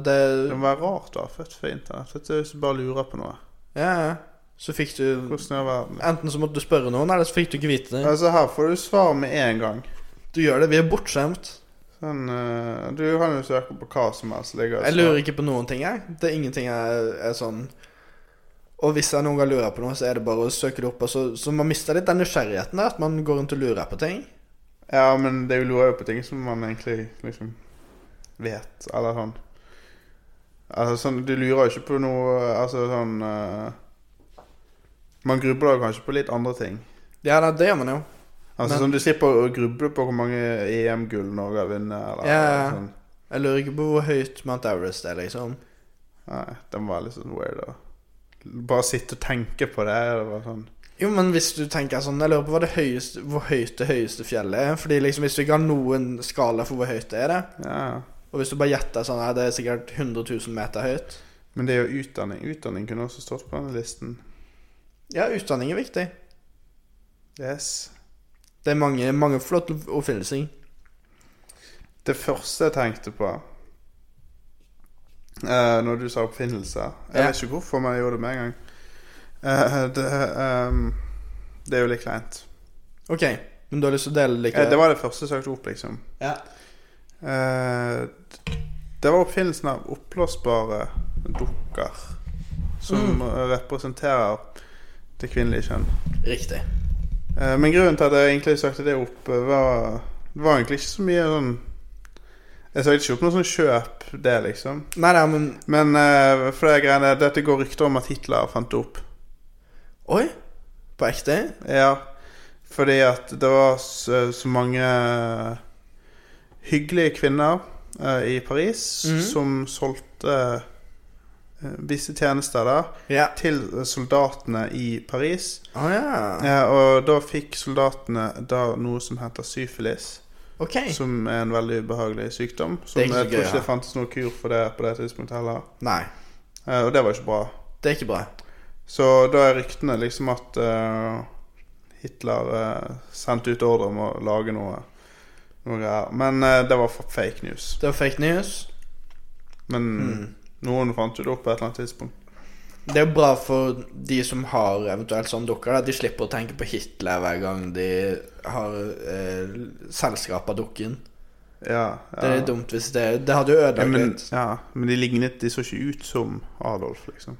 S2: det
S3: Det må være rart å ha født for internett. Vet du, hvis du bare lurer på noe.
S2: Ja, ja. Så fikk du
S3: Hvordan er verden?
S2: Enten så måtte du spørre noen, eller så fikk du ikke vite det.
S3: Altså, her får du svar med en gang.
S2: Du gjør det. Vi er bortskjemt.
S3: Sånn, eh, du kan jo søke på hva som helst. Ligger,
S2: Jeg lurer ikke på noen ting, jeg. Det er ingenting jeg er sånn Og hvis jeg noen gang lurer på noe, så er det bare å søke det opp. Og så, så man mister litt den nysgjerrigheten der, at man går rundt og lurer på ting.
S3: Ja, men det er jo lurer jo på ting som man egentlig liksom vet, eller sånn. Altså sånn, du lurer jo ikke på noe Altså sånn eh, Man grubler jo kanskje på litt andre ting.
S2: Ja, nei, det gjør man jo.
S3: Altså
S2: Men-
S3: sånn, Du slipper å gruble på hvor mange EM-gull Norge har vunnet, eller
S2: Ja.
S3: sånn.
S2: Jeg lurer ikke på hvor høyt Mount Everest er, liksom.
S3: Nei, den var litt sånn weird. Da. Bare sitte og tenke på det. Det var sånn
S2: Jo, men hvis du tenker sånn Jeg lurer på hva det høyeste, hvor høyt det høyeste fjellet er. Fordi liksom, hvis du ikke har noen skala for hvor høyt det er, det
S3: Ja.
S2: og hvis du bare gjetter sånn Nei, det er sikkert 100 000 meter høyt
S3: Men det er jo utdanning. Utdanning kunne også stått på denne listen.
S2: Ja, utdanning er viktig.
S3: Yes.
S2: Det er mange, mange flotte oppfinnelser.
S3: Det første jeg tenkte på eh, Når du sa oppfinnelse Jeg
S2: Ja.
S3: vet ikke hvorfor, men jeg gjorde det med en gang. Eh, det, ehm, det er jo litt kleint.
S2: Ok, men du har lyst til å dele like
S3: Eh, det var det første jeg søkte opp, liksom.
S2: Ja.
S3: Eh, det var oppfinnelsen av oppblåsbare dukker. Som eh, representerer det kvinnelige kjønn.
S2: Riktig.
S3: Eh, Men grunnen til at jeg egentlig søkte det opp, eh, var, det var egentlig ikke så mye sånn Jeg søkte ikke opp noe sånn kjøp, det, liksom.
S2: Nei, nei, men
S3: Men eh, for det greiene, dette går rykter om at Hitler fant det opp.
S2: Oi! På ekte?
S3: Ja, fordi at det var så, så mange eh, hyggelige kvinner eh, i Paris
S2: Mhm.
S3: som solgte eh, visse tjenester der
S2: Ja.
S3: til soldatene i Paris.
S2: Å ja.
S3: Eh, og da fikk soldatene da noe som heter syfilis.
S2: Ok.
S3: Som er en veldig ubehagelig sykdom. Som
S2: Det er
S3: jeg
S2: ikke så
S3: tror
S2: gøy,
S3: ikke
S2: ja.
S3: det fantes noen kur for det på det tidspunktet heller.
S2: Nei,
S3: Eh, og det var ikke bra.
S2: det er ikke bra.
S3: Så da er ryktene liksom at eh, Hitler eh, sendte ut ordre om å lage noe, noe greier. Men eh, det var f- fake news.
S2: Det var fake news.
S3: Men
S2: Mm.
S3: noen fant jo det opp på et eller annet tidspunkt.
S2: Det er jo bra for de som har eventuelt sånne dukker, da. at de slipper å tenke på Hitler hver gang de har eh, selskap av dukken.
S3: Ja, ja.
S2: Det er dumt hvis det Det hadde jo
S3: Ja,
S2: ødelagt
S3: men,
S2: litt.
S3: ja, men de lignet De så ikke ut som Adolf, liksom.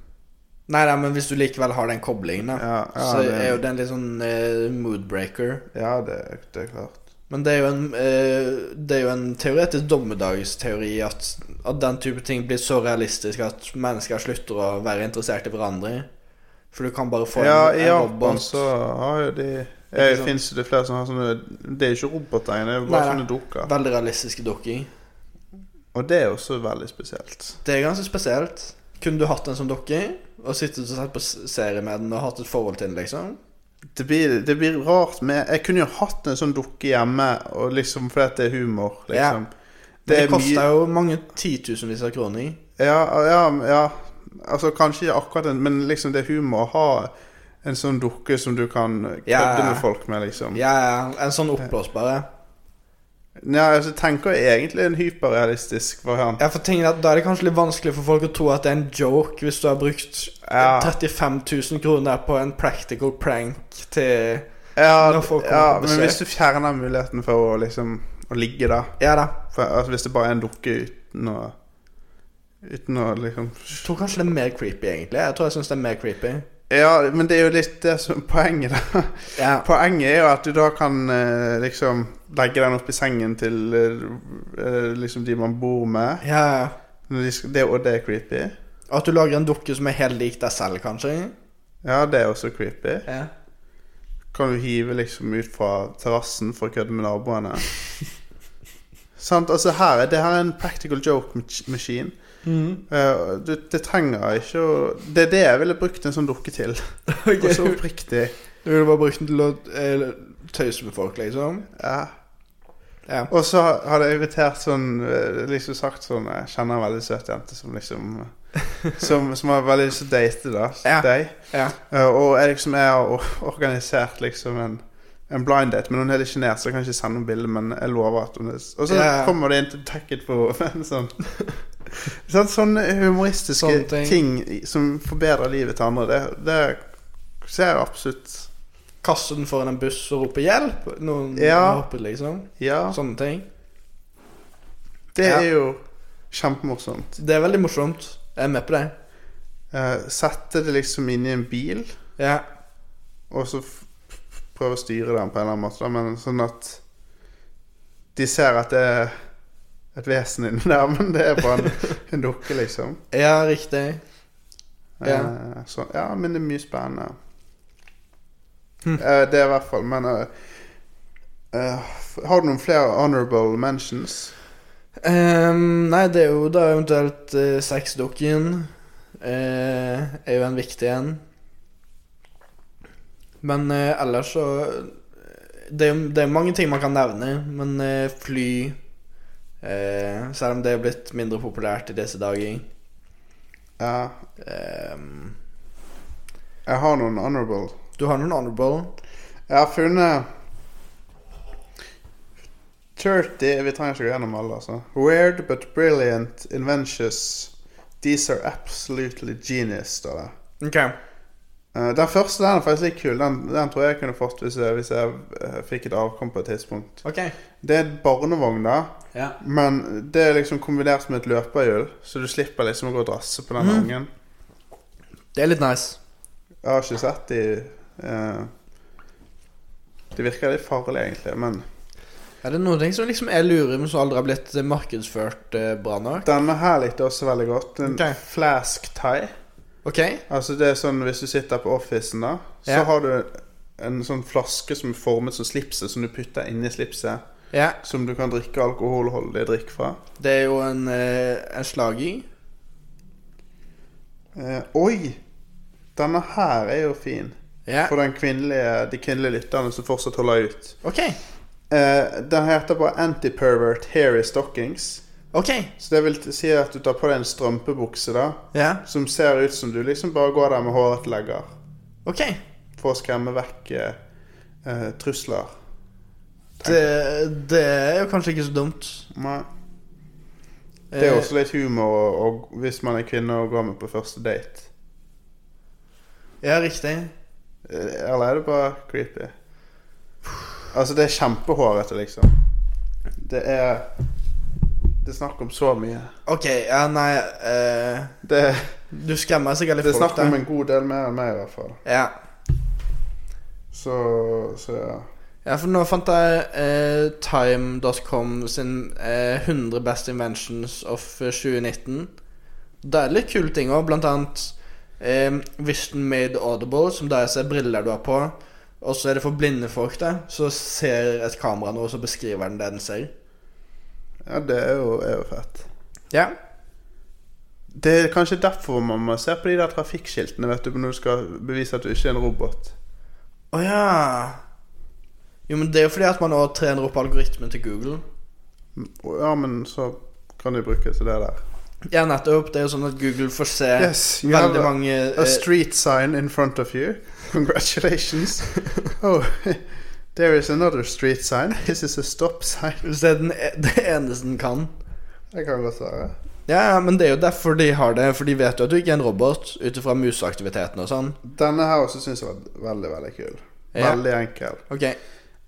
S2: Nei, nei, men hvis du likevel har den koblingen, da,
S3: Ja, ja,
S2: så
S3: det,
S2: er jo det en litt sånn eh, moodbreaker.
S3: ja det, det er klart.
S2: Men det er jo en, eh, det er jo en teoretisk dommedagsteori at, at den type ting blir så realistisk at mennesker slutter å være interessert i hverandre. For du kan bare få
S3: ja,
S2: en,
S3: i
S2: en
S3: Japan
S2: robot.
S3: så har jo de
S2: Ikke
S3: Det
S2: sant?
S3: fins det flere som har sånne Det er ikke roboter, det er jo bare
S2: Nei, nei.
S3: sånne dukker.
S2: Veldig realistiske dukker.
S3: Og det er også veldig spesielt.
S2: Det er ganske spesielt. Kunne du hatt en som dukke og sittet og sett på s- serie med den og hatt et forhold til den, liksom?
S3: Det blir, det blir rart med Jeg kunne jo hatt en sånn dukke hjemme og liksom, fordi at det er humor, liksom.
S2: Det, det
S3: er mye-
S2: koster jo mange titusenvis av kroner.
S3: Ja, ja, ja. Altså kanskje ikke akkurat en, men liksom det er humor å ha en sånn dukke som du kan kødde
S2: Ja.
S3: med folk med, liksom.
S2: Ja, ja. En sånn oppblåsbare.
S3: Nei, altså tenker jeg egentlig en hyperrealistisk variant.
S2: Ja, for ting er at Da er det kanskje litt vanskelig for folk å tro at det er en joke hvis du har brukt
S3: Ja.
S2: 35 000 kroner på en practical prank til
S3: Ja,
S2: Når folk kommer
S3: ja
S2: på
S3: men
S2: besøk.
S3: hvis du fjerner muligheten for å liksom å ligge der
S2: Ja da.
S3: For altså, hvis det bare er en dukke uten å Uten å liksom
S2: Jeg tror kanskje det er mer creepy, egentlig. Jeg tror jeg syns det er mer creepy.
S3: Ja, men det er jo litt det som er poenget, da.
S2: Ja.
S3: Poenget er jo at du da kan eh, liksom legge den opp i sengen til eh, eh, liksom de man bor med.
S2: ja.
S3: Når de skal, det, og det er creepy.
S2: At du lager en dukke som er helt lik deg selv, kanskje.
S3: Ja, det er også creepy.
S2: Ja.
S3: Kan du hive liksom ut fra terrassen for å kødde med naboene. Sant, altså her, er- Det her er en practical joke mach- machine.
S2: Mhm.
S3: Eh, du, det trenger ikke å Det er det jeg ville brukt en sånn dukke til.
S2: Ok.
S3: Og så oppriktig.
S2: Du ville bare brukt den til å eh, tøyse med folk, liksom.
S3: Ja.
S2: Ja.
S3: Og så har det irritert sånn eh, Liksom sagt sånn Jeg kjenner en veldig søt jente som liksom Som, som har veldig lyst til å date, da.
S2: Ja.
S3: Deg.
S2: ja.
S3: Eh, Og jeg liksom jeg har o- organisert liksom en en blind date, men hun er litt sjenert, så jeg kan ikke sende noen bilder. Men jeg lover at hun er Og så
S2: Ja.
S3: kommer det inn til tacket på en sånn sånn- Sånne humoristiske
S2: Sånne ting.
S3: ting. i- som forbedrer livet til andre, det, det ser jeg absolutt
S2: Kaste den foran en buss og rope 'hjelp'. Noen
S3: Ja.
S2: hopper, liksom.
S3: Ja.
S2: Sånne ting.
S3: Det
S2: Ja.
S3: er jo kjempemorsomt.
S2: Det er veldig morsomt. Jeg er med på det.
S3: Eh, sette det liksom inn i en bil,
S2: Ja.
S3: og så f- f- prøve å styre den på en eller annen måte, da, men sånn at de ser at det er et vesen inni der, men det er bare en, en dukke, liksom.
S2: ja, riktig. Ja.
S3: Eh, så, ja, men det er mye spennende.
S2: Hm.
S3: Eh, det er i hvert fall, men eh, eh, f- Har du noen flere honorable mentions?
S2: Ehm, nei, det er jo da eventuelt uh, sexdukken. eh, er jo en viktig en. Men eh, ellers så Det er jo det er mange ting man kan nevne, men eh, fly eh, Selv om det er blitt mindre populært i disse dager.
S3: Ja,
S2: Ehm,
S3: jeg har noen honorable.
S2: du har noen honorable.
S3: Jeg har funnet 30 Vi trenger ikke gå gjennom alle, altså. Weird but brilliant inventions. These are absolutely genius, står det.
S2: Ok.
S3: Eh, Den første den er faktisk litt kul. Den, den tror jeg jeg kunne fått hvis jeg, hvis jeg eh, fikk et avkom på et tidspunkt.
S2: Ok.
S3: Det er en barnevogn, da,
S2: Ja.
S3: men det er liksom kombinert med et løperhjul, så du slipper liksom å gå og drasse på den
S2: Mhm.
S3: ungen.
S2: Det er litt nice.
S3: Jeg har ikke sett de eh, Det virker litt farlig, egentlig, men
S2: Er det noen ting som liksom er lure, men som aldri har blitt eh, markedsført eh, bra nok?
S3: Denne her likte jeg også veldig godt. En
S2: Ok.
S3: flask tie.
S2: Ok.
S3: Altså det er sånn Hvis du sitter på officen, da, så
S2: Ja.
S3: har du en sånn flaske som er formet som slipset, som du putter inni slipset.
S2: Ja.
S3: Som du kan drikke alkoholholdig drikk fra.
S2: Det er jo en, eh, en slager.
S3: Eh, oi! Denne her er jo fin.
S2: Ja.
S3: For den kvinnelige, de kvinnelige lytterne som fortsatt holder ut.
S2: Ok.
S3: Eh, den heter bare Antipervert Hairy Stockings.
S2: Ok.
S3: Så det vil si at du tar på deg en strømpebukse da
S2: Ja.
S3: som ser ut som du liksom bare går der med hårete legger.
S2: Ok.
S3: for å skremme vekk eh, eh, trusler.
S2: Det, det er jo kanskje ikke så dumt.
S3: Nei. Det er
S2: Eh,
S3: også litt humor og, og hvis man er kvinne og går med på første date.
S2: Ja, riktig.
S3: Eh, Eller er det bare creepy? Altså, det er kjempehårete, liksom. Det er Det er snakk om så mye.
S2: Ok, ja, nei eh,
S3: Det,
S2: Du skremmer sikkert
S3: det
S2: litt
S3: er
S2: folk
S3: snakk om
S2: der.
S3: en god del mer enn meg, i hvert fall.
S2: Ja.
S3: Så, så ja.
S2: ja, for nå fant jeg eh, Time.com sin eh, 100 Best Inventions of eh, 2019. Det er litt kule ting òg, blant annet eh, Vision Made Audible, som der ser briller du har på. Og så er det for blinde folk, da. Så ser et kamera noe, så beskriver den det den ser.
S3: ja det er jo, er jo fett.
S2: Ja.
S3: Det er kanskje derfor man må se på de der trafikkskiltene vet du, når du skal bevise at du ikke er en robot.
S2: Å ja. Jo, men det er jo fordi at man nå trener opp algoritmen til Google.
S3: Ja, men så kan de bruke til det der.
S2: Ja, nettopp. Det er jo sånn at Google får se
S3: Yes, you have
S2: veldig
S3: a-
S2: mange
S3: A
S2: eh,
S3: street sign in front of you. Congratulations. oh, there is another street sign. This is a stop sign.
S2: Hvis det er den, e- det eneste den kan.
S3: Det kan godt være.
S2: Ja, ja, men det er jo derfor de har det. For de vet jo at du ikke er en robot ut ifra museaktiviteten og sånn.
S3: Denne her også syns jeg var veldig, veldig kul.
S2: Ja.
S3: Veldig enkel.
S2: Ok.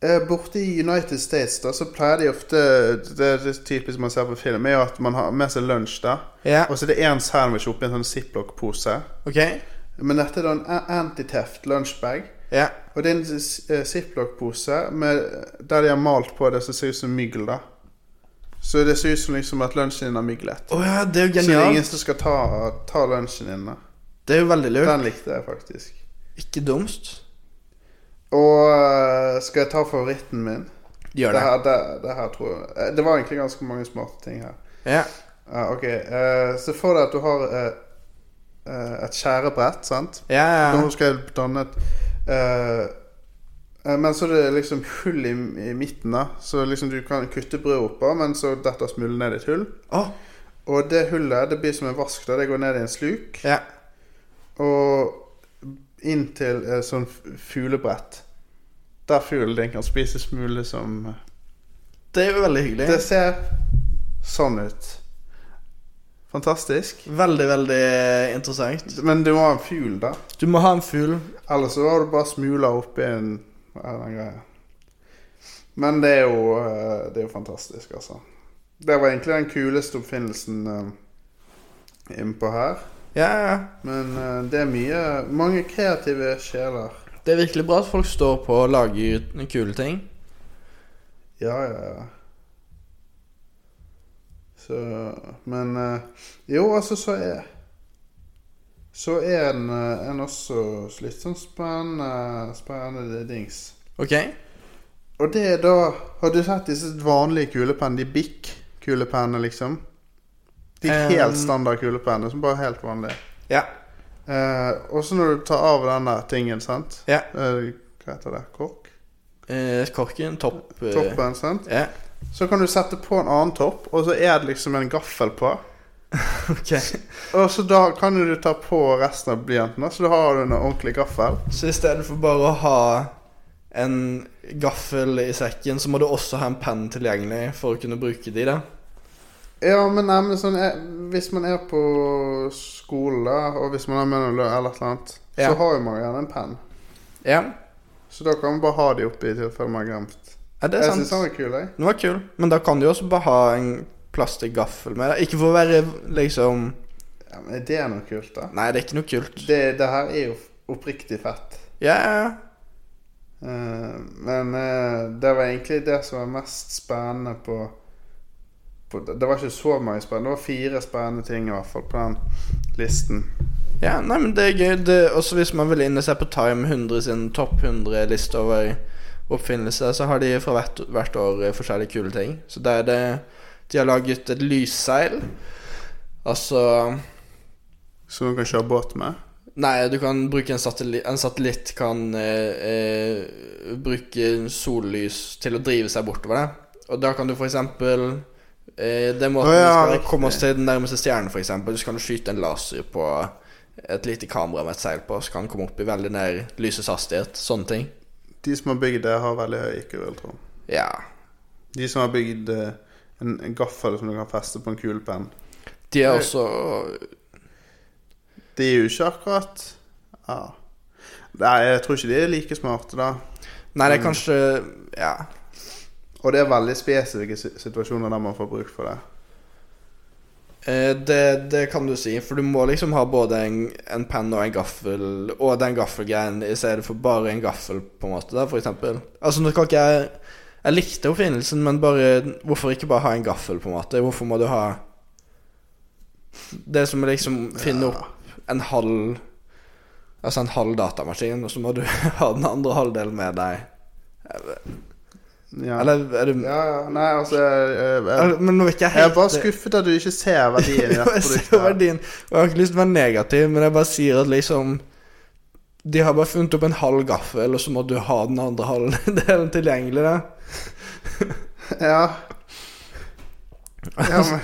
S3: Eh, Borte i United States da, så pleier de ofte Det er det typisk man ser på film, er jo at man har med seg lunsj. da
S2: Ja.
S3: Og så er det én sandwich oppi en sånn ziplock-pose.
S2: Ok.
S3: Men dette er da en a- antiteft lunsjbag.
S2: Ja.
S3: Og det er en z- eh, ziplock-pose med- der de har malt på det som ser ut som mygl, da. Så det ser ut som liksom at lunsjen din har myglet.
S2: Å ja, det er jo
S3: Så det er ingen
S2: genialt.
S3: som skal ta, ta lunsjen din. da.
S2: Det er jo veldig lurt.
S3: Den likte jeg faktisk.
S2: Ikke dumt.
S3: Og eh, skal jeg ta favoritten min?
S2: Gjør det.
S3: her, det, det her tror jeg eh, Det var egentlig ganske mange smarte ting her.
S2: Ja.
S3: Ja, ok, eh, Se for deg at du har eh, eh, et skjærebrett, sant?
S2: Ja, ja.
S3: Nå skal jeg danne et eh, Eh, Men så er det liksom hull i, i midten, da. Så liksom du kan kutte brød oppå, men så detter smullen ned i et hull.
S2: Å,
S3: Og det hullet det blir som en vask. da Det går ned i en sluk
S2: ja.
S3: og inn til et sånn f- fuglebrett. Der fuglen din kan spise smule som eh,
S2: Det er jo veldig hyggelig.
S3: Det ser sånn ut. Fantastisk.
S2: Veldig, veldig interessant.
S3: Men du må ha en fugl, da.
S2: Du må ha en fugl.
S3: Ellers så har du bare smula oppi en eller greie. Men det er jo eh, Det er jo fantastisk, altså. Det var egentlig den kuleste oppfinnelsen eh, innpå her.
S2: Ja, ja.
S3: Men eh, det er mye Mange kreative sjeler.
S2: Det er virkelig bra at folk står på og lager kule ting.
S3: Ja, ja, ja. Så Men eh, Jo, altså, så er Så er en, eh, en også litt sånn spennende, eh, spennende dings.
S2: OK?
S3: Og det er da Har du sett disse vanlige kulepennene? De BIC-kulepennene, liksom? De
S2: Eh,
S3: helt standard kulepennene, som bare er helt vanlige.
S2: Ja.
S3: Eh, og så når du tar av denne tingen, sant
S2: Ja.
S3: Eh, Hva heter det? Kork?
S2: Eh, korken, topp eh,
S3: Toppen, sant?
S2: Ja.
S3: Så kan du sette på en annen topp, og så er det liksom en gaffel på.
S2: OK.
S3: Og så da kan du ta på resten av blyanten, da, så da har du en ordentlig gaffel.
S2: Så i stedet for bare å ha en gaffel i sekken, så må du også ha en penn tilgjengelig for å kunne bruke de, da.
S3: Ja, men nei, men sånn, eh, hvis man er på skolen, da, og hvis man er med noe eller et eller annet,
S2: Ja.
S3: så har jo man gjerne en penn.
S2: Ja,
S3: Så da kan man bare ha de oppi i tilfelle man har glemt.
S2: er det
S3: Jeg
S2: sant?
S3: syns han er kul, jeg.
S2: Den var kul, men da kan du jo også bare ha en plastikkgaffel med deg. Ikke for å være liksom
S3: Ja, men det er noe kult, da.
S2: Nei, det er ikke noe kult.
S3: Det, det her er jo oppriktig fett.
S2: Ja, ja, ja.
S3: Eh, men eh, det var egentlig det som var mest spennende på, på Det var ikke så mange spennende. Det var fire spennende ting i hvert fall på den listen.
S2: ja, nei, men det er gøy. Det, også hvis man vil inn og se på Time 100 sin topp 100-liste over oppfinnelser, så har de fra hvert, hvert år eh, forskjellige kule ting. Så der er det De har laget et lysseil. Altså
S3: Som du kan kjøre båt med.
S2: Nei, du kan bruke en satellitt En satellitt kan eh, eh, bruke sollys til å drive seg bortover det. Og da kan du for eksempel eh, Det er måten
S3: Å ja,
S2: vi skal
S3: riktig.
S2: komme oss til den nærmeste stjernen, for eksempel. Så kan du skyte en laser på et lite kamera med et seil på, så kan den komme opp i veldig nær lysets hastighet. Sånne ting.
S3: De som har bygd det, har veldig høy IQ, vil jeg tro.
S2: Ja.
S3: De som har bygd eh, en, en gaffel som du kan feste på en kulepenn,
S2: De er også
S3: de er jo ikke akkurat ja. Nei, jeg tror ikke de er like smarte, da.
S2: Nei, det er kanskje Ja.
S3: Og det er veldig spesifikke si- situasjoner der man får bruk for det.
S2: Eh, Det, det kan du si, for du må liksom ha både en, en penn og en gaffel, og den gaffelgreien i stedet for bare en gaffel, på en måte, da, for eksempel. Altså, nå skal ikke jeg Jeg likte oppfinnelsen, men bare Hvorfor ikke bare ha en gaffel, på en måte? Hvorfor må du ha Det som er liksom finne opp en halv Altså en halv datamaskin, og så må du ha den andre halvdelen med deg.
S3: Ja.
S2: Eller er du
S3: ja, ja. Nei, altså jeg, jeg, jeg,
S2: eller- Men nå vil ikke jeg
S3: Jeg er
S2: helt eh,
S3: bare skuffet at du ikke ser verdien i
S2: Ja,
S3: dette
S2: jeg ser
S3: produktet.
S2: verdien. Og jeg har ikke lyst til å være negativ, men jeg bare sier at liksom De har bare funnet opp en halv gaffel, og så må du ha den andre halvdelen tilgjengelig. Da.
S3: Ja. Ja, men,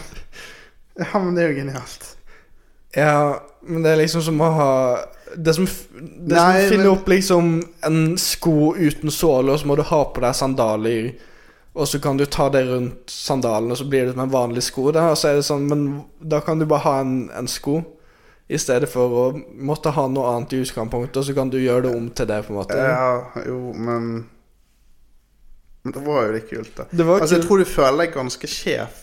S3: ja, men det er jo genialt.
S2: Ja, men det er liksom som å ha Det som, f- det som
S3: Nei,
S2: finner
S3: men-
S2: opp liksom en sko uten såle, og så må du ha på deg sandaler. Og så kan du ta det rundt sandalen, og så blir det som en vanlig sko. Da, og så er det sånn, Men da kan du bare ha en, en sko, i stedet for å måtte ha noe annet i utgangspunktet, og så kan du gjøre det om til det, på en måte.
S3: Ja, jo, men Men det var jo litt kult, da.
S2: Det var
S3: Altså, jeg
S2: kult.
S3: tror du føler deg ganske sjef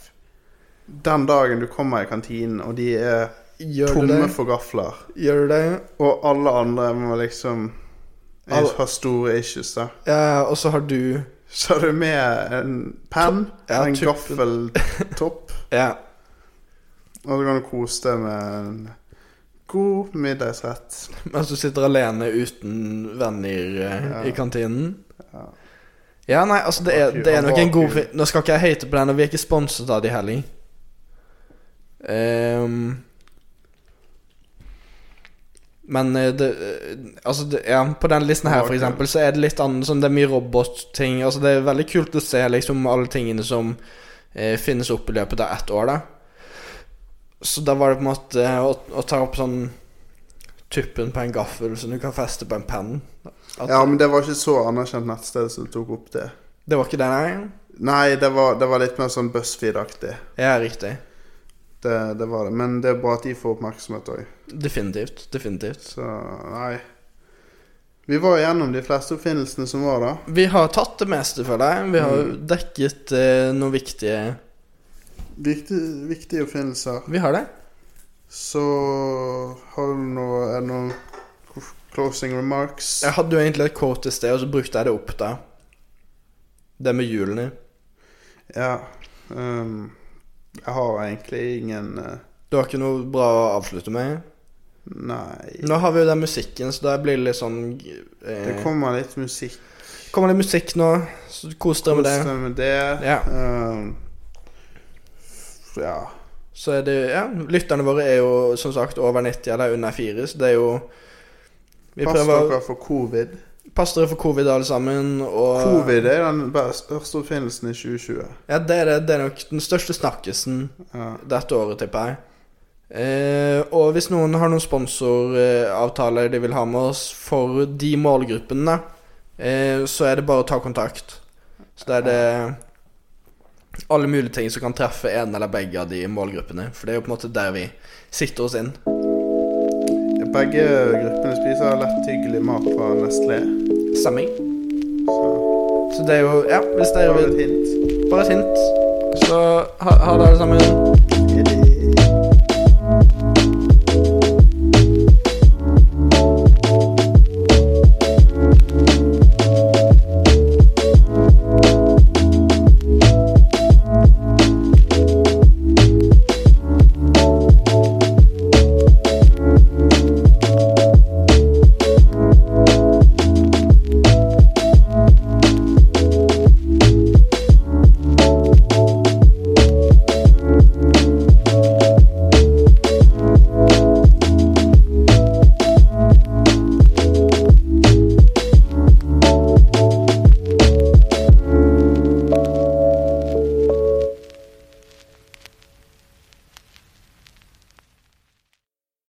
S3: den dagen du kommer i kantinen, og de er
S2: Gjør du
S3: tomme
S2: det?
S3: for gafler.
S2: Gjør du det?
S3: Og alle andre må liksom
S2: Alle-
S3: har store issues, da.
S2: Ja, og så har du
S3: Så har du med en penn,
S2: Ja,
S3: en
S2: tuppen.
S3: gaffeltopp
S2: Ja.
S3: Og så kan du kose deg med en god middagsrett.
S2: Mens du sitter alene uten venner eh,
S3: Ja.
S2: i kantinen.
S3: Ja.
S2: Ja, nei, altså, det er,
S3: Vakuum,
S2: det er nok en god
S3: vakuum.
S2: fi- Nå skal ikke jeg hate på den, og vi er ikke sponset av de heller. Ehm, Men eh, det, eh, altså, det, ja, på den listen her, for
S3: Marken.
S2: eksempel, så er det litt annet sånn, Det er mye robotting. Altså, det er veldig kult å se liksom alle tingene som eh, finnes opp i løpet av ett år, da. Så da var det på en måte eh, å, å ta opp sånn tuppen på en gaffel som du kan feste på en penn. At-
S3: Ja, men det var ikke så anerkjent nettsted som tok opp det.
S2: Det var ikke den her?
S3: Nei, det var, det var litt mer sånn BuzzFeed-aktig.
S2: Ja, riktig.
S3: Det, det var det. Men det er bra at de får oppmerksomhet òg.
S2: Definitivt. Definitivt.
S3: Så nei. Vi var igjennom de fleste oppfinnelsene som var, da.
S2: Vi har tatt det meste, føler jeg. Vi har
S3: Mm.
S2: dekket eh, noen viktige
S3: Viktige, viktige oppfinnelser.
S2: Vi har det.
S3: Så har du noe Er det noen closing remarks?
S2: Jeg hadde jo egentlig et quote i sted, og så brukte jeg det opp, da. Det med hjulene.
S3: Ja. ehm, jeg har egentlig ingen eh,
S2: Du har ikke noe bra å avslutte med?
S3: Nei.
S2: Nå har vi jo den musikken, så da blir det litt sånn eh,
S3: Det kommer litt musikk.
S2: Kommer det musikk nå, så kos dere med det.
S3: Kos deg med det.
S2: Ja.
S3: Ehm, f- ja.
S2: Så er det Ja, lytterne våre er jo som sagt over 90 eller under 4, så det er jo Vi
S3: Pass
S2: prøver
S3: dere for covid.
S2: Pass dere for covid, alle sammen, og
S3: Covid er den best- største oppfinnelsen i 2020.
S2: Ja, det er, det. det er nok den største snakkisen
S3: Ja.
S2: dette året, tipper jeg. Eh, og hvis noen har noen sponsoravtaler de vil ha med oss for de målgruppene, eh, så er det bare å ta kontakt. Så det er det alle mulige ting som kan treffe en eller begge av de målgruppene. For det er jo på en måte der vi sitter oss inn.
S3: Begge gruppene spiser letthyggelig mat fra Nestlé.
S2: Stemming.
S3: Så
S2: Så det er jo Ja, hvis
S3: det
S2: dere
S3: var
S2: vil
S3: et hint.
S2: Bare et hint. Så ha, ha det, alle sammen.